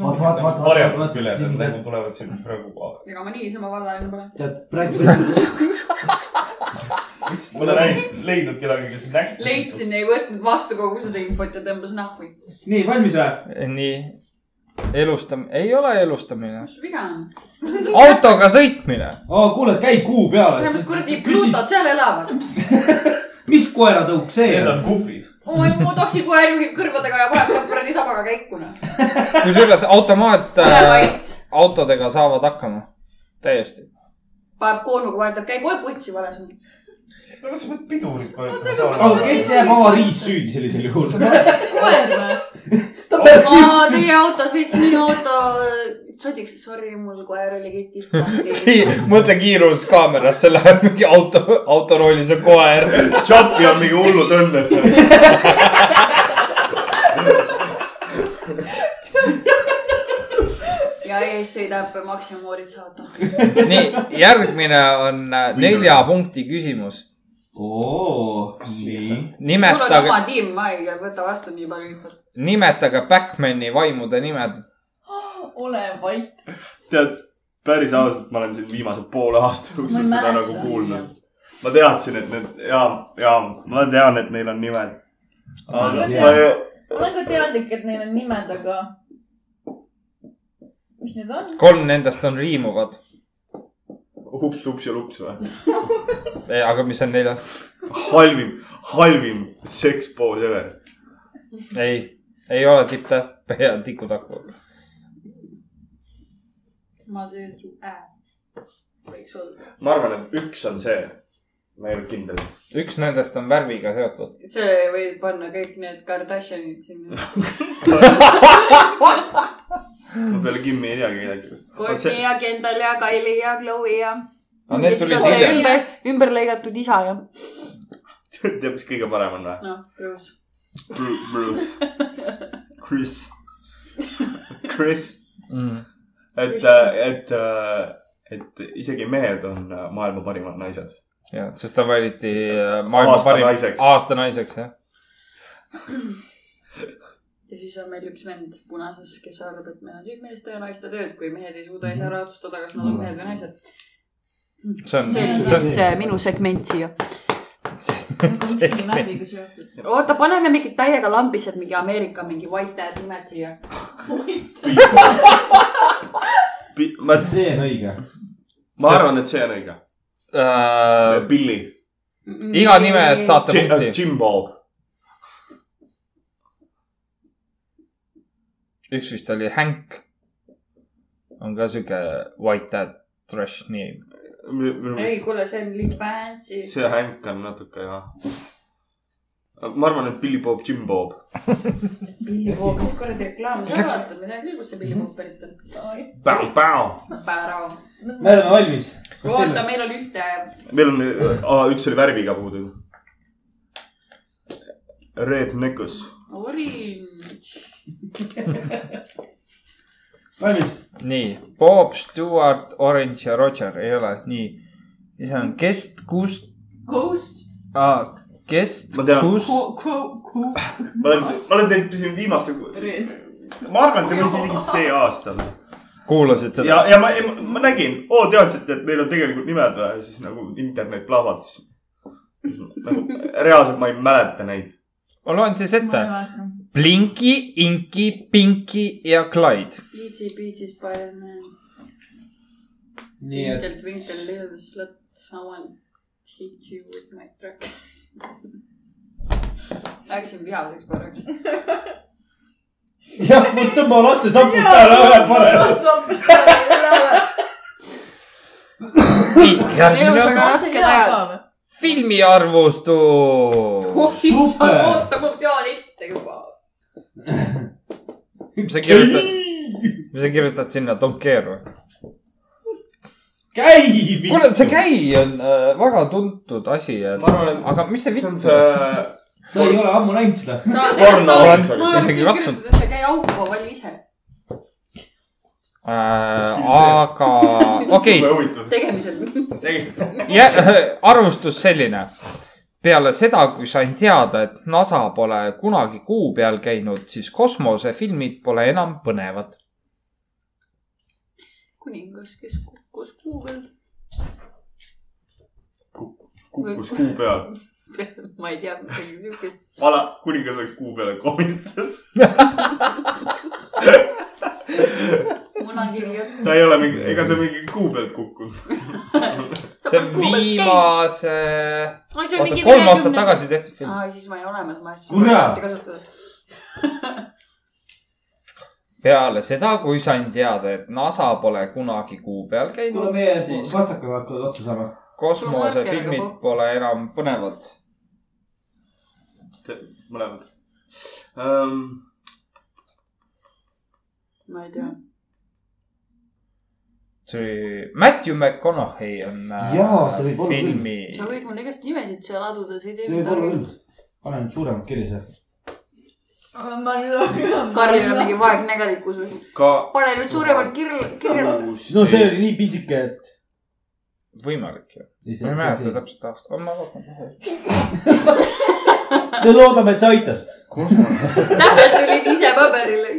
Speaker 4: Vaata, vaata, vaata, vaata,
Speaker 1: varjad
Speaker 4: vaata,
Speaker 1: küljed on
Speaker 4: siin- ,
Speaker 1: nagu tulevad siin praegu .
Speaker 3: ega ma niisama vallaline pole .
Speaker 4: tead , praegu .
Speaker 1: ma ei ole näinud , leidnud kedagi , kes nägi .
Speaker 3: leidsin , ei võtnud vastu kogu seda infot ja tõmbas nahku .
Speaker 7: nii , valmis või ?
Speaker 2: nii , elustam- , ei ole elustamine ,
Speaker 3: mis viga on ?
Speaker 2: autoga sõitmine .
Speaker 7: aa , kuule , käi kuu peale
Speaker 3: vähemalt . kuradi Pluutod seal elavad .
Speaker 7: mis koeratõuk see
Speaker 1: Need
Speaker 7: on
Speaker 1: on ? kupid .
Speaker 3: oi , mu toksikoer juhib kõrvadega ja paneb sealt kuradi sabaga käiku , noh .
Speaker 2: kusjuures automaat
Speaker 3: ole
Speaker 2: äh,
Speaker 3: vait .
Speaker 2: autodega saavad hakkama , täiesti .
Speaker 3: paneb koolnuga , vahetab käigu , oi , putsi vales .
Speaker 1: no kas sa pead pidurit
Speaker 4: Oh,
Speaker 7: aga
Speaker 1: vajutama ?
Speaker 7: Oh, kes jääb avariis süüdi sellisel juhul ?
Speaker 3: koer või ?
Speaker 7: ta peab
Speaker 3: aa , teie auto sõits minu auto sodiks . Sorry , mul koer oli ketist lahti .
Speaker 2: mõtle kiiruskaamerasse läheb mingi auto , autoroolis on koer .
Speaker 1: Chappi on mingi hullu tõmbes seal .
Speaker 3: ja ees sõidab Maxima Moritsa auto .
Speaker 2: nii , järgmine on äh, nelja punkti küsimus .
Speaker 7: oo , nii .
Speaker 3: mul on
Speaker 2: nimetage ,
Speaker 3: oma tiim , ma ei võta vastu nii palju infot .
Speaker 2: nimetage Batman'i vaimude nimed .
Speaker 6: ole vait .
Speaker 1: tead , päris ausalt , ma olen siin viimase poole aasta
Speaker 6: Ma
Speaker 1: jooksul
Speaker 6: ei
Speaker 1: seda
Speaker 6: mäleta.
Speaker 1: nagu kuulnud . ma teadsin , et need ja , ja ma tean , et neil on nimed .
Speaker 6: Ma
Speaker 1: aga
Speaker 6: ka
Speaker 1: ma ei ,
Speaker 6: ma olen ka teadlik , et neil on nimed , aga . mis need on ?
Speaker 2: kolm nendest on riimuvad ,
Speaker 1: hups , hups ja lups või ?
Speaker 2: aga mis on neljas ?
Speaker 1: halvim , halvim sekspool ever .
Speaker 2: ei , ei ole tipp-täpp ja tikutakku .
Speaker 3: ma söön su ää . võiks olla .
Speaker 1: ma arvan , et üks on see . ma ei ole kindel .
Speaker 2: üks nendest on värviga seotud .
Speaker 3: see võib panna kõik need Kardashianid sinna .
Speaker 1: ma peale Kimmi ei teagi kedagi .
Speaker 3: Kourtney ja Kendall ja Kylie ja Chloe ja .
Speaker 2: aga
Speaker 3: ja
Speaker 2: need
Speaker 3: siis
Speaker 2: tulid
Speaker 3: on see
Speaker 2: hiljem .
Speaker 3: ümber , ümber lõigatud isa ja .
Speaker 1: tead , mis kõige parem on või ?
Speaker 3: noh , Bruce .
Speaker 1: Bru- Bruce , Chris , Chris , Mm. et , et , et isegi mehed on äh, maailma parimad naised .
Speaker 2: jah , sest ta valiti äh, maailma
Speaker 1: Aasta
Speaker 2: parim
Speaker 1: naiseks. ,
Speaker 2: aasta naiseks , jah .
Speaker 3: ja siis on meil üks vend punases , kes arvab , et meil on siin meeste ja naiste tööd , kui mehed ei suuda ise ära otsustada , kas nad on mehed või naised .
Speaker 2: Mhm. see on ,
Speaker 3: see oli
Speaker 2: see on
Speaker 3: siis äh, minu segment siia .
Speaker 2: see-
Speaker 3: oota , paneme mingid täiega lambised , mingi Ameerika mingi white dad nimed siia .
Speaker 1: ma ,
Speaker 7: see on õige .
Speaker 1: ma arvan , et see on õige .
Speaker 2: äh,
Speaker 1: Billy ,
Speaker 2: iga nime eest saate
Speaker 1: äh,
Speaker 2: punkti .
Speaker 1: Jimbo ,
Speaker 2: üks vist oli Hank . on ka siuke white dad trash name .
Speaker 1: minu
Speaker 3: ei ,
Speaker 1: meelest
Speaker 3: kuule , see on Lee Fancy .
Speaker 1: see Hank on natuke jah . ma arvan , et Billy Bob , Jimbo .
Speaker 3: Billy Bob , mis kuradi reklaam sa vaatad , ma ei tea küll , kust see Billy Bob pärit on .
Speaker 1: Bam , bam .
Speaker 3: Pärao .
Speaker 7: me oleme valmis .
Speaker 3: oota , meil on ühte ,
Speaker 1: meil on , üks oli värviga puudu . Red Necus ,
Speaker 3: orange .
Speaker 7: valmis .
Speaker 2: nii , Bob , Stewart , Orange ja Roger , ei ole , nii . siis on kes , kus
Speaker 6: Ghost .
Speaker 2: ah, , kes ,
Speaker 1: Ma tean.
Speaker 2: kus ,
Speaker 1: ma olen , ma olen teinud siin viimaste , ma arvan , et ta võis isegi see aasta olla .
Speaker 2: kuulasid seda
Speaker 1: ja ,? ja ma , ma nägin , oo , teadsite , et meil on tegelikult nimed või , siis nagu internet plahvatas . nagu reaalselt ma ei mäleta neid .
Speaker 2: ma loen siis ette . Blinki , Inki , Pinki ja Clyde .
Speaker 3: Peachy , Peachy Spider-man .
Speaker 7: nii et
Speaker 3: Twinkle , twinkle little slut , someone hit you with my truck . Läksin vihaseks korraks .
Speaker 7: jah , tõmba laste sapud peale , ole parem .
Speaker 3: elus väga
Speaker 2: järgmine on
Speaker 3: rasked ajad .
Speaker 2: filmiarvustus .
Speaker 3: oh issand ,
Speaker 7: Super.
Speaker 3: oota , ma tean ette juba .
Speaker 2: mis sa kirjutad , mis sa kirjutad sinna Don't care või ?
Speaker 7: käi .
Speaker 2: kuule , see . käi on äh, väga tuntud asi ,
Speaker 1: Ma arvan, et
Speaker 2: aga mis see
Speaker 1: see on
Speaker 2: vitt
Speaker 1: see
Speaker 2: on ?
Speaker 7: sa ei ole ammu näinud seda .
Speaker 1: porno
Speaker 3: ma
Speaker 1: oleks väga
Speaker 2: isegi
Speaker 3: arvasin , et
Speaker 2: katsunud.
Speaker 3: kirjutades sa käi auku , vali ise .
Speaker 2: Äh, aga okei
Speaker 1: jube huvitav .
Speaker 3: tegemisel .
Speaker 2: okay, , arvustus selline . peale seda , kui sain teada , et NASA pole kunagi kuu peal käinud , siis kosmosefilmid pole enam põnevad .
Speaker 3: kuningas , kes kukkus kuu peal .
Speaker 1: kukkus kuu peal .
Speaker 3: ma ei tea midagi siukest .
Speaker 1: vala , kuningas läks kuu peale , komistas .
Speaker 3: munakiri on .
Speaker 1: sa ei ole mingi , ega sa mingi kuu pealt kukkunud .
Speaker 2: see on viimase ,
Speaker 6: see on
Speaker 2: oota
Speaker 6: mingi
Speaker 2: kolm aastat . tagasi tehtud film .
Speaker 3: aa , siis ma ei ole olemas , ma siis .
Speaker 4: Kurat!
Speaker 3: kasutada .
Speaker 2: peale seda , kui sain teada , et NASA pole kunagi kuu peal
Speaker 7: kuule ,
Speaker 2: käinud ,
Speaker 7: meie
Speaker 2: siis
Speaker 7: vastakad hakkavad otsa saama .
Speaker 2: kosmosefilmid pole enam põnevad .
Speaker 1: mõlemad um, .
Speaker 3: ma ei tea .
Speaker 2: see oli , Matthew McConaughey on äh,
Speaker 7: Jaa, see võib olla küll.
Speaker 2: filmi ,
Speaker 3: sa võid mulle igast nimesid seal aduda , sa ei tee
Speaker 7: see võib olla . küll . panen suuremad kirja
Speaker 6: ma nüüd .
Speaker 3: Karl ei ole mingi vaegnägelikus või ?
Speaker 1: ka
Speaker 3: pane nüüd suuremalt kirja , kirja .
Speaker 1: kuus .
Speaker 7: no see oli nii pisike , et .
Speaker 2: võimalik ju . ma ei mäleta . täpselt aastat , ma vaatan kohe .
Speaker 7: no loodame , et see aitas .
Speaker 3: tähed tulid ise paberile .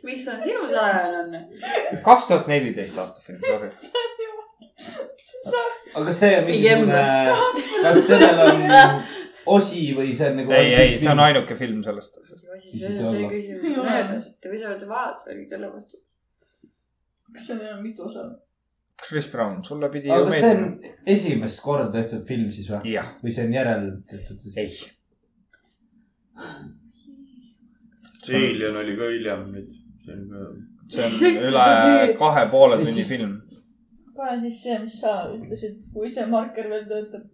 Speaker 3: mis on sinu salajane
Speaker 2: kaks tuhat neliteist aasta film , sorry .
Speaker 7: aga kas see on
Speaker 3: Pigem
Speaker 7: mingisugune , kas sellel on osi või see on nagu .
Speaker 2: ei , ei , see on ainuke film sellest .
Speaker 3: on ?
Speaker 7: Mis siis
Speaker 3: see see
Speaker 7: olla?
Speaker 3: küsimus on möödas , et või sa oled vaas , oli selle vastu .
Speaker 6: kas sellel on mitu osa ?
Speaker 2: Chris Brown , sulle pidi ju
Speaker 7: aga kas see on
Speaker 2: meeldima .
Speaker 7: esimest korda tehtud film siis või ?
Speaker 2: jah ,
Speaker 7: või see on järel tehtud ?
Speaker 2: ei .
Speaker 1: Alien oli ka hiljem nüüd . see on ka .
Speaker 2: see on üle kahe poole tunni film .
Speaker 6: pane siis see , mis sa ütlesid , kui see marker veel töötab .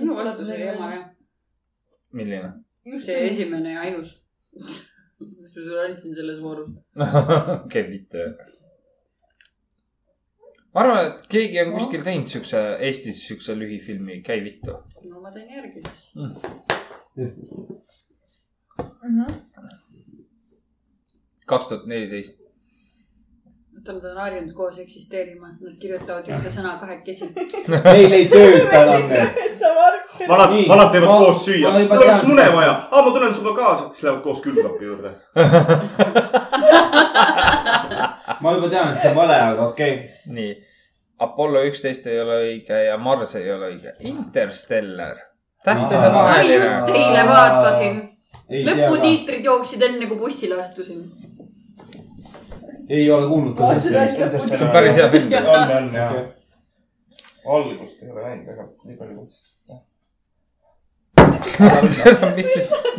Speaker 3: sinu vastus oli jama . jah .
Speaker 2: milline ?
Speaker 6: just
Speaker 3: see . esimene ja ainus . mis ma sulle andsin selles voorus .
Speaker 2: okei , mitte . ma arvan , et keegi on kuskil teinud siukse , Eestis siukse lühifilmi , käi vittu .
Speaker 3: no ma teen järgi siis .
Speaker 2: kaks tuhat neliteist .
Speaker 3: vaata , nad on harjunud koos eksisteerima , nad kirjutavad ühte sõna kahekesi .
Speaker 7: meil ei tööta enam need .
Speaker 6: ta marker .
Speaker 1: vanad
Speaker 7: Nii, ,
Speaker 1: vanad teevad
Speaker 7: ma-
Speaker 1: koos süüa .
Speaker 7: ma juba
Speaker 1: mul oleks
Speaker 7: tean,
Speaker 1: mune
Speaker 7: mis
Speaker 1: vaja . aa , ma tulen sinuga kaasa . siis lähevad koos külmkapi juurde .
Speaker 7: ma juba tean , et see on vale , aga okei okay. .
Speaker 2: nii . Apollo üksteist ei ole õige ja Mars ei ole õige . Interstellar . tähtede
Speaker 7: Aa.
Speaker 3: ma
Speaker 2: vaheline
Speaker 3: just eile vaatasin ,
Speaker 7: ei tea ka ,
Speaker 3: lõputiitrid jooksid enne kui bussile astusin .
Speaker 7: ei ole kuulnud ka
Speaker 6: Vaatasid
Speaker 7: sellest
Speaker 6: välja
Speaker 7: filmist.
Speaker 2: see on päris hea film .
Speaker 1: on , on jah . algust ei ole läinud väga , nii palju kui .
Speaker 2: mis ,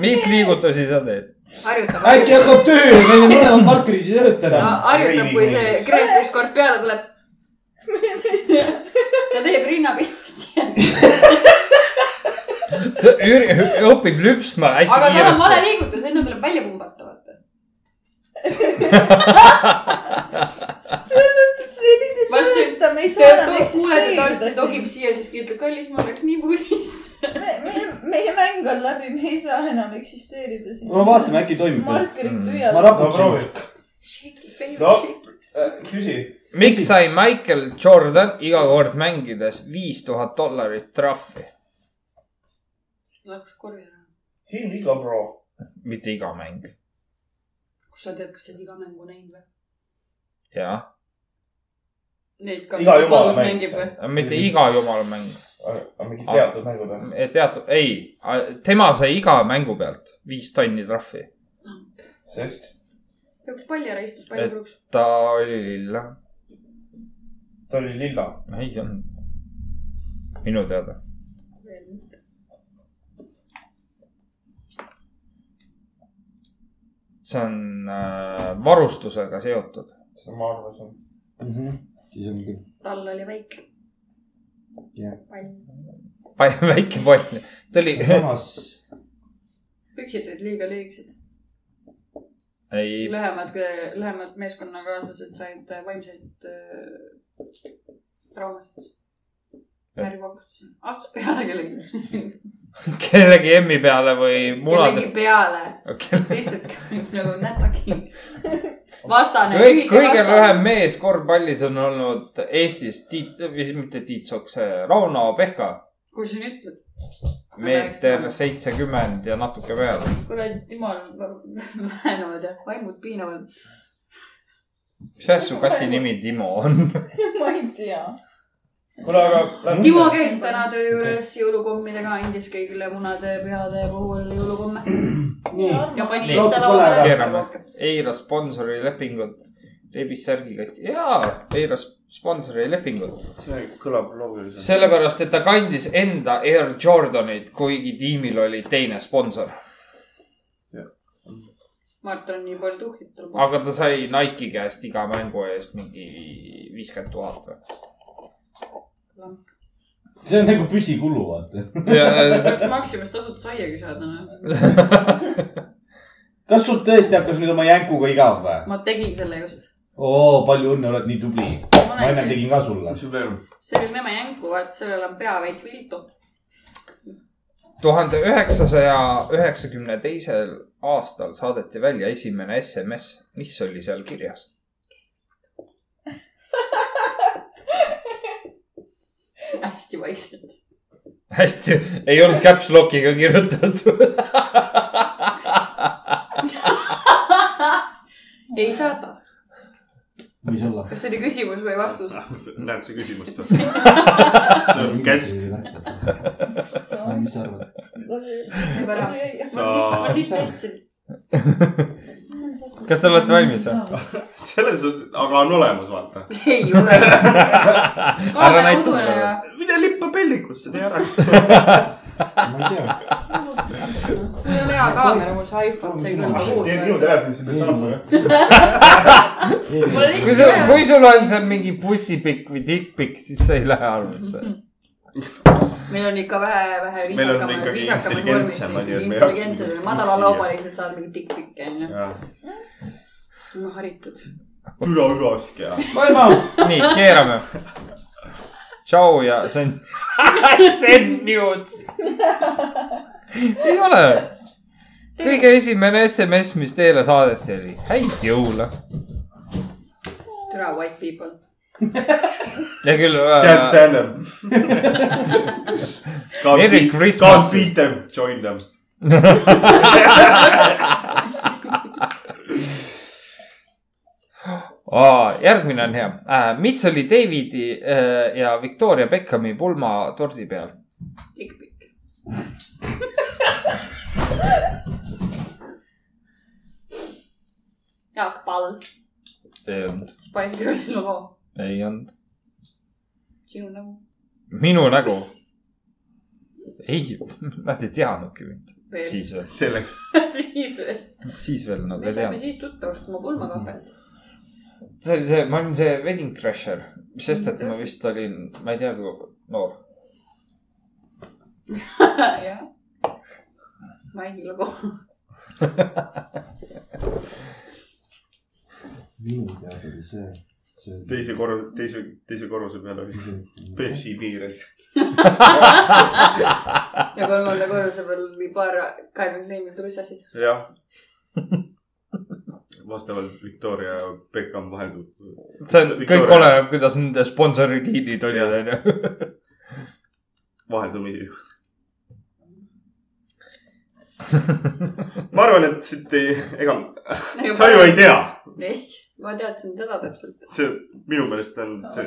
Speaker 2: mis liigutusi sa teed ?
Speaker 3: harjutab .
Speaker 7: äkki hakkab töö , meil on mõlemad markerid ei tööta
Speaker 3: ta
Speaker 7: enam .
Speaker 3: harjutab , kui see Kreek ükskord peale tuleb . ta teeb rinnapihvist .
Speaker 2: ta üri- , õpib lüpsma hästi
Speaker 3: aga tal on vale
Speaker 2: kiiresti .
Speaker 3: liigutus , enne tuleb välja pumbata , vaata .
Speaker 6: sellepärast , et see ei
Speaker 3: Ma just-
Speaker 6: tööta , me ei saa enam
Speaker 3: kuuled , et arst
Speaker 6: eksisteerida
Speaker 3: togib . siia , siis ütleb , kallis , ma läks nii busisse .
Speaker 6: meie mäng on läbi , me ei saa enam eksisteerida siin .
Speaker 7: no vaatame , äkki toimib .
Speaker 6: markerid
Speaker 2: Mm.
Speaker 7: ma
Speaker 6: tühjad .
Speaker 7: raputan .
Speaker 1: no Äh, küsi .
Speaker 2: miks sai Michael Jordan iga kord mängides viis tuhat dollarit trahvi ?
Speaker 3: Läks korvi ära .
Speaker 1: Heal iga pro .
Speaker 2: mitte iga mäng .
Speaker 3: kus sa tead , kas sa oled iga mängu näinud või ?
Speaker 2: jah ,
Speaker 3: Neid ka .
Speaker 1: Iga jumala mäng see.
Speaker 3: või ?
Speaker 2: mitte iga jumala mäng .
Speaker 1: aga mingid
Speaker 2: Ah.
Speaker 1: äh, teatud mängud on .
Speaker 2: teatud , ei , tema sai iga mängu pealt viis tonni trahvi .
Speaker 1: sest
Speaker 3: jooks palli ära , istus palli
Speaker 2: Et-
Speaker 3: puruks .
Speaker 2: ta oli lilla ,
Speaker 1: ta oli lilla .
Speaker 2: ei olnud . minu teada . see on äh, varustusega seotud .
Speaker 1: see ma arvasin .
Speaker 7: Mhm. siis on küll .
Speaker 3: tal oli väike
Speaker 7: Jah.
Speaker 3: pall .
Speaker 2: väike pall , ta oli ,
Speaker 7: samas ,
Speaker 3: püksid olid liiga lühikesed .
Speaker 2: ei ,
Speaker 3: lühemad , lühemad meeskonnakaaslased said äh, vaimseid äh, traumasid . närvivabastusi . astus peale kellegi .
Speaker 2: kellegi emmi peale või munade
Speaker 3: kellegi . peale . lihtsalt nagu nätaki . vastane .
Speaker 2: kõik , kõige lühem mees korvpallis on olnud Eestis Tiit , või mitte Tiit Sokk , see Rauno Pehka .
Speaker 3: kui sa nüüd ütled .
Speaker 2: meeter seitsekümmend ja natuke peale .
Speaker 3: kuradi jumal , väänavad ja vaimud piinavad .
Speaker 2: mis asja su kassi nimi Timo on ?
Speaker 6: ma ei tea .
Speaker 1: kuule , aga .
Speaker 3: Timo käis täna töö juures jõulukommidega , andis kõigile munade pühade puhul jõulukomme
Speaker 7: nii ,
Speaker 3: ja pani
Speaker 2: Nii.
Speaker 3: enda laua peale
Speaker 2: keerame , eiras sponsori lepingut , rebis särgikott , jaa , eiras sponsori lepingut .
Speaker 1: see kõlab loogiliselt .
Speaker 2: sellepärast , et ta kandis enda Air Jordanit , kuigi tiimil oli teine sponsor ,
Speaker 3: Mart on nii palju tuhhitud .
Speaker 2: aga ta sai Nike'i käest iga mängu eest mingi viiskümmend tuhat või ?
Speaker 7: see on nagu püsikulu , vaata .
Speaker 3: saaks Maximas tasuta saiagi saada , noh .
Speaker 1: Äh.
Speaker 7: kas sul tõesti hakkas nüüd oma jänkuga igav või ?
Speaker 3: ma tegin selle just .
Speaker 7: oo , palju õnne , oled nii tubli . ma ennem tegin ka sulle .
Speaker 1: mis sul veel on ?
Speaker 3: see oli meme jänku , vaat sellel on pea veits viltu .
Speaker 2: tuhande üheksasaja üheksakümne teisel aastal saadeti välja esimene SMS , mis oli seal kirjas ?
Speaker 3: hästi vaikselt .
Speaker 2: hästi , ei olnud caps lock'iga kirjutatud .
Speaker 3: ei saada .
Speaker 7: võis olla .
Speaker 3: kas see oli küsimus või vastus ?
Speaker 1: Ah, näed , see küsimust on . see on käsk .
Speaker 7: mis sa arvad ?
Speaker 3: ära .
Speaker 1: Sa-
Speaker 3: ma siit leidsin .
Speaker 2: kas te olete valmis või ?
Speaker 1: selles suhtes , aga on olemas , vaata .
Speaker 3: ei ole .
Speaker 2: ära näita mulle .
Speaker 3: nagu-
Speaker 1: mine lippa peldikusse , tee ära .
Speaker 7: ma ei tea .
Speaker 3: mul on hea kaamera , mul see iPhone , see ei nagu- kõlba
Speaker 1: tee minu
Speaker 3: kuhugi .
Speaker 1: telefonisse , pead saama .
Speaker 2: kui sul , kui sul on seal mingi bussipikk või tikkpikk , siis see ei lähe arvesse .
Speaker 3: meil on ikka vähe , vähe
Speaker 1: Meil on
Speaker 3: viisakamad ,
Speaker 1: ikkagi
Speaker 3: viisakamad
Speaker 1: intelligentsem asi, ,
Speaker 3: vormid
Speaker 1: et me ei oleks
Speaker 3: intelligentsed
Speaker 1: mingi ,
Speaker 3: madalalaubalised saavad mingi tikk-tikki onju .
Speaker 1: türa
Speaker 3: no haritud .
Speaker 1: ürask ja .
Speaker 7: vaima ,
Speaker 2: nii , keerame . tšau ja see on , see on news . ei ole . kõige esimene SMS , mis teile saadeti , oli häid jõule .
Speaker 3: türa white people .
Speaker 2: ja küll
Speaker 1: Can't
Speaker 2: äh, .
Speaker 1: stand them . Can't
Speaker 2: Merry
Speaker 1: beat, can't
Speaker 2: Christmas.
Speaker 1: beat them , join them .
Speaker 2: järgmine on hea äh, . mis oli Davidi äh, ja Victoria Beckhami pulma tordi peal ?
Speaker 3: tikk-tikk . Jaak Pall ,
Speaker 2: ei olnud ,
Speaker 3: Spice Girlsi lugu ,
Speaker 2: ei olnud .
Speaker 3: sinu nagu nägu .
Speaker 2: minu nägu . ei , nad ei teadnudki mind .
Speaker 3: veel ,
Speaker 2: siis veel ,
Speaker 1: selleks .
Speaker 3: siis veel .
Speaker 2: siis veel nad
Speaker 3: me
Speaker 2: ei
Speaker 3: saime
Speaker 2: teadnud .
Speaker 3: siis tuttavaks , kui ma
Speaker 1: Mhm.
Speaker 3: pulmakaapelt .
Speaker 2: see oli see , ma olin see wedding crasher , sest et ma vist olin , ma ei tea , kui noor .
Speaker 3: jah . Maigi lugu .
Speaker 7: minu teada oli see , see
Speaker 1: teise korru- , teise , teise korruse peal oli Pepsi piir , et .
Speaker 3: ja kolmanda korruse peal oli paar kaevanud neemid russasid .
Speaker 1: jah . vastavalt Victoria ja Beckham vaheldub .
Speaker 2: see on , kõik
Speaker 1: Victoria. oleneb,
Speaker 2: oleneb , kuidas nende sponsori diilid olid , onju .
Speaker 1: vaheldumisi . ma arvan , et siit ei , ega sa ju ei . tea ,
Speaker 3: ei , ma teadsin seda täpselt .
Speaker 1: see minu meelest on see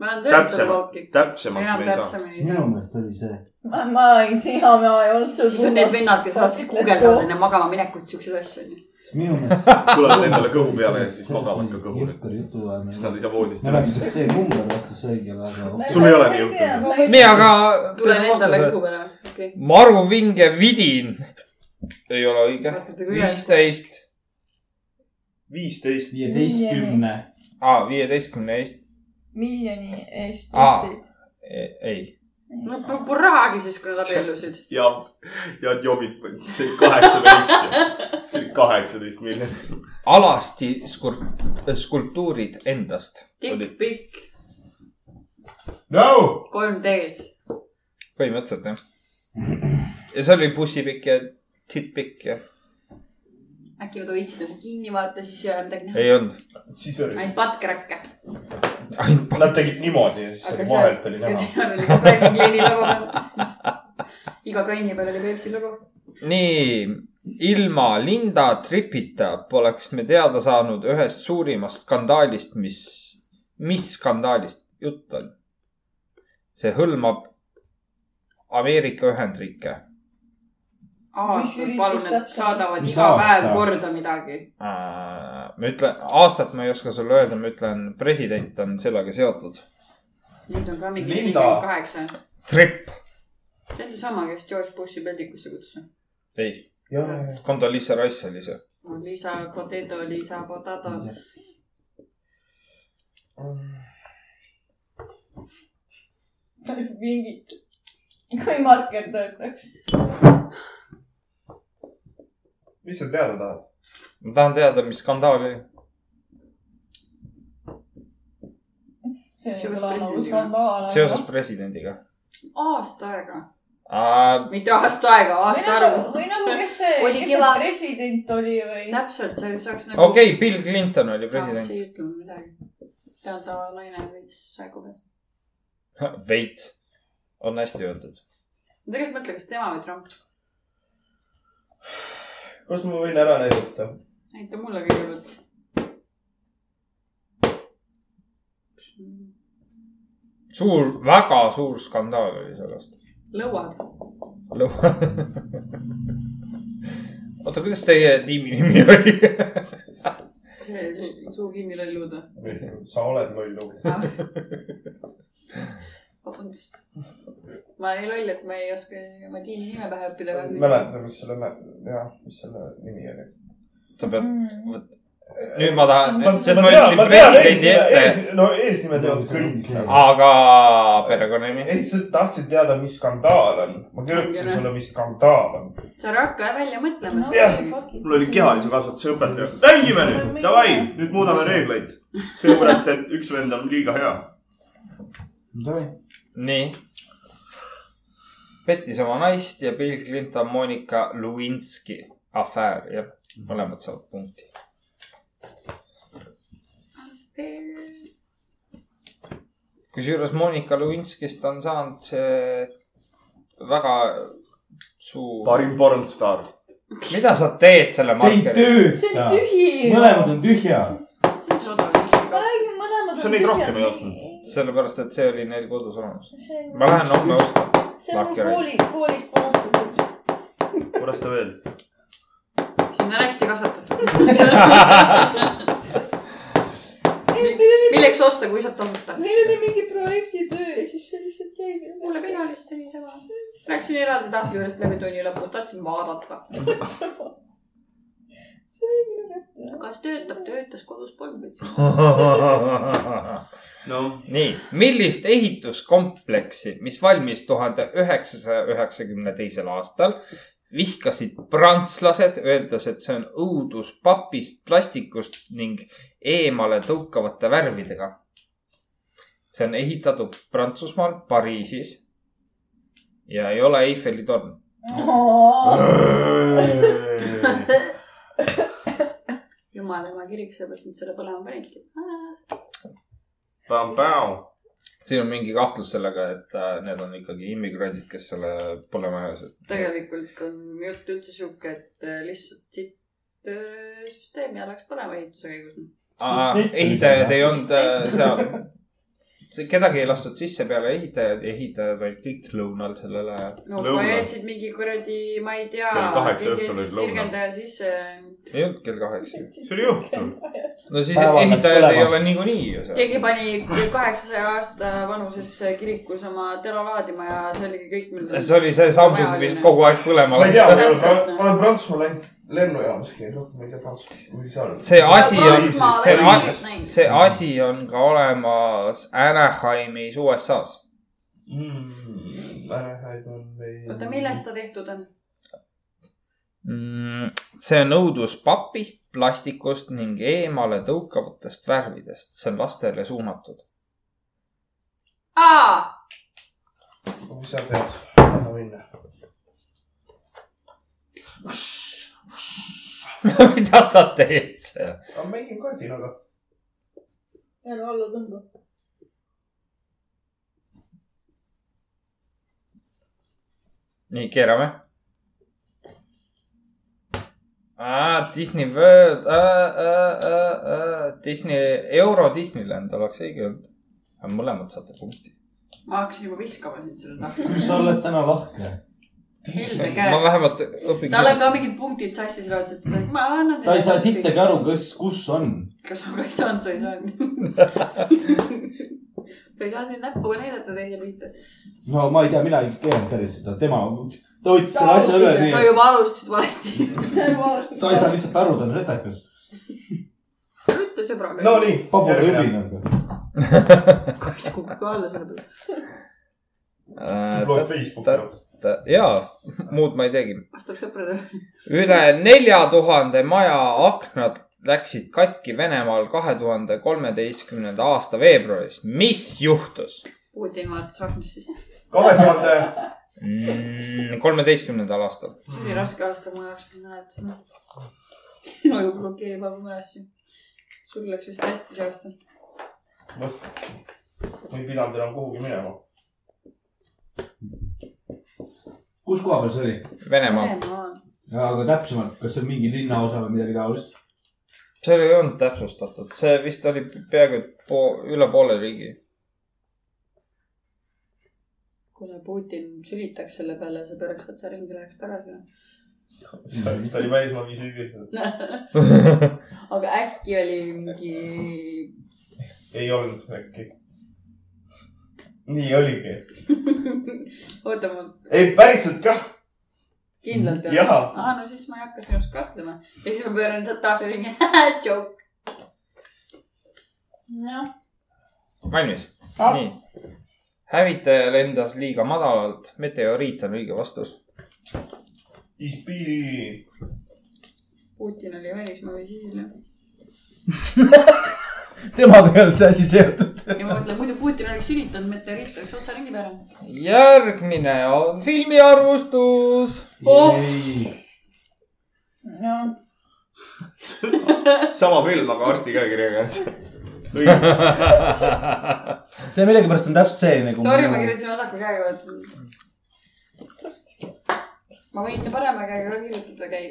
Speaker 3: ma olen
Speaker 1: Täpsem-
Speaker 3: töötajaloogik .
Speaker 1: täpsemaks
Speaker 3: enam
Speaker 1: me ei saa .
Speaker 3: täpsemini ei
Speaker 7: minu
Speaker 3: saa .
Speaker 7: meelest oli see .
Speaker 6: ma ei tea , ma ei olnud seal
Speaker 3: siis on need vennad , kes alati
Speaker 6: Let's go.
Speaker 3: guugeldavad enne magama minekut siukseid asju onju .
Speaker 7: minu meelest .
Speaker 1: tulevad endale kõhu peale ja siis magavad ka kõhule . siis nad
Speaker 7: jutuajamine .
Speaker 1: ei saa voodist
Speaker 7: ma ei
Speaker 1: üles
Speaker 7: mäleta ,. kas see number vastas õigele , aga .
Speaker 1: Sul ei ole nii juhtunud.
Speaker 2: nii , aga .
Speaker 3: tulen endale kõhu peale . okei .
Speaker 2: Maru Vinge vidin . ei ole õige .
Speaker 3: hakkate küljest .
Speaker 2: viisteist ,
Speaker 1: viisteist .
Speaker 7: viieteistkümne .
Speaker 2: viieteistkümne eest ,
Speaker 6: miljoni eest
Speaker 2: Aa. . E, ei .
Speaker 3: no puhu rahagi siis , kui nad abiellusid .
Speaker 1: ja , ja jobid , see oli kaheksateist . see oli kaheksateist miljonit .
Speaker 2: alasti skulp- , skulptuurid endast olid
Speaker 3: tikk-pikk ,
Speaker 1: no
Speaker 3: 3D-s .
Speaker 2: põhimõtteliselt jah . ja see oli bussipikk ja tittpikk ja
Speaker 3: äkki nad hoidsid nagu kinni , vaata , siis ei ole midagi näha .
Speaker 2: ei olnud ,
Speaker 1: siis oli ,
Speaker 3: ainult patkeräkke .
Speaker 2: ainult
Speaker 1: nad tegid niimoodi ja siis oli
Speaker 3: aga seal ,
Speaker 1: vahelt oli
Speaker 3: ja
Speaker 1: näha .
Speaker 3: seal oli kogu aeg Leeni logo peal . iga kaini peal oli Peipsi logo .
Speaker 2: nii , ilma Linda Tripita poleks me teada saanud ühest suurimast skandaalist , mis , mis skandaalist jutt on . see hõlmab Ameerika Ühendriike .
Speaker 3: aastad ,
Speaker 5: üritus
Speaker 3: palun , et
Speaker 5: täpselt?
Speaker 3: saadavad
Speaker 9: Mis
Speaker 3: iga päev
Speaker 9: aasta?
Speaker 3: korda midagi .
Speaker 2: Äh, ma ütlen , aastat ma ei oska sulle öelda , ma ütlen , president on sellega seotud .
Speaker 3: nüüd on ka mingi
Speaker 9: Linda.
Speaker 3: nelikümmend kaheksa .
Speaker 2: Trip ,
Speaker 3: see on seesama , kes George Bushi peldikusse kutsus .
Speaker 2: ei ,
Speaker 9: ja , ja , ja .
Speaker 2: Condoleezza Rice oli see .
Speaker 3: Lisa Potato , Lisa Potato .
Speaker 6: mingit , kui marker töötaks .
Speaker 1: mis sa teada tahad ?
Speaker 2: ma tahan teada , mis skandaal oli .
Speaker 6: see on
Speaker 3: Seoses
Speaker 6: võib-olla nagu
Speaker 3: presidendiga.
Speaker 6: skandaal .
Speaker 2: seoses presidendiga . Äh,
Speaker 3: aasta aega ,
Speaker 2: Aa,
Speaker 3: mitte aasta aega , aasta arvu .
Speaker 6: või nagu , kes see ,
Speaker 3: Oli
Speaker 6: kes see
Speaker 3: kevad.
Speaker 6: president oli või ?
Speaker 3: täpselt , sa saaks nagu .
Speaker 2: okei , Bill Clinton oli
Speaker 3: see
Speaker 2: president .
Speaker 3: ei ütle mulle midagi . teada naine veits säägu peas .
Speaker 2: veits , on hästi öeldud .
Speaker 3: ma tegelikult mõtlen , kas tema või Trump .
Speaker 1: kas ma võin ära näidata ?
Speaker 3: näita mulle kõigepealt .
Speaker 2: suur , väga suur skandaal oli sellest .
Speaker 3: lõuad .
Speaker 2: oota , kuidas teie tiimi nimi oli ?
Speaker 3: see suu kinni lõllud või ?
Speaker 1: nagu, sa oled loll lugu .
Speaker 3: vabandust . ma olin loll , et ma ei oska oma tiimi nime pähe õppida .
Speaker 1: mäletan , mis selle , jah , mis selle nimi oli .
Speaker 2: sa pead ,
Speaker 6: Mm.
Speaker 2: nüüd ma tahan , sest ma
Speaker 1: tean-
Speaker 2: ütlesin
Speaker 1: ma tean
Speaker 2: presidendi
Speaker 1: eesnime-
Speaker 2: ette ,
Speaker 1: ees- no eesnimed ei olnud kõik nagu .
Speaker 2: aga perekonnanimi .
Speaker 1: ei , sa tahtsid teada , mis skandaal on . ma kirjutasin
Speaker 3: Ongi,
Speaker 1: sulle , mis skandaal on .
Speaker 3: sa ära hakka välja mõtlema
Speaker 6: No,
Speaker 1: Jah.
Speaker 3: no, .
Speaker 1: mul oli kehalise kasvatuse õpetaja . mängime nüüd , davai , nüüd muudame reegleid . seepärast , et üks vend on liiga hea .
Speaker 2: nii . pettis oma naist ja Bill Clinton Monika Lewinsky afäär , jah , mõlemad saavad punkti . kusjuures Monika Lewinskist on saanud see väga suur .
Speaker 1: parim pornstaar .
Speaker 2: mida sa teed selle
Speaker 9: see ei
Speaker 2: markeri ?
Speaker 6: see
Speaker 9: tööta
Speaker 6: on . tühi .
Speaker 9: mõlemad on tühjad .
Speaker 3: see on sodav .
Speaker 6: räägi , mõlemad on
Speaker 1: Sa neid rohkem ei ostnud? ?
Speaker 2: sellepärast , et see oli neil kodus olemas .
Speaker 6: see on
Speaker 2: ma , lähen homme ostan .
Speaker 6: see on mul
Speaker 2: markereid.
Speaker 6: kooli , koolist unustatud .
Speaker 1: kuidas ta veel ?
Speaker 3: sind on hästi kasvatatud . milleks osta , kui saab tasuta ?
Speaker 6: meil oli mingi projektitöö ja siis see lihtsalt jäi
Speaker 3: mulle
Speaker 6: meile .
Speaker 3: penalist oli sama . Läksin eraldi tahvli juurest läbi tunni lõpus , tahtsin vaadata .
Speaker 6: see oli minu kätte .
Speaker 3: kas töötab , töötas kodus polnud üldse .
Speaker 1: noh ,
Speaker 2: nii , millist ehituskompleksi , mis valmis tuhande üheksasaja üheksakümne teisel aastal , vihkasid prantslased , öeldes , et see on õudus papist , plastikust ning eemale tõukavate värvidega . see on ehitatud Prantsusmaal , Pariisis ja ei ole Eiffeli torn .
Speaker 3: jumala ema kirik , seepärast nad selle põlema panidki .
Speaker 1: Pam-pam .
Speaker 2: siin on mingi kahtlus sellega , et äh, need on ikkagi immigrandid , kes selle põlema ajasid .
Speaker 3: tegelikult on jutt üldse sihuke , et äh, lihtsalt siit äh, süsteemi läks põlema ehituse käigus .
Speaker 2: ehitajad ei olnud äh, seal , kedagi ei lastud sisse peale ehitajad , ehitajad olid kõik lõunal sellel ajal .
Speaker 3: no
Speaker 1: Lõuna.
Speaker 3: kui jätsid mingi kuradi , ma ei tea .
Speaker 1: Kell kaheksa õhtul olid lõunal.
Speaker 3: sirgendaja sisse .
Speaker 2: ei olnud kell kaheksa .
Speaker 1: see oli õhtul .
Speaker 2: no siis
Speaker 9: Päeval läks
Speaker 2: ehitajad ei
Speaker 9: põlema.
Speaker 2: ole niikuinii ju seal .
Speaker 3: keegi pani kaheksasaja aasta vanuses kirikus oma tera laadima ja see oligi kõik , mida .
Speaker 2: see oli see Samsung , mis kogu aeg põlema
Speaker 1: ma ei tea , ma
Speaker 2: läks .
Speaker 1: ei ole , ma olen Prantsusmaa läinud lennujaamaski , noh , ma ei tea Prantsusmaa , kui seal .
Speaker 2: see asi on ,
Speaker 1: Prantsusmaal
Speaker 2: see
Speaker 1: ei
Speaker 2: on
Speaker 1: olnud ,
Speaker 3: näinud.
Speaker 2: see asi on ka olemas Anaheimis USA-s .
Speaker 1: Mm,
Speaker 3: oota , millest ta tehtud on ?
Speaker 2: Mm, see on õudus papist , plastikust ning eemale tõukavatest värvidest , see on lastele suunatud .
Speaker 3: aa ,
Speaker 1: mis sa tead , anna minna .
Speaker 2: mida sa teed seal ?
Speaker 1: ma mängin kardinaga .
Speaker 6: jään alla tõmbama .
Speaker 2: nii , keerame . aa , Disney World , Disney , Euro Disneyland oleks õige olnud . mõlemad saate punkti .
Speaker 3: ma hakkasin juba viskama sind selle
Speaker 9: küll sa oled täna lahke .
Speaker 3: taha .
Speaker 2: ma vähemalt õpin .
Speaker 3: tal on ka mingid punktid sassi selle otsa , et ta , ma annan
Speaker 9: ta ei saa sittagi . aru , kes , kus on .
Speaker 3: kas ma ka ei saanud , sa ei saanud . sa ei saa siin näpuga näidata teise pihta .
Speaker 9: no ma ei tea , mina ei keelanud päris seda , tema , ta võttis selle asja üle
Speaker 3: sa
Speaker 9: nii ,
Speaker 3: juba alustasid valesti .
Speaker 9: ta ei saa lihtsalt aru , ta on retakas .
Speaker 3: ütle sõbraga .
Speaker 1: no nii ,
Speaker 9: pabuga ülinenud .
Speaker 3: kaks kukku alla selle peale .
Speaker 1: loed Facebooki
Speaker 2: Äh, ta- jaa , muud ma ei teegi .
Speaker 3: vastab sõpradele .
Speaker 2: üle nelja tuhande maja aknad läksid katki Venemaal kahe tuhande kolmeteistkümnenda aasta veebruaris . mis juhtus ?
Speaker 3: Putin vaatas aknast sisse .
Speaker 1: kahe tuhande ,
Speaker 2: Mm, kolmeteistkümnendal aastal .
Speaker 3: see oli raske aasta mu jaoks , ma mäletasin . sinu ju blokeerib oma mälestusi . sul läks vist hästi see aasta .
Speaker 1: ma ei pidanud enam kuhugi minema .
Speaker 9: kus koha peal see oli ?
Speaker 2: Venemaal .
Speaker 3: Venemaal .
Speaker 9: aga täpsemalt , kas see on mingi linnaosa või midagi taolist ?
Speaker 2: see ei olnud täpsustatud , see vist oli peaaegu et po- , üle poole riigi .
Speaker 3: kuule , Putin sülitaks selle peale , sa pööraks otsa ringi , läheks tagasi .
Speaker 1: ta ta oli välismaa visiidil .
Speaker 3: aga äkki oli mingi ,
Speaker 1: ei olnud äkki . nii oligi .
Speaker 3: oota ma
Speaker 1: ei , päriselt kah .
Speaker 3: kindlalt pean .
Speaker 1: Jaa.
Speaker 3: aa , no siis ma ei hakka sinust kahtlema . ja siis ma pööran sealt tahvli ringi , joke . jah ,
Speaker 2: valmis ? nii . hävitaja lendas liiga madalalt , meteoriit on õige vastus .
Speaker 1: Is busy .
Speaker 3: Putin oli välismaa visiidil jah .
Speaker 7: temaga ei olnud see asi seotud .
Speaker 3: ja ma mõtlen , muidu Putin oleks sülitanud meteoriit , oleks otsa ringi pööranud .
Speaker 2: järgmine on filmiarvustus .
Speaker 3: Oh!
Speaker 6: jah .
Speaker 1: sama film , aga arsti käekirjaga . õige ,
Speaker 7: see millegipärast on täpselt see nagu .
Speaker 3: Sorry , ma kirjutasin vasaku käega , et . ma võin ju parema käega ka kirjutada käia ,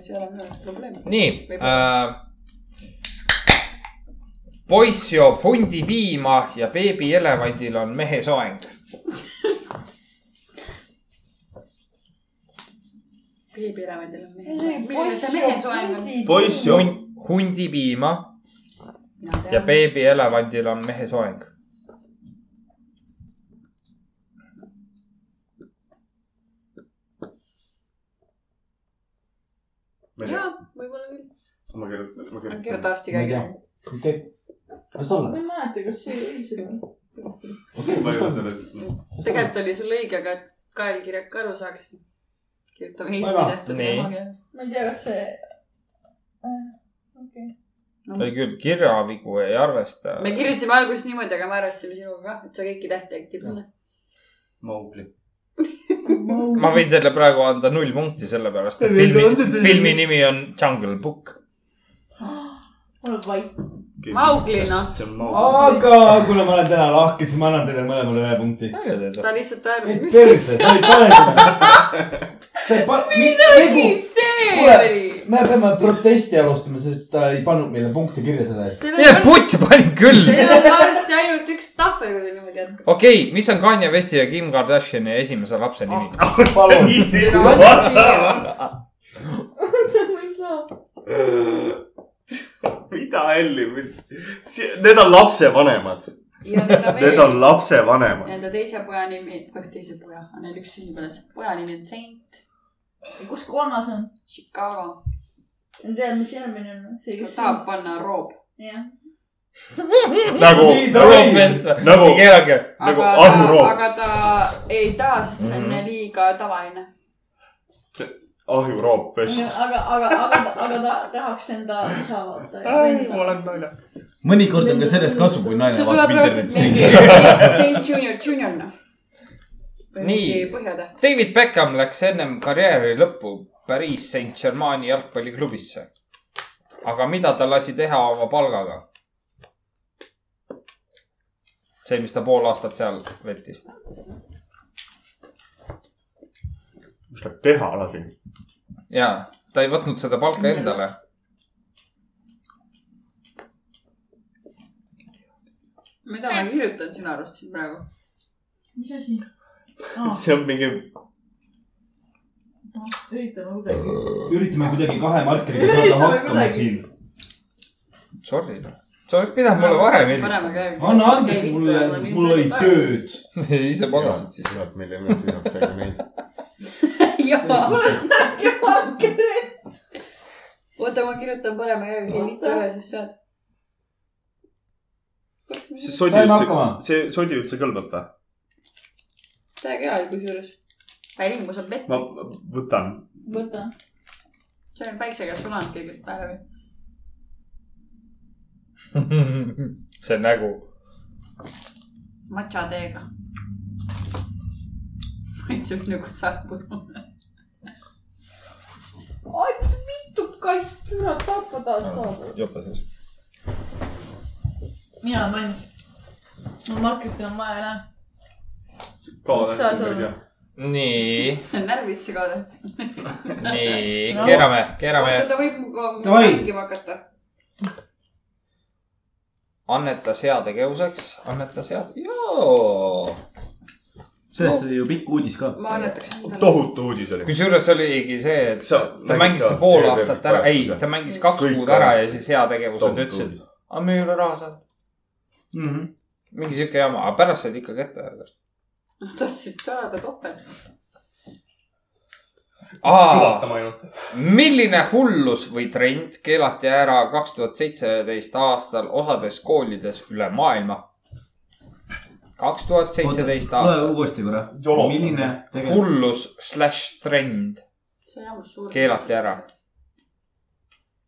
Speaker 3: see ei ole minu jaoks probleem .
Speaker 2: nii äh, . poiss joob hundi piima ja beebielevandil on mehe soeng .
Speaker 3: beebielevandil on
Speaker 6: See oli
Speaker 3: mehe
Speaker 6: poiss
Speaker 3: soeng .
Speaker 1: poiss ju .
Speaker 2: hundi piima ja . beebielevandil on mehe soeng .
Speaker 1: ma ei tea
Speaker 3: jaa , võib-olla küll .
Speaker 1: ma kirjutan , ma kirjutan .
Speaker 3: kirjuta arsti
Speaker 9: ma ei
Speaker 3: käega
Speaker 9: tea .. okei , las olla
Speaker 6: ma . ei mäleta , kas see oli seda .
Speaker 1: ma ei ole sellest .
Speaker 3: tegelikult oli sul õige , aga et Kael kirjab ka aru saaks . kirjutame eesti
Speaker 9: Väga.
Speaker 3: tähte
Speaker 2: Nii.
Speaker 3: tema keeles .
Speaker 6: ma ei tea , kas see . okei .
Speaker 2: ei küll , kirjavigu ei arvesta .
Speaker 3: me kirjutasime alguses niimoodi , aga me arvestasime sinuga ka , et sa kõiki tähti äkki ei tunne .
Speaker 1: Maugli .
Speaker 2: ma võin teile praegu anda null punkti , sellepärast et
Speaker 1: Ei, ei,
Speaker 2: filmi
Speaker 1: ei, ei, , ei.
Speaker 2: filmi nimi on Jungle Book .
Speaker 6: mul on vait .
Speaker 3: Maugli, noh.
Speaker 1: see on Maugli .
Speaker 9: aga kuna ma olen täna lahke , siis ma annan teile mõlemale ühe punkti .
Speaker 3: ta lihtsalt
Speaker 9: ei
Speaker 3: arvab .
Speaker 9: perse , sa ei pane seda . sa ei pane , mis tegu ?
Speaker 3: see
Speaker 9: kuule , me peame protesti alustama , sest ta ei pannud meile punkte kirja selle eest .
Speaker 2: mine putsi , panin küll .
Speaker 3: Teil on varsti ainult üks tahvel , kui te niimoodi jätkate .
Speaker 2: okei okay, , mis on Kanye Westi ja Kim Kardashini esimese lapse nimi
Speaker 3: Ah.
Speaker 2: oh. ?
Speaker 9: palun ,
Speaker 6: see ma ei saa .
Speaker 1: mida Elli , need on lapsevanemad ,
Speaker 3: ja teda
Speaker 1: need
Speaker 3: veel
Speaker 1: on lapsevanemad .
Speaker 3: nii-öelda teise poja nimi , oih teise poja , on neil üks sünnipäev , poja nimi on Saint
Speaker 6: kus kolmas on ?
Speaker 3: Chicago .
Speaker 6: ma tean , mis järgmine on . see ,
Speaker 3: ta
Speaker 6: kes .
Speaker 3: tahab panna Roob ,
Speaker 6: jah .
Speaker 1: nagu ,
Speaker 9: Nii ta-
Speaker 2: nagu
Speaker 1: Nagu-
Speaker 2: keelake .
Speaker 1: Nagu
Speaker 3: aga
Speaker 1: Arvo
Speaker 3: ta ,
Speaker 1: Roob.
Speaker 3: aga ta ei taha , sest see on
Speaker 2: Mhm.
Speaker 3: liiga tavaline .
Speaker 1: ahju roob pest .
Speaker 6: aga , aga , aga , aga ta tahaks enda isa vaata .
Speaker 1: ma olen nalja .
Speaker 4: mõnikord on ka sellest kasu , kui naine
Speaker 3: see
Speaker 4: vaatab
Speaker 3: tuleb reaalselt mingi
Speaker 4: internetis .
Speaker 3: Saint Junior Junior noh . või
Speaker 2: Nii.
Speaker 3: mingi Põhjatäht .
Speaker 2: David Beckham läks ennem karjääri lõppu Pariis Saint-Germaini jalgpalliklubisse . aga mida ta lasi teha oma palgaga ? see , mis ta pool aastat seal vetis .
Speaker 1: mis ta teha lasi ?
Speaker 2: ja ta ei võtnud seda palka endale .
Speaker 3: mida ma kirjutan sinu arust siin praegu ?
Speaker 6: mis asi ? aa ,
Speaker 1: see on mingi ,
Speaker 6: üritame kuidagi .
Speaker 9: üritame kuidagi kahe markeriga saada
Speaker 6: Üritame
Speaker 9: hakkama
Speaker 6: kuidagi.
Speaker 9: siin .
Speaker 2: Sorry , noh . sa oleks pidanud mulle varem helistama .
Speaker 9: anna andeks mulle , mul oli . tööd .
Speaker 2: ise magasid siis .
Speaker 10: kurat , meil ei olnud lisaks aega neid .
Speaker 3: jaa ,
Speaker 6: Markeri .
Speaker 3: oota , ma kirjutan parema käega kinnitu ära , siis saad .
Speaker 1: see sodi
Speaker 9: saime
Speaker 1: üldse ,
Speaker 9: hakkama .
Speaker 1: see sodi üldse kõlbab või ?
Speaker 3: täiega hea oli kusjuures . päringus on vett ,
Speaker 1: ma võtan .
Speaker 5: võta .
Speaker 3: see on päiksega sulanud kõigest päevi .
Speaker 2: see nägu .
Speaker 3: matša teega . maitseb nagu saabu .
Speaker 6: ai , mitu kass , kurat , tappa tahad saada .
Speaker 2: jope sees .
Speaker 6: mina olen valmis . mul markerit enam vaja ei lähe . Mis sa sul-
Speaker 1: ma
Speaker 2: nii ,
Speaker 3: see on närvisse ka tehtud .
Speaker 2: nii ,
Speaker 6: No.
Speaker 2: keerame , keerame
Speaker 3: oota , ta võib nagu mu ka
Speaker 9: Davai.
Speaker 3: mängima hakata .
Speaker 2: annetas heategevuseks , annetas hea , joo .
Speaker 9: sellest oli ju pikk uudis ka .
Speaker 3: ma annetaks endale .
Speaker 1: tohutu uudis oli .
Speaker 2: kusjuures oligi see , et
Speaker 1: Sa nagu
Speaker 2: ta
Speaker 1: mängid
Speaker 2: mängis
Speaker 1: ka
Speaker 2: see pool
Speaker 1: ERR-i
Speaker 2: aastat ära , ei ,
Speaker 1: kajastuse.
Speaker 2: ta mängis kaks
Speaker 1: Kõik
Speaker 2: kuud ära ja
Speaker 1: ajast.
Speaker 2: siis heategevused
Speaker 1: tohutu
Speaker 2: ütlesid ,
Speaker 1: uudis .
Speaker 2: aga me ei ole raha saanud . mingi sihuke jama , aga pärast said ikka kätte .
Speaker 3: tahtsid saada topelt .
Speaker 2: aa ,
Speaker 1: kõvatama ainult .
Speaker 2: milline hullus või trend keelati ära kaks tuhat seitseteist aastal osades koolides üle maailma ? kaks tuhat seitseteist aastal
Speaker 4: uuesti korra .
Speaker 1: Jolo.
Speaker 4: milline tegelikult ?
Speaker 2: hullus slaš trend
Speaker 3: see on jamus suur .
Speaker 2: Keelati ära. .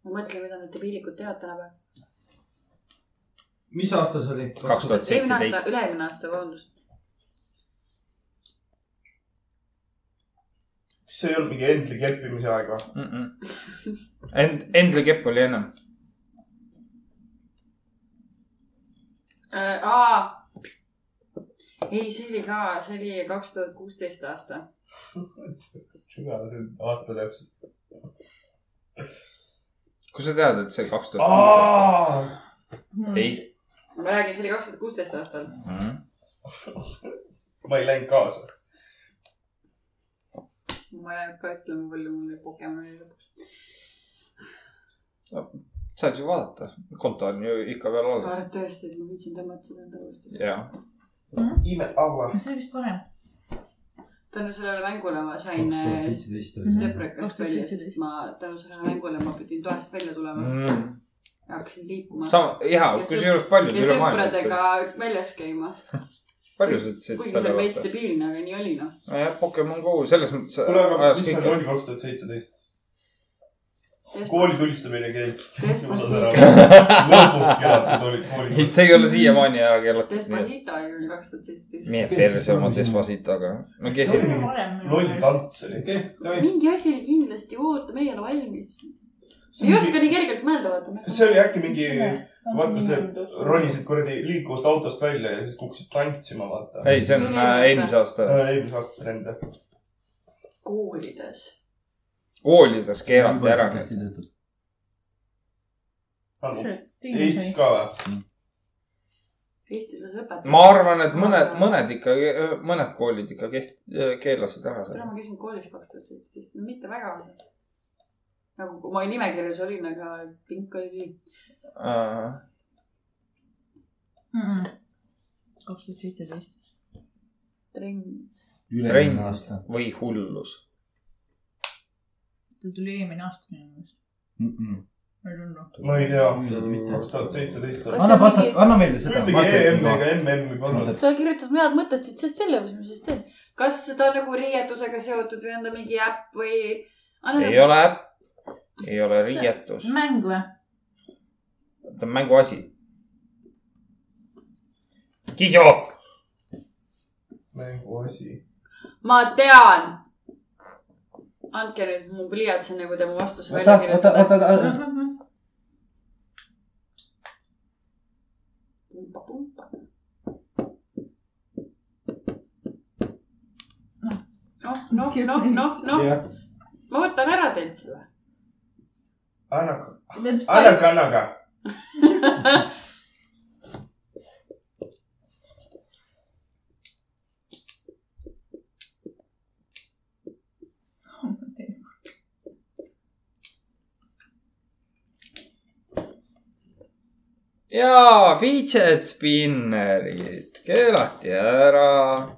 Speaker 3: ma mõtlen , mida need debiilikud teevad tänapäeval .
Speaker 9: mis aasta see oli ?
Speaker 2: kaks tuhat
Speaker 3: eelmine aasta ,
Speaker 2: seitseteist .
Speaker 3: üle-eelmine aasta , vabandust .
Speaker 1: kas see ei olnud mingi Endli keppimise aeg või ?
Speaker 2: End- , Endli kepp oli ennem .
Speaker 3: Äh, aa , ei , see oli ka , see oli kaks tuhat kuusteist aasta .
Speaker 1: sügav see aasta täpselt .
Speaker 2: kust sa tead , et see kaks tuhat kuusteist
Speaker 6: Hmm.
Speaker 2: on ? ei .
Speaker 3: ma räägin , see oli kaks tuhat kuusteist aastal .
Speaker 2: Mhm.
Speaker 1: ma ei läinud kaasa .
Speaker 3: ma ei hakka ütlema , palju mul neid Pokemoni lõpuks .
Speaker 2: saad ju vaadata , konto on ju ikka veel olemas .
Speaker 3: arvad tõesti , et ma viitsin tõmmata seda enda uuesti ?
Speaker 2: jaa .
Speaker 1: ime alla .
Speaker 6: see oli vist parem .
Speaker 3: tänu sellele mängule ma sain äh,
Speaker 9: seitseteist
Speaker 3: deprekast välja , sest ma tänu sellele mängule ma pidin toast välja tulema
Speaker 1: Mm.
Speaker 3: ja hakkasin liikuma .
Speaker 2: Mm. sama , jaa ,
Speaker 3: Ja
Speaker 2: kusjuures paljud
Speaker 3: ja
Speaker 2: üle maailma .
Speaker 3: sõpradega väljas käima ,
Speaker 2: paljud ütlesid
Speaker 3: kuigi see
Speaker 2: selle
Speaker 3: on veits
Speaker 2: kohta .
Speaker 3: debiilne , aga nii oli noh .
Speaker 2: jah , Pokemon Go selles mõttes
Speaker 1: kuule , aga
Speaker 2: ajas
Speaker 1: mis meil
Speaker 2: kõik .
Speaker 1: oli kaks tuhat seitseteist ? kooli tulistamine käib .
Speaker 3: Despacito.
Speaker 1: lõpuks keelatud oli
Speaker 2: ei ,
Speaker 1: kooli .
Speaker 2: see ei ole siiamaani ära keelatud .
Speaker 3: Despacito oli küll kaks tuhat seitseteist .
Speaker 2: nii et perse oma Despacitoga . no kes ei
Speaker 1: No, . loll tants oli .
Speaker 3: mingi asi oli kindlasti , oota , meie oleme valmis . ei oska nii kergelt mõelda , vaata .
Speaker 1: see oli äkki mingi , vaata see , ronisid kuradi liikuvast autost välja ja siis kukkusid tantsima , vaata .
Speaker 2: ei , see on
Speaker 3: See on
Speaker 2: äh,
Speaker 3: eelmise.
Speaker 2: eelmise aasta
Speaker 1: eelmise aasta trend , jah .
Speaker 3: koolides .
Speaker 2: koolides keelati ära .
Speaker 1: Eestis ka või ?
Speaker 3: Eestis las õpetab .
Speaker 2: ma arvan , et mõned , mõned ikka , mõned koolid ikka keht- , keelasid ära
Speaker 3: täna
Speaker 2: selle .
Speaker 3: ma käisin koolis kaks tuhat seitseteist , mitte väga . nagu kui ma nimekirjas olin , aga pink oli tühi .
Speaker 6: kaks tuhat seitseteist .
Speaker 3: trenn .
Speaker 2: trend
Speaker 9: üle-eelmine aasta .
Speaker 2: või hullus .
Speaker 6: ta tuli eelmine aasta minu meelest . ma ei tulnud .
Speaker 1: ma ei tea .
Speaker 9: mitte .
Speaker 1: kaks tuhat seitseteist oli .
Speaker 3: Kas
Speaker 4: anna
Speaker 3: see
Speaker 4: pasta
Speaker 3: mingi- ,
Speaker 4: anna meile seda .
Speaker 1: ühtegi E EM-i ega MM-i polnud .
Speaker 3: sa kirjutad head mõtted siit sellest välja , mis ma siis teen . kas ta on nagu riietusega seotud või on ta mingi äpp või ? Ah, nagu
Speaker 2: ei ole äpp , ei ole riietus ,
Speaker 6: mäng või ?
Speaker 2: ta on mänguasi . Kiso ,
Speaker 1: mänguasi .
Speaker 3: ma tean . andke nüüd mu pliiats enne , kui te mu vastuse
Speaker 4: oota
Speaker 3: välja ,
Speaker 4: oota , oota ,
Speaker 3: kirjutate .
Speaker 4: oota .
Speaker 3: pumpa , pumpa . noh , noh , noh , noh , noh , ma võtan ära teilt selle .
Speaker 1: annake ,
Speaker 5: That's fine .
Speaker 1: annake , annage .
Speaker 2: ja fidget spinnerid keelati ära .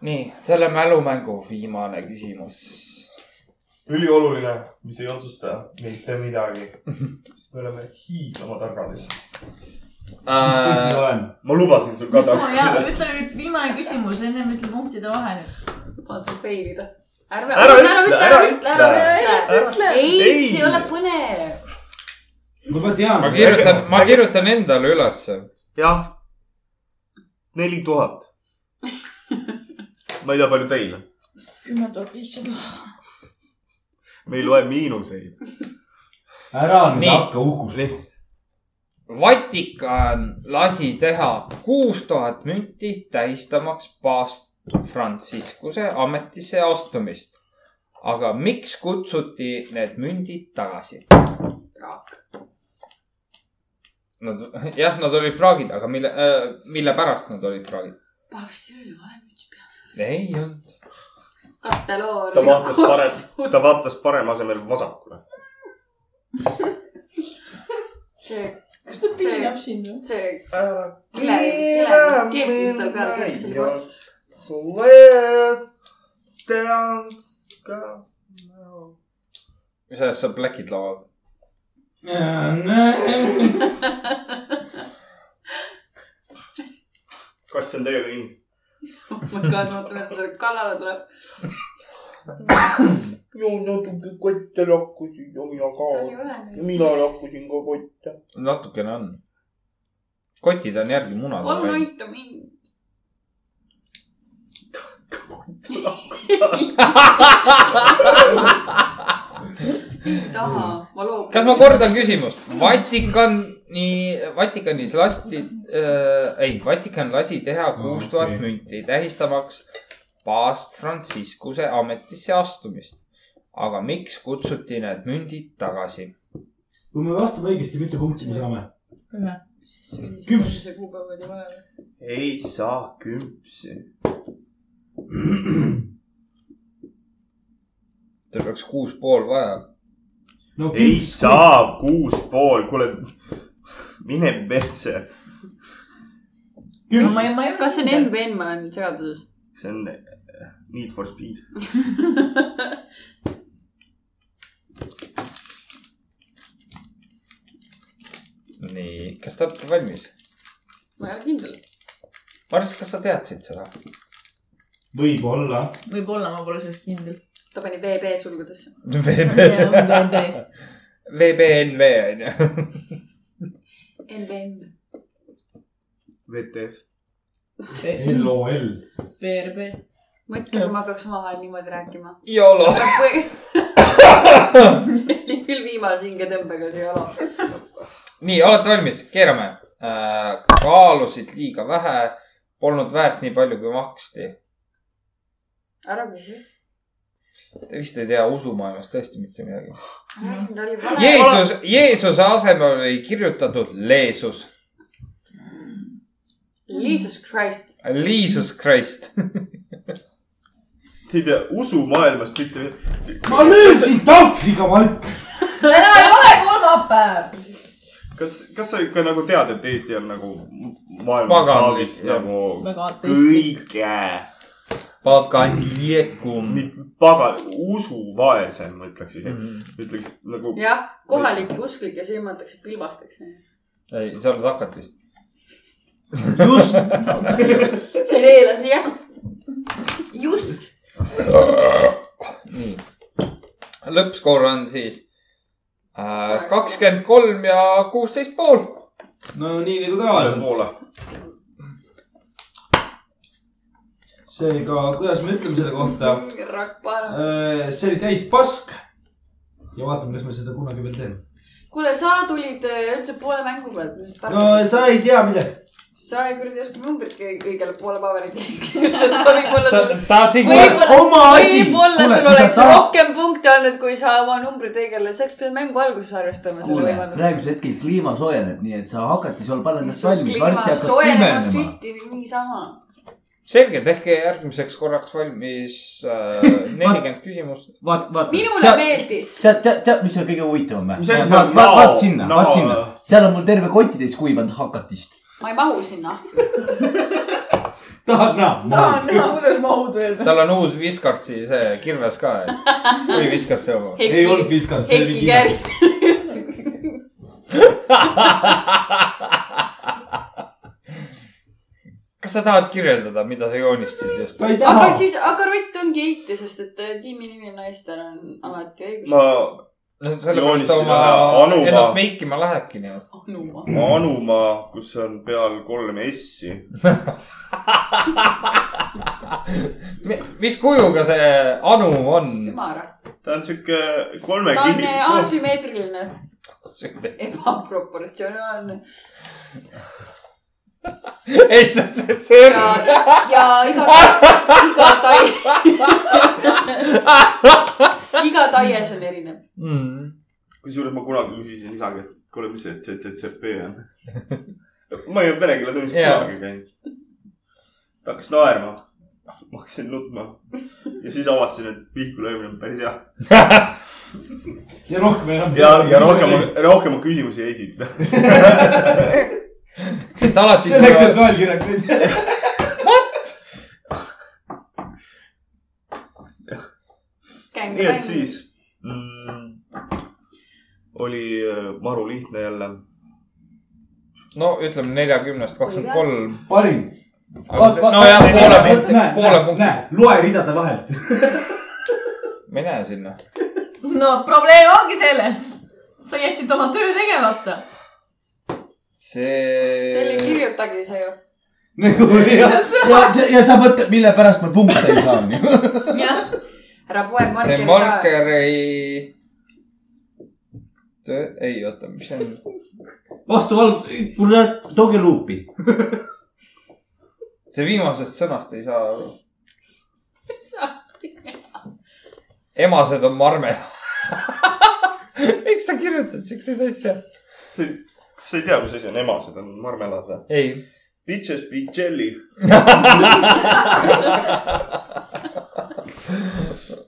Speaker 2: nii , selle mälumängu viimane küsimus .
Speaker 1: ülioluline , mis ei otsusta mitte midagi . sest me oleme hiiglama targad vist .
Speaker 2: Äh,
Speaker 9: mis punkt ma olen ?
Speaker 1: ma lubasin sul ka
Speaker 6: no jaa ,
Speaker 1: targad .
Speaker 6: ütle nüüd viimane küsimus , ennem ütle punktide vahe nüüd .
Speaker 3: lubad sul peilida . ärme ,
Speaker 1: Ära ütle, ära ütle. Ära-
Speaker 3: ütle .
Speaker 1: Ei.
Speaker 3: ei , see ei ole põnev .
Speaker 7: ma ka tean
Speaker 2: ma . kirjutan , ma kirjutan endale ülesse .
Speaker 1: jah , neli tuhat . ma ei tea , palju teil on .
Speaker 6: kümme tuhat viissada .
Speaker 1: me ei loe miinuseid .
Speaker 9: ära nüüd
Speaker 2: Nii.
Speaker 9: hakka uhkust .
Speaker 2: Vatikan lasi teha kuus tuhat münti tähistamaks paavst Franciscuse ametisse astumist . aga miks kutsuti need mündid tagasi ? Nad , jah , nad olid praagid , aga mille äh, , mille pärast nad olid praagid ?
Speaker 3: paavstil oli vale müts peas .
Speaker 2: ei olnud .
Speaker 3: katteloor .
Speaker 1: ta vaatas parem , ta . vaatas parema asemel vasakule .
Speaker 3: see ,
Speaker 6: kas ta
Speaker 3: piinab
Speaker 6: sind või ?
Speaker 3: see
Speaker 1: su eest tean ka .
Speaker 2: sellest saab Blackid laual .
Speaker 1: kas see on teiega nii ?
Speaker 3: oh my god , ma tulen selle kallale tuleb .
Speaker 1: ja natuke kotte lakkusin ja mina ka
Speaker 3: tal ei ole neid .
Speaker 1: mina lakkusin ka kotte .
Speaker 2: natukene on . kotid on järgi munad .
Speaker 3: palun aita mind . ei taha , ma loobun .
Speaker 2: kas ma ? kordan küsimust ? Vatikani , Vatikanis lasti äh, , ei , Vatikan lasi teha kuus tuhat münti tähistamaks paavst Franciscuse ametisse astumist . aga miks kutsuti need mündid tagasi ?
Speaker 9: kui me vastame õigesti , mitu punkti me saame ?
Speaker 3: küps . kuupäev oli vale .
Speaker 1: ei saa küpsi .
Speaker 2: tal oleks kuus pool vaja .
Speaker 9: no
Speaker 1: ei
Speaker 9: küps ,
Speaker 1: saa kuus pool , kuule mine perse ,
Speaker 9: küps ,
Speaker 3: kas see on MBN , ma olen nüüd segaduses .
Speaker 1: see on äh, Need for Speed .
Speaker 2: nii , kas te olete valmis ?
Speaker 3: ma ei ole kindel .
Speaker 2: Mars , kas sa teadsid seda ?
Speaker 9: võib-olla .
Speaker 6: võib-olla , ma pole selles kindel .
Speaker 3: ta pani VB sulgudesse .
Speaker 2: VBNV on ju .
Speaker 3: MBN .
Speaker 1: VTF .
Speaker 9: LOL .
Speaker 6: PRB .
Speaker 3: mõtle , kui ma hakkaks omavahel niimoodi rääkima .
Speaker 2: YOLO .
Speaker 3: see oli küll viimase hingetõmbega see jala .
Speaker 2: nii , olete valmis , keerame äh, . kaalusid liiga vähe , polnud väärt nii palju , kui maksti .
Speaker 3: ära küsi .
Speaker 2: Te vist ei tea usumaailmast tõesti mitte midagi .
Speaker 3: Mm, ta oli vale .
Speaker 2: Jeesus , Jeesuse asemel oli kirjutatud Leesus ,
Speaker 3: Jesus Christ .
Speaker 2: Liisus Christ .
Speaker 1: Te ei tea usumaailmast mitte
Speaker 9: ma
Speaker 1: midagi .
Speaker 9: löösin tahvliga valka .
Speaker 6: täna ei ole kolmapäev .
Speaker 1: kas , kas sa ikka nagu tead , et Eesti on nagu maailma
Speaker 2: Paganlik,
Speaker 1: staabis
Speaker 2: jah.
Speaker 1: nagu
Speaker 6: väga ateistlik .
Speaker 1: kõige ,
Speaker 2: Paganjekum .
Speaker 1: mitte pagan , usuvaesem , ma ütleks isegi , ütleks nagu
Speaker 3: jah , kohalik usklik ja silmatakse pilbasteks .
Speaker 2: ei , see on sakatis .
Speaker 9: just ,
Speaker 3: see neelas nii jah . just .
Speaker 2: nii , lõppskoor on siis äh, kakskümmend kolm ja kuusteist pool .
Speaker 7: no nii nagu
Speaker 1: üle
Speaker 7: tavaliselt .
Speaker 1: poole .
Speaker 7: seega , kuidas me ütleme selle kohta ?
Speaker 3: rakvara .
Speaker 7: see oli täis pask . ja vaatame , kas me seda kunagi veel teeme .
Speaker 3: kuule , sa tulid äh, üldse poole mängu pealt .
Speaker 7: no sa ei tea midagi .
Speaker 3: sa kuradi ei oska numbrit kõi- õigele poole paberit kirjutada , võib-olla sul ,
Speaker 2: tahtsin
Speaker 3: võib-olla ,
Speaker 4: oma asi.
Speaker 3: võib-olla
Speaker 4: Kuule,
Speaker 3: sul
Speaker 4: kui sa
Speaker 3: oleks
Speaker 4: tahad-
Speaker 3: rohkem punkte olnud , kui sa oma numbrit õigele , sa oleks pidanud mängu alguses arvestama selle
Speaker 11: kuule ,
Speaker 3: võimalusega .
Speaker 11: praegusel hetkel kliima soojeneb , nii et sa hakati seal , pane ennast valmis ,
Speaker 3: kliima
Speaker 11: varsti hakkab
Speaker 3: soojenema
Speaker 11: pimenema .
Speaker 3: sütti niisama .
Speaker 2: selge , tehke järgmiseks korraks valmis nelikümmend äh, küsimust .
Speaker 4: vaata , vaata .
Speaker 3: minule . meeldis .
Speaker 11: tead , tead , tead , mis on kõige huvitavam või ?
Speaker 1: Mis asja see on?
Speaker 11: vaat , vaat
Speaker 1: Nao-
Speaker 11: sinna ,
Speaker 1: nao-
Speaker 11: vaat sinna , seal on mul terve kotitäis kuivanud hakatist .
Speaker 3: ma ei mahu sinna .
Speaker 11: tahad näha ?
Speaker 6: tahan näha , kuidas mahud veel .
Speaker 2: tal on uus Viskartsi see kirves ka . oli Viskartsi oma .
Speaker 9: ei olnud viskas , see oli
Speaker 3: Heiki
Speaker 9: mingi .
Speaker 3: Kärs .
Speaker 2: kas sa tahad kirjeldada , mida sa joonistasid just ?
Speaker 9: ma ei
Speaker 3: aga
Speaker 9: taha .
Speaker 3: siis , aga rott ongi eitu , sest et äh, tiimi nimi naistel on alati õigus .
Speaker 1: ma
Speaker 2: no sellepärast ta
Speaker 1: joonistasin
Speaker 2: oma
Speaker 1: ära Anumaa.
Speaker 2: ennast meikima lähebki nii .
Speaker 3: Anuma .
Speaker 1: Anumaa , kus on peal kolm S-i .
Speaker 2: mis kujuga see Anu on ?
Speaker 3: ümara .
Speaker 1: ta on sihuke
Speaker 3: ta on
Speaker 1: kolmekümne
Speaker 3: äh, . asümmeetriline ,
Speaker 2: ei ,
Speaker 3: ebaproportsionaalne
Speaker 2: see , see , see
Speaker 3: ja , ja iga , iga tai- , iga taies on erinev .
Speaker 2: mm. .
Speaker 1: kusjuures ma kunagi küsisin isa käest , kuule , mis see ZZZP on ? ma ei olnud vene keele tunnis
Speaker 2: Jaa.
Speaker 1: kunagi käinud . ta hakkas naerma . ma hakkasin nutma ja siis avastasin , et vihku löömine on päris hea .
Speaker 9: ja rohkem enam .
Speaker 1: ja , ja rohkem , rohkem ma küsimusi ei esita .
Speaker 2: sest alati .
Speaker 9: see läks sealt naelkirjaks nüüd .
Speaker 1: nii et . siis mm, oli äh, maru lihtne jälle .
Speaker 2: no ütleme neljakümnest kakskümmend kolm .
Speaker 9: parim .
Speaker 2: nojah , poole punkti , poole punkti .
Speaker 9: näe , loe ridade vahelt .
Speaker 2: ma ei näe sinna .
Speaker 6: no probleem ongi selles . sa jätsid oma töö tegemata .
Speaker 3: Teile ei
Speaker 2: see ,
Speaker 3: kirjutagi see ju .
Speaker 11: nagu ja , ja, ja sa mõtled , mille pärast ma punkte ei saa , onju .
Speaker 6: jah ,
Speaker 3: ära poe
Speaker 2: see
Speaker 3: markeri ka .
Speaker 2: marker ei . ei oota , mis see on ,
Speaker 9: vastu valg , kurat , tooge luupi .
Speaker 2: see viimasest sõnast ei saa aru .
Speaker 6: see
Speaker 2: emased on marmel . miks sa kirjutad siukseid asju ?
Speaker 1: sa ei tea , mis asi on emased , on marmelad või ?
Speaker 2: ei ,
Speaker 1: Bitches be jelly .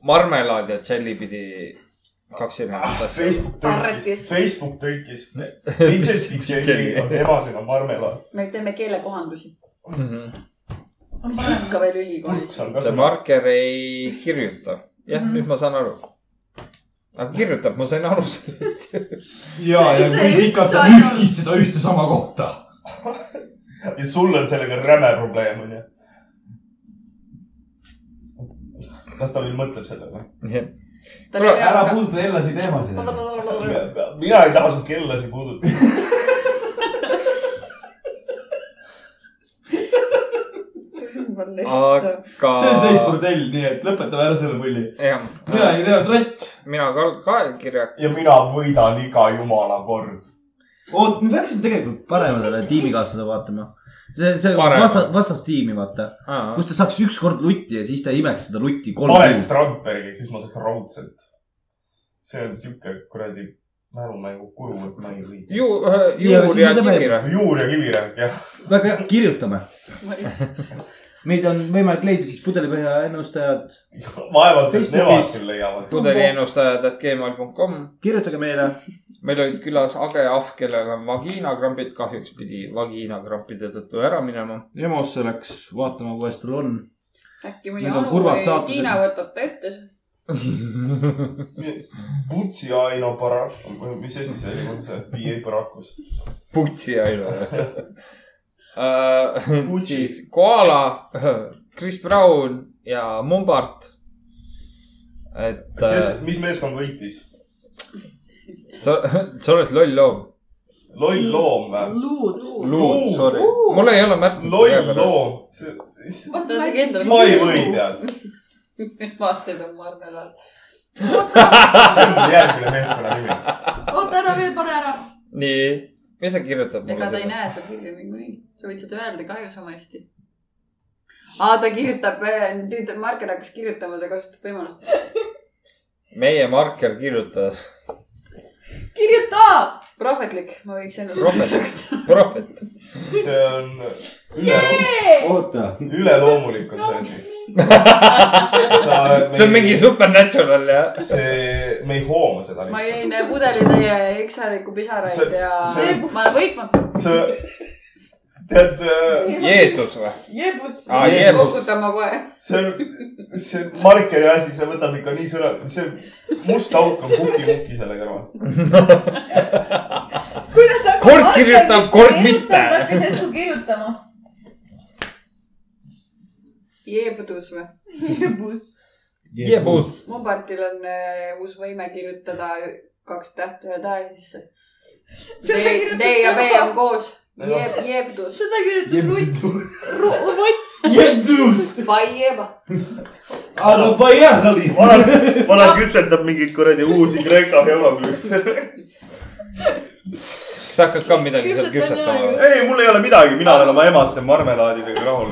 Speaker 2: marmelaad ja dželli pidi kaks erinevat asja .
Speaker 1: Ah, Facebook
Speaker 3: Tarretis.
Speaker 1: tõlkis , Facebook tõlkis . Bitches be jelly on emased on marmelad .
Speaker 3: me teeme keelekohandusi .
Speaker 6: on
Speaker 3: ikka veel ülikoolis .
Speaker 1: kurks on
Speaker 2: Mhm. see
Speaker 1: ka .
Speaker 2: marker ei kirjuta . jah mm , -hmm. nüüd ma saan aru . aga kirjutab , ma sain aru sellest .
Speaker 9: ja , ja
Speaker 6: See
Speaker 9: kui
Speaker 6: üks
Speaker 9: pikalt sa
Speaker 6: ainult.
Speaker 9: nühkis seda ühte sama kohta .
Speaker 1: ja sul on sellega räme probleem onju . kas ta veel mõtleb sellele ?
Speaker 9: ära puutu Ellasi teemasid .
Speaker 1: mina ei taha sind kellasid puudutada .
Speaker 2: aga .
Speaker 9: see on täis . bordell , nii et lõpetame ära selle pulli .
Speaker 2: jah ,
Speaker 9: mina olen Irja Tratt .
Speaker 2: mina ka , ka ei kirja .
Speaker 1: ja mina võidan iga jumala kord .
Speaker 4: oot , me peaksime tegelikult paremale
Speaker 6: Mis- mis-
Speaker 4: tiimikaaslasele vaatama . see , see
Speaker 2: Parema.
Speaker 4: vasta- , vastastiimi vaata , kus ta saaks ükskord lutti ja siis ta imeks seda lutti kolm
Speaker 1: paneks
Speaker 4: kuud .
Speaker 1: Strandbergi , siis ma saaks raudselt . see on siuke kuradi mälumängu kurvalt mäng .
Speaker 2: ju ,
Speaker 4: Ja,
Speaker 2: juur
Speaker 4: siis
Speaker 2: ja
Speaker 4: me teeme-
Speaker 2: kivire .
Speaker 1: juur ja kivirähk jah .
Speaker 4: väga hea , kirjutame . meid on võimalik leida siis pudelipõhja ennustajad .
Speaker 1: vaevalt , et nemad
Speaker 4: Facebookis.
Speaker 1: siin leiavad .
Speaker 2: pudeliennustajad.gmail.com ,
Speaker 4: kirjutage meile .
Speaker 2: meil olid külas Age Ahv , kellel on vagiinakrambid , kahjuks pidi vagiinakrampide tõttu ära minema .
Speaker 4: EMO-sse läks vaatama , kuidas tal on .
Speaker 3: äkki mõni
Speaker 4: Need on kurvad
Speaker 3: Anu või
Speaker 4: saatused.
Speaker 3: Tiina võtab ta ette .
Speaker 1: Butsi Aino Barak , mis asi see oli , see viie barakus .
Speaker 2: Putsi aina . Äh, siis Koala , Chris Brown ja Mumbart . et äh,
Speaker 1: kes , mis meeskond võitis ?
Speaker 2: sa , sa oled loll loom .
Speaker 1: loll loom või ?
Speaker 5: luud .
Speaker 2: luud ,
Speaker 1: Luud.
Speaker 2: sorry . mul ei ole märknud .
Speaker 1: loll loom . ma ei või . tead ,
Speaker 3: vastased on marmelad .
Speaker 1: see on järgmine meeskonna nimi .
Speaker 6: oota ära veel , pane ära .
Speaker 2: nii , mis sa kirjutad mulle
Speaker 3: ega ta ei
Speaker 2: selle ?
Speaker 3: näe su kirja niikuinii , sa võid seda öelda kahju samasti . aa , ta kirjutab , tüütab , Marker hakkas kirjutama , ta kasutab võimalust .
Speaker 2: meie marker kirjutas
Speaker 6: kirjuta .
Speaker 3: prohvetlik , ma võiks
Speaker 2: prohvet
Speaker 3: ennast ,.
Speaker 2: prohvet .
Speaker 1: see on üle ,
Speaker 11: oota ,
Speaker 1: üleloomulik on see asi . sa oled
Speaker 2: see on mingi supernatural ja .
Speaker 1: see , me ei hooma seda
Speaker 3: ma
Speaker 1: lihtsalt .
Speaker 3: jõin pudelitäie ükshääliku pisaraid
Speaker 1: See-
Speaker 3: ja
Speaker 1: see-
Speaker 3: ma olen võitmatu .
Speaker 1: see , tead ,
Speaker 2: Jeetus või ? Ah,
Speaker 6: Jeebus .
Speaker 1: Ah,
Speaker 2: aa , Jeebus .
Speaker 3: kogutan ma kohe .
Speaker 1: see on , see markeri asi , see võtab ikka nii sõna , see must auk on kuki-kuki selle kõrval .
Speaker 6: kuidas sa .
Speaker 2: Kord kirjutab, kord mitte.
Speaker 6: hakkas järsku kirjutama .
Speaker 3: Jeebudus või ?
Speaker 6: Jeebus .
Speaker 2: Jeebus .
Speaker 3: mu partil on äh, uus võime kirjutada kaks tähte ühe tähe sisse .
Speaker 6: Seda kirjutas
Speaker 3: D ja B
Speaker 6: tema.
Speaker 3: on koos . Jeeb , jeebdus .
Speaker 6: seda kirjutas Rutt . Rutt .
Speaker 11: Jeesus ,
Speaker 3: Faieba .
Speaker 11: aga pojahali .
Speaker 1: vana , vana küpsetab mingeid kuradi uusi Kreeka euroküüpe .
Speaker 2: kas sa hakkad ka midagi seal
Speaker 6: Küpsetan
Speaker 2: küpsetama
Speaker 6: jaa,
Speaker 2: või ?
Speaker 1: ei , mul ei ole midagi , mina olen oma emaste marmelaadidega rahul .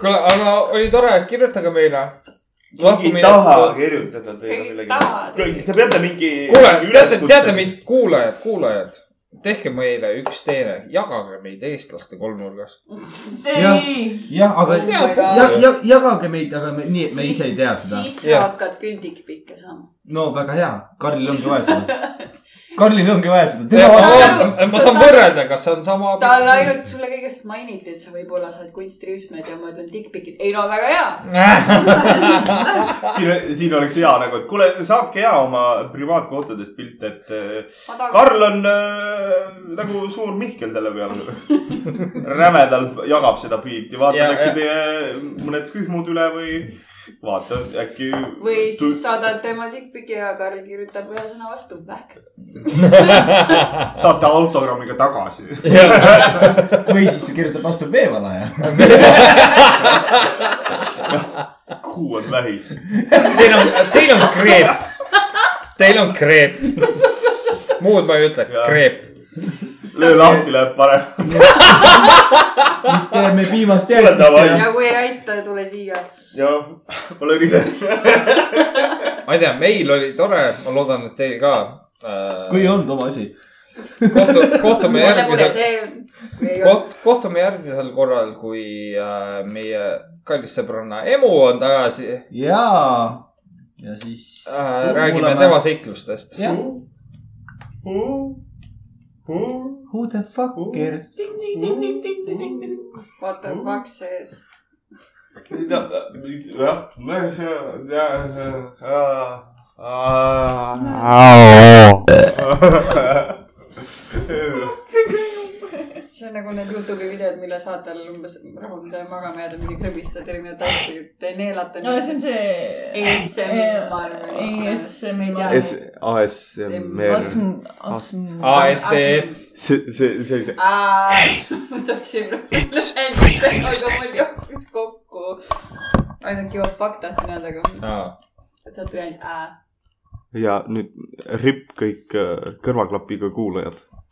Speaker 2: kuule , aga oli tore , kirjutage meile . Noh,
Speaker 1: keegi ei taha kirjutada teile
Speaker 3: Ei taha.
Speaker 1: midagi . Te peate mingi .
Speaker 2: kuule , teate , teate mis , kuulajad , kuulajad , tehke meile üks teene , jagage meid eestlaste kolmnurgas .
Speaker 6: ei .
Speaker 4: jah , aga
Speaker 3: Oh my God.
Speaker 4: ja, ja, jagage meid , aga me, nii , et me ise ei tea seda .
Speaker 3: siis
Speaker 2: Jah.
Speaker 3: sa hakkad küll tikkpikke saama .
Speaker 4: no väga hea , Karlil ongi vaja seda . Karlil ongi vaja seda , tema
Speaker 3: Jaa.
Speaker 4: vaatab .
Speaker 2: ma saan võrrelda , kas see on sama .
Speaker 3: talle ainult sulle kõigest mainiti , et sa võib-olla saad kunstiriismed ja ma ütlen tikkpikid . ei no väga hea .
Speaker 1: siin , siin oleks hea nagu , et kuule , saake hea oma privaatkohtadest pilte , et äh,
Speaker 3: ma tahaks ,
Speaker 1: Karl on äh, nagu suur Mihkel selle peale . rämedalt jagab seda pilti ,
Speaker 2: Ja,
Speaker 1: vaatan äkki
Speaker 2: ja.
Speaker 1: teie mõned kühmud üle või vaata äkki .
Speaker 3: või siis . saadad tema tikkpiki ja Karl kirjutab ühe sõna vastu . vähk .
Speaker 1: saate autogrammiga tagasi .
Speaker 4: või siis sa kirjutad vastu veevalaja .
Speaker 1: kuu on vähis .
Speaker 2: Teil on , teil on kreep . Teil on kreep . muud ma ei ütle ,
Speaker 1: Jaa.
Speaker 2: kreep .
Speaker 1: löö lahti , läheb parem .
Speaker 4: teeme piimast
Speaker 1: Kuule, davai.
Speaker 4: järgmist .
Speaker 3: ja kui ei aita , tule siia .
Speaker 1: ja ma löön ise .
Speaker 2: ma ei tea , meil oli tore , ma loodan , et teil ka .
Speaker 4: kui ei olnud oma asi .
Speaker 2: kohtu , kohtume
Speaker 3: mulle , mulle
Speaker 2: järgmisel ,
Speaker 3: see , kui ei ole .
Speaker 2: koht- , kohtume järgmisel korral , kui äh, meie kallis sõbranna Emu on tagasi äh, .
Speaker 4: jaa . ja siis äh,
Speaker 2: räägime tema . seiklustest .
Speaker 4: jah , who the fuck cares .
Speaker 3: What the fuck sees .
Speaker 1: jah , see , jah .
Speaker 3: see on nagu need Youtube'i videod , mille saate all umbes rahuldaja magama jääda , mingi krõbistad erinevaid asju , te neelate .
Speaker 6: no see on see .
Speaker 3: ASMR, ma arvan, E
Speaker 6: ASMR .
Speaker 1: S , ASMR .
Speaker 6: Asm , asm .
Speaker 1: E.
Speaker 2: ASDF .
Speaker 1: see , see , see , see .
Speaker 3: Aa, ma tahtsin öelda , aga mul jooksis kokku . ainult kivad fakt tahtsin öelda , aga sa tulid aa .
Speaker 1: ja nüüd ripp kõik äh, kõrvaklapiga kuulajad .